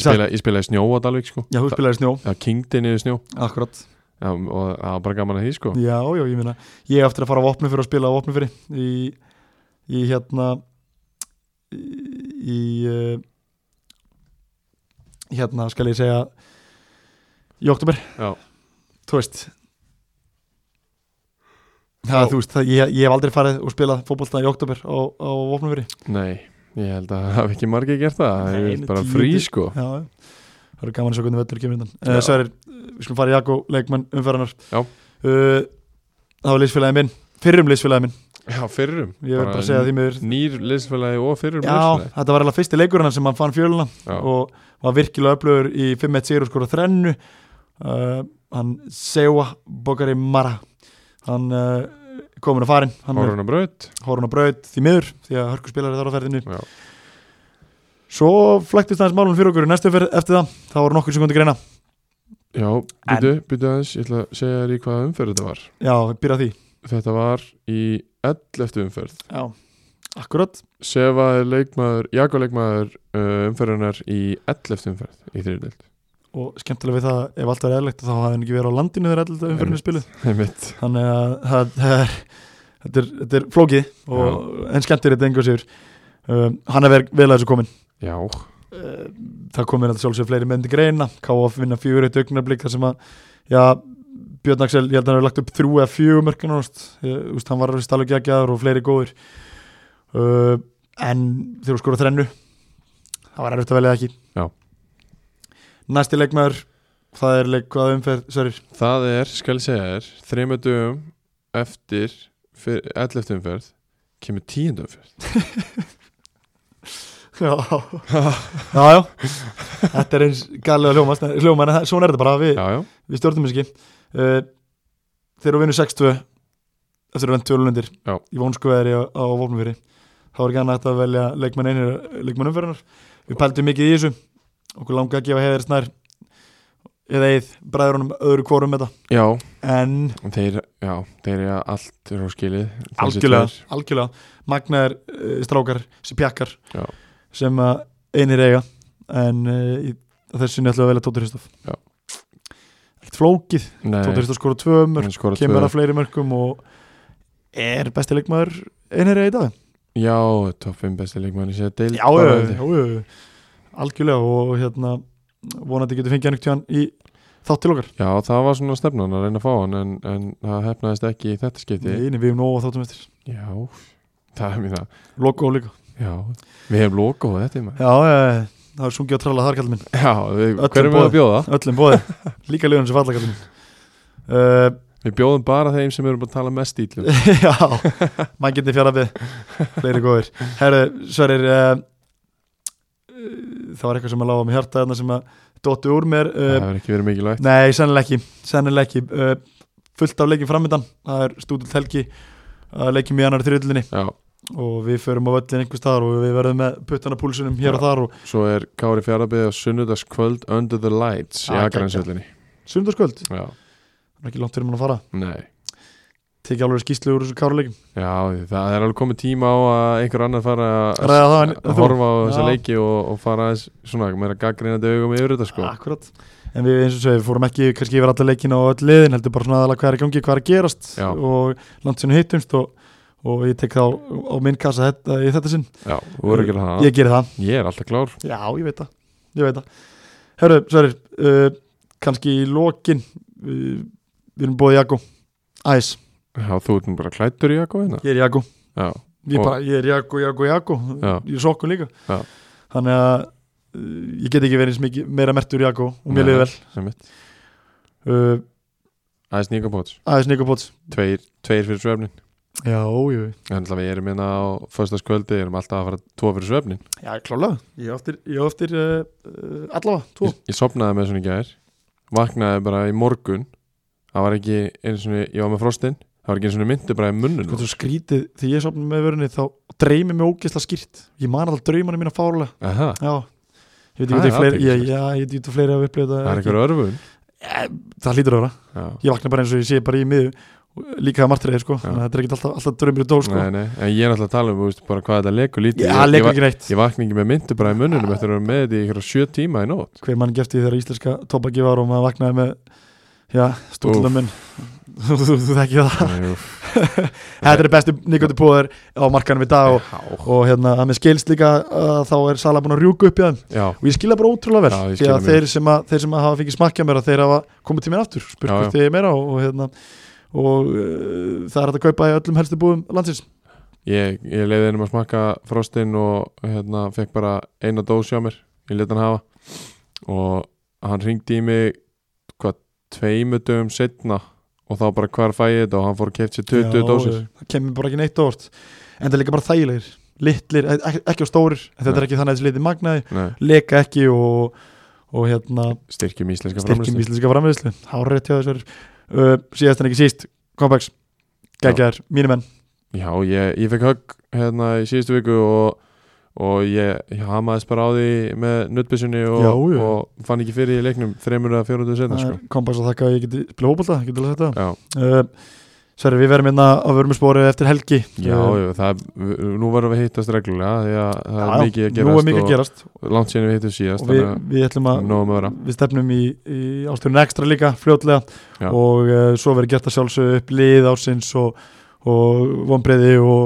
Speaker 1: sagði-
Speaker 2: spila, ég spilaði snjó á Dalvík sko
Speaker 1: Já, þú spilaði snjó
Speaker 2: Það kingdi niður snjó
Speaker 1: Akkurat
Speaker 2: Já, og það var bara gaman að því sko
Speaker 1: Já, já, ég meina Ég er eftir að fara á opnu fyrir að spila á opnu fyrir í, í hérna í uh, hérna skal ég segja í oktober
Speaker 2: Já.
Speaker 1: Þú veist það, þú veist, það, ég, ég hef aldrei farið og spilað fótbolta í oktober á, á Vopnumveri
Speaker 2: Nei, ég held að það hafi ekki margir gert það Það
Speaker 1: Nei,
Speaker 2: er bara
Speaker 1: tíu
Speaker 2: frí
Speaker 1: til-
Speaker 2: sko
Speaker 1: Já, já. það eru gaman að sjá hvernig vettur kemur innan
Speaker 2: Já.
Speaker 1: uh, Sverir, við skulum fara í Jakko, leikmann umferðanar
Speaker 2: Já.
Speaker 1: uh, Það var liðsfélagið minn, fyrrum liðsfélagið minn
Speaker 2: Já, fyrrum
Speaker 1: Ég verð bara að segja því miður
Speaker 2: Nýr liðsfélagi og fyrrum
Speaker 1: Já,
Speaker 2: liðsfélagi
Speaker 1: þetta var alveg fyrsti leikurinn hans sem hann fann fjöluna
Speaker 2: Já.
Speaker 1: og var virkilega öflugur í 5-1 sigur og skora þrennu uh, hann Sewa Bokari Mara hann uh, komin að farin hann
Speaker 2: Hárun og Braut
Speaker 1: er horun á braut því miður því að hörkuspilari þar á ferðinu
Speaker 2: Já.
Speaker 1: svo flæktist aðeins málun fyrir okkur í næstu ferð eftir það, þá voru nokkur sekundi greina
Speaker 2: Já, byttu, byttu aðeins Ég ætla að segja þér í hvaða umferð þetta var
Speaker 1: já, við byrja á því
Speaker 2: Þetta var í 11. umferð
Speaker 1: já, akkurat
Speaker 2: Sefa er leikmaður, Jakob leikmaður uh, umferðunar í 11. umferð í þriðdelt
Speaker 1: og skemmtilega við það ef allt var eðlegt þá hafði hann ekki verið á landinu þegar alltaf umfyrinni
Speaker 2: Einmitt.
Speaker 1: spiluð
Speaker 2: Einmitt
Speaker 1: þannig að það, það er, þetta, er, þetta er flókið og, en skemmtir þetta engu sigur um, hann er vel, vel að þessu komin
Speaker 2: Já,
Speaker 1: uh, það komin alltaf sjálfsög fleiri menn til greina KF vinna fjögur eitt augnablík þar sem að já, Björn Axel, ég held að hann hefur lagt upp þrjú eða fjögur mörkin úst, úst, hann var vist alveg geggjaður og fleiri góðir uh, en þegar skora þrennu það var erfitt að velja ekki
Speaker 2: Já.
Speaker 1: næsti leikmaður það er leik hvað umferð, sorry
Speaker 2: það er, skal ég segja þér þreymur dögum eftir fyr, 11. umferð kemur 10. umferð
Speaker 1: Já, <laughs> já, já. þetta er eins galið að hljóma, hljóma en það- svona er þetta bara, við,
Speaker 2: Já, já,
Speaker 1: við stjórnum þess ekki uh, Þegar við vinnum 6-2 eftir að venda tölunundir
Speaker 2: Já.
Speaker 1: í vónskuðari á, á Vopnfjöri þá er ekki annað hægt að velja leikmann einir leikmann umferðanar, við pældum mikið í þessu okkur langaði að gefa heiðir snær eða eið bræðurunum öðru kvorum með
Speaker 2: já,
Speaker 1: þetta en
Speaker 2: en þeir, já, þeir eru allt eru á skilið Þessi
Speaker 1: algjörlega,
Speaker 2: tveir.
Speaker 1: algjörlega magnaðir uh, strákar sem pjakkar
Speaker 2: Já.
Speaker 1: sem að einir eiga en uh, í, á þessu sinni ætlum við að velja Tóttur Hristof
Speaker 2: Já.
Speaker 1: ekkert flókið, Tóttur
Speaker 2: Nei,
Speaker 1: Hristof skora tvö mörg
Speaker 2: hann skora
Speaker 1: kemur
Speaker 2: tvö
Speaker 1: að fleiri mörgum og er besti leikmaður einir eiga í dag
Speaker 2: Já, topp 5 besti leikmann í sér deil
Speaker 1: já, já, já, já, algjörlega og hérna vonandi getur fengið hann ykkur í þátt til okkar
Speaker 2: já, það var svona stefnan að reyna að fá hann en, en það hefnaðist ekki í þetta skipti
Speaker 1: Nei, nei, við erum nóg á þáttum eftir
Speaker 2: Já, það er mér það
Speaker 1: logo líka
Speaker 2: Já, við hefum lokað á þetta maður.
Speaker 1: já, eh, það er sungið á tralla þar kallum minn
Speaker 2: Já, við,
Speaker 1: Öllum
Speaker 2: hverjum við að
Speaker 1: boðið.
Speaker 2: bjóða?
Speaker 1: öllum bóði, líka liðan sem falla kallum uh,
Speaker 2: Við bjóðum bara þeim sem eru bara að tala mest um. ítlum
Speaker 1: <laughs> Já, maður getur fjarafið fleiri góðir Herru, Sverir uh, það var eitthvað sem að lága á mér hjarta þarna sem að dóttu úr mér
Speaker 2: Það
Speaker 1: uh,
Speaker 2: hefur ekki verið mikilvægt
Speaker 1: Nei, sennilega ekki, sennilega ekki uh, fullt af leikin framöndan það er stúdult helgi að leikin mjög annar þriðlunni
Speaker 2: Já,
Speaker 1: og við förum á völlin einhvers staðar og við verðum með puttana púlsunum hér og þar og
Speaker 2: svo er Kári Fjarafið á sunnudagskvöld Under the Lights í
Speaker 1: Ah,
Speaker 2: Akarænshöllinni
Speaker 1: sundarskvöld,
Speaker 2: Já,
Speaker 1: ekki langt fyrir mann að fara
Speaker 2: nei
Speaker 1: tekið alveg skýslu úr þessu káruleikum
Speaker 2: Já, það er alveg komið tíma á að einhver annar fara að
Speaker 1: Ræða það en en
Speaker 2: að
Speaker 1: þú?
Speaker 2: horfa á þessa
Speaker 1: Já.
Speaker 2: leiki og, og fara aðeins svona, meira gaggrinandi augum yfir þetta sko
Speaker 1: Akkurat, en við eins og segja, við fórum ekki kannski yfir alla leikina og öll liðin, heldur bara svona aðalega hvað er í gangi, hvað er að gerast
Speaker 2: Já.
Speaker 1: og landsinu hittumst og, og ég tek þá á minn kassa þetta, í þetta sinn,
Speaker 2: Já, þú verður ekki að gera það
Speaker 1: ég geri það
Speaker 2: Ég er alltaf klár
Speaker 1: Já, ég veit það, ég veit það Herru, Sverir, uh, kannski í lokin uh, við erum búið Jakko Æs,
Speaker 2: Já, þú ert nú bara klættur í Akko hérna
Speaker 1: ég er Jakko
Speaker 2: Já,
Speaker 1: Ég,
Speaker 2: Og-
Speaker 1: bara, ég er Jakko, Jakko, Jakko
Speaker 2: Já.
Speaker 1: Ég er sokkun líka
Speaker 2: Já.
Speaker 1: Þannig að uh, ég get ekki verið eins mikið meira mertur Jakko og mér
Speaker 2: Nei.
Speaker 1: liði vel
Speaker 2: sem mitt
Speaker 1: uh,
Speaker 2: Aðeins nýjum pots
Speaker 1: Æs Nikopóts
Speaker 2: Tveir, tveir fyrir svefnin
Speaker 1: Já, jú, jú
Speaker 2: Þannig að við erum hérna á föstaskvöldi, erum alltaf að fara tvo fyrir svefnin
Speaker 1: Já, klálega, ég á eftir, ég á eftir uh, uh, allavega, tvo
Speaker 2: ég, ég sopnaði með svona í gær Vaknaði bara í morgun Það var ekki einu svona, ég var með frostin Það var ekki einu svona myndi bara í munnun
Speaker 1: Hvað Sko, þú skrítið, þegar ég sopna með vörunni þá dreymir mér ógeðslega skýrt Ég man alltaf draumana mína fárlega
Speaker 2: Aha,
Speaker 1: Já, ég veit
Speaker 2: Það
Speaker 1: ekki hvort
Speaker 2: er
Speaker 1: ég fleiri ég,
Speaker 2: athyglisvert.
Speaker 1: Já, ég veit ekki hvort fleiri að upplifa
Speaker 2: það
Speaker 1: þetta
Speaker 2: er einhver örfun
Speaker 1: ekki- Það hlýtur að vera,
Speaker 2: Já,
Speaker 1: ég vakna bara eins og ég sé bara í miðu Líka það martriðið, sko, þannig að þetta er ekki alltaf, alltaf draumir í dó, sko
Speaker 2: nei, nei, en ég er alltaf að tala um þú veist, bara hvað þetta leikur lítið
Speaker 1: Já,
Speaker 2: Ég- ég,
Speaker 1: leikur
Speaker 2: va-
Speaker 1: ekki neitt
Speaker 2: Ég vakna ekki með myndi bara í munnunum eftir að vera með þetta í einhverja sjö tíma í nótt
Speaker 1: Hver mann gefti þegar íslenska topaki var og maður vaknaði með Já, stúlna minn <laughs> Þú þú- þú þekki það <laughs>
Speaker 2: Nei, úff,
Speaker 1: Þetta er besti Nikoti Póður á markanum í dag og, og hérna, að mér skilst líka að þá er Sala búin að rjúka upp í þeim
Speaker 2: Já,
Speaker 1: og ég skila bara ótrúlega
Speaker 2: Já,
Speaker 1: vel
Speaker 2: ég
Speaker 1: því að
Speaker 2: skil það mjög.
Speaker 1: þeir sem, að, þeir sem að hafa fengið smakkja mér að þeir hafa komið til mér aftur
Speaker 2: Já,
Speaker 1: spurt hvort þeir er meira og, og, hérna, og uh, það er hægt að kaupa í öllum helstu búum landsins
Speaker 2: Ég, ég leiði einum að smakka frostinn og hérna fekk bara eina dós hjá mér, ég leti hann hafa og hann ringdi í mig hvað, tveimu dögum setna og þá bara hvar fæ ég þetta og hann fór að kefti sér 20
Speaker 1: Já,
Speaker 2: dósir
Speaker 1: eh, það kemur bara ekki neitt óvart en það er líka bara þægilegir, litlir ek- ek- ekki á stórir, en þetta er ekki þannig að þessi litið magnaði
Speaker 2: Nei,
Speaker 1: leka ekki og, og hérna
Speaker 2: styrkjum íslenska
Speaker 1: styrkjum
Speaker 2: framlýslu
Speaker 1: íslenska framviðslu hárétt hjá þessu uh, síðast en ekki síst, kompaks geggjær, mínu menn,
Speaker 2: Já, ég, ég fekk högg hérna í síðustu viku og, og ég, ég hamaðist bara á því með nuttbissunni og,
Speaker 1: Já, já.
Speaker 2: og fann ekki fyrir í leiknum þreymur eða fjóruðu setna sko.
Speaker 1: kompaks Eh, að þakka að ég geti spila hópulta, ég geti alveg þetta
Speaker 2: Já,
Speaker 1: uh, Sverri, við verðum hérna á vörmusporið eftir helgi
Speaker 2: já,
Speaker 1: uh,
Speaker 2: já það, nú verðum við að hittast reglulega því að það
Speaker 1: já,
Speaker 2: er mikið að
Speaker 1: nú
Speaker 2: gerast
Speaker 1: er mikið að gerast
Speaker 2: og langt síðan við hittum síðast
Speaker 1: og við,
Speaker 2: þannig
Speaker 1: við ætlum
Speaker 2: að
Speaker 1: að
Speaker 2: nógum að vera
Speaker 1: við stefnum í, í ásturinn ekstra líka fljótlega
Speaker 2: Já.
Speaker 1: og uh, svo verður gert að sjálfsögðu upp lið ásins og, og vonbreiði og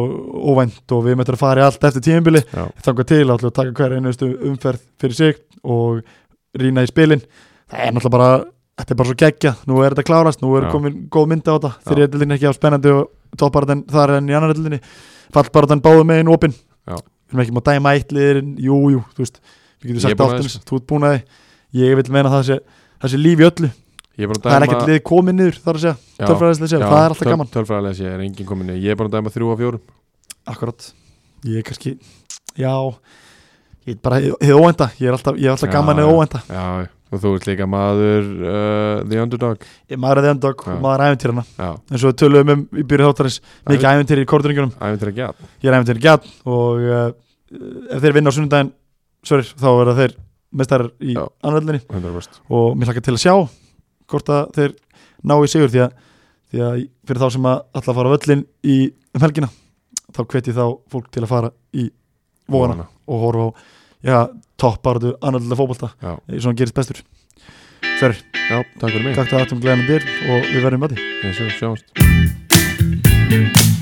Speaker 1: óvænt og við möttum að fara í allt eftir tíðinbili
Speaker 2: Já.
Speaker 1: þangar til ætlum við að taka hverja einustu umferð fyrir sig og rýna í spilin það er náttúrulega bara þetta er bara svo geggja, nú er þetta klárast nú er
Speaker 2: Já.
Speaker 1: komin góð mynda á þetta, þriðjöldin er ekki á spennandi og topparðan þar en í annarjöldinni fallbarðan báðu megin opinn
Speaker 2: Já.
Speaker 1: við erum ekki maður dæma eitt liðurinn, jú, jú, þú veist við getum
Speaker 2: Ég er
Speaker 1: sagt
Speaker 2: búinn að
Speaker 1: allt um
Speaker 2: þessu.
Speaker 1: þessu, þú ert búin að því ég vil meina það sé, það sé líf í öllu
Speaker 2: Ég er búin
Speaker 1: það
Speaker 2: að
Speaker 1: er ekkert
Speaker 2: dæma
Speaker 1: lið komið niður, þar að segja
Speaker 2: Já,
Speaker 1: tölfræðislega
Speaker 2: já,
Speaker 1: séð, það er alltaf
Speaker 2: töl-
Speaker 1: gaman
Speaker 2: Tölfræðilega sé, er engin komin í. Ég er búin að dæma þrjú af fjórum
Speaker 1: akkurat, ég er kannski já, ég er bara hið- hið óænda, ég er alltaf, ég er alltaf
Speaker 2: Já,
Speaker 1: gaman
Speaker 2: já.
Speaker 1: eða óænda,
Speaker 2: Já, og þú ert líka maður uh, The Underdog
Speaker 1: ég maður er þeim dag
Speaker 2: Já.
Speaker 1: maður er æfintýrana,
Speaker 2: Já,
Speaker 1: eins og við töluðum um í byrju þáttarins, mikið æfintýri í korturingunum
Speaker 2: æfintir að gæt
Speaker 1: ég er æfintýri gæt og uh, ef þeir vinna á sunnudaginn sorry, þá verða þeir mestarar í
Speaker 2: Já.
Speaker 1: annaðlinni
Speaker 2: 100%
Speaker 1: og mér hlakka til að sjá hvort að þeir ná í sigur því að, því að fyrir þá sem að ætla að fara á völlin í um helgina þá hveti þá fólk til að fara í vóana
Speaker 2: Vona.
Speaker 1: og horfa á já, topparðu annarlega fótbolta
Speaker 2: Já.
Speaker 1: eins og hann gerist bestur Sverri,
Speaker 2: Já, takk fyrir mig
Speaker 1: takk það aftum glæðan dyr og við verðum að því
Speaker 2: Við sjáumst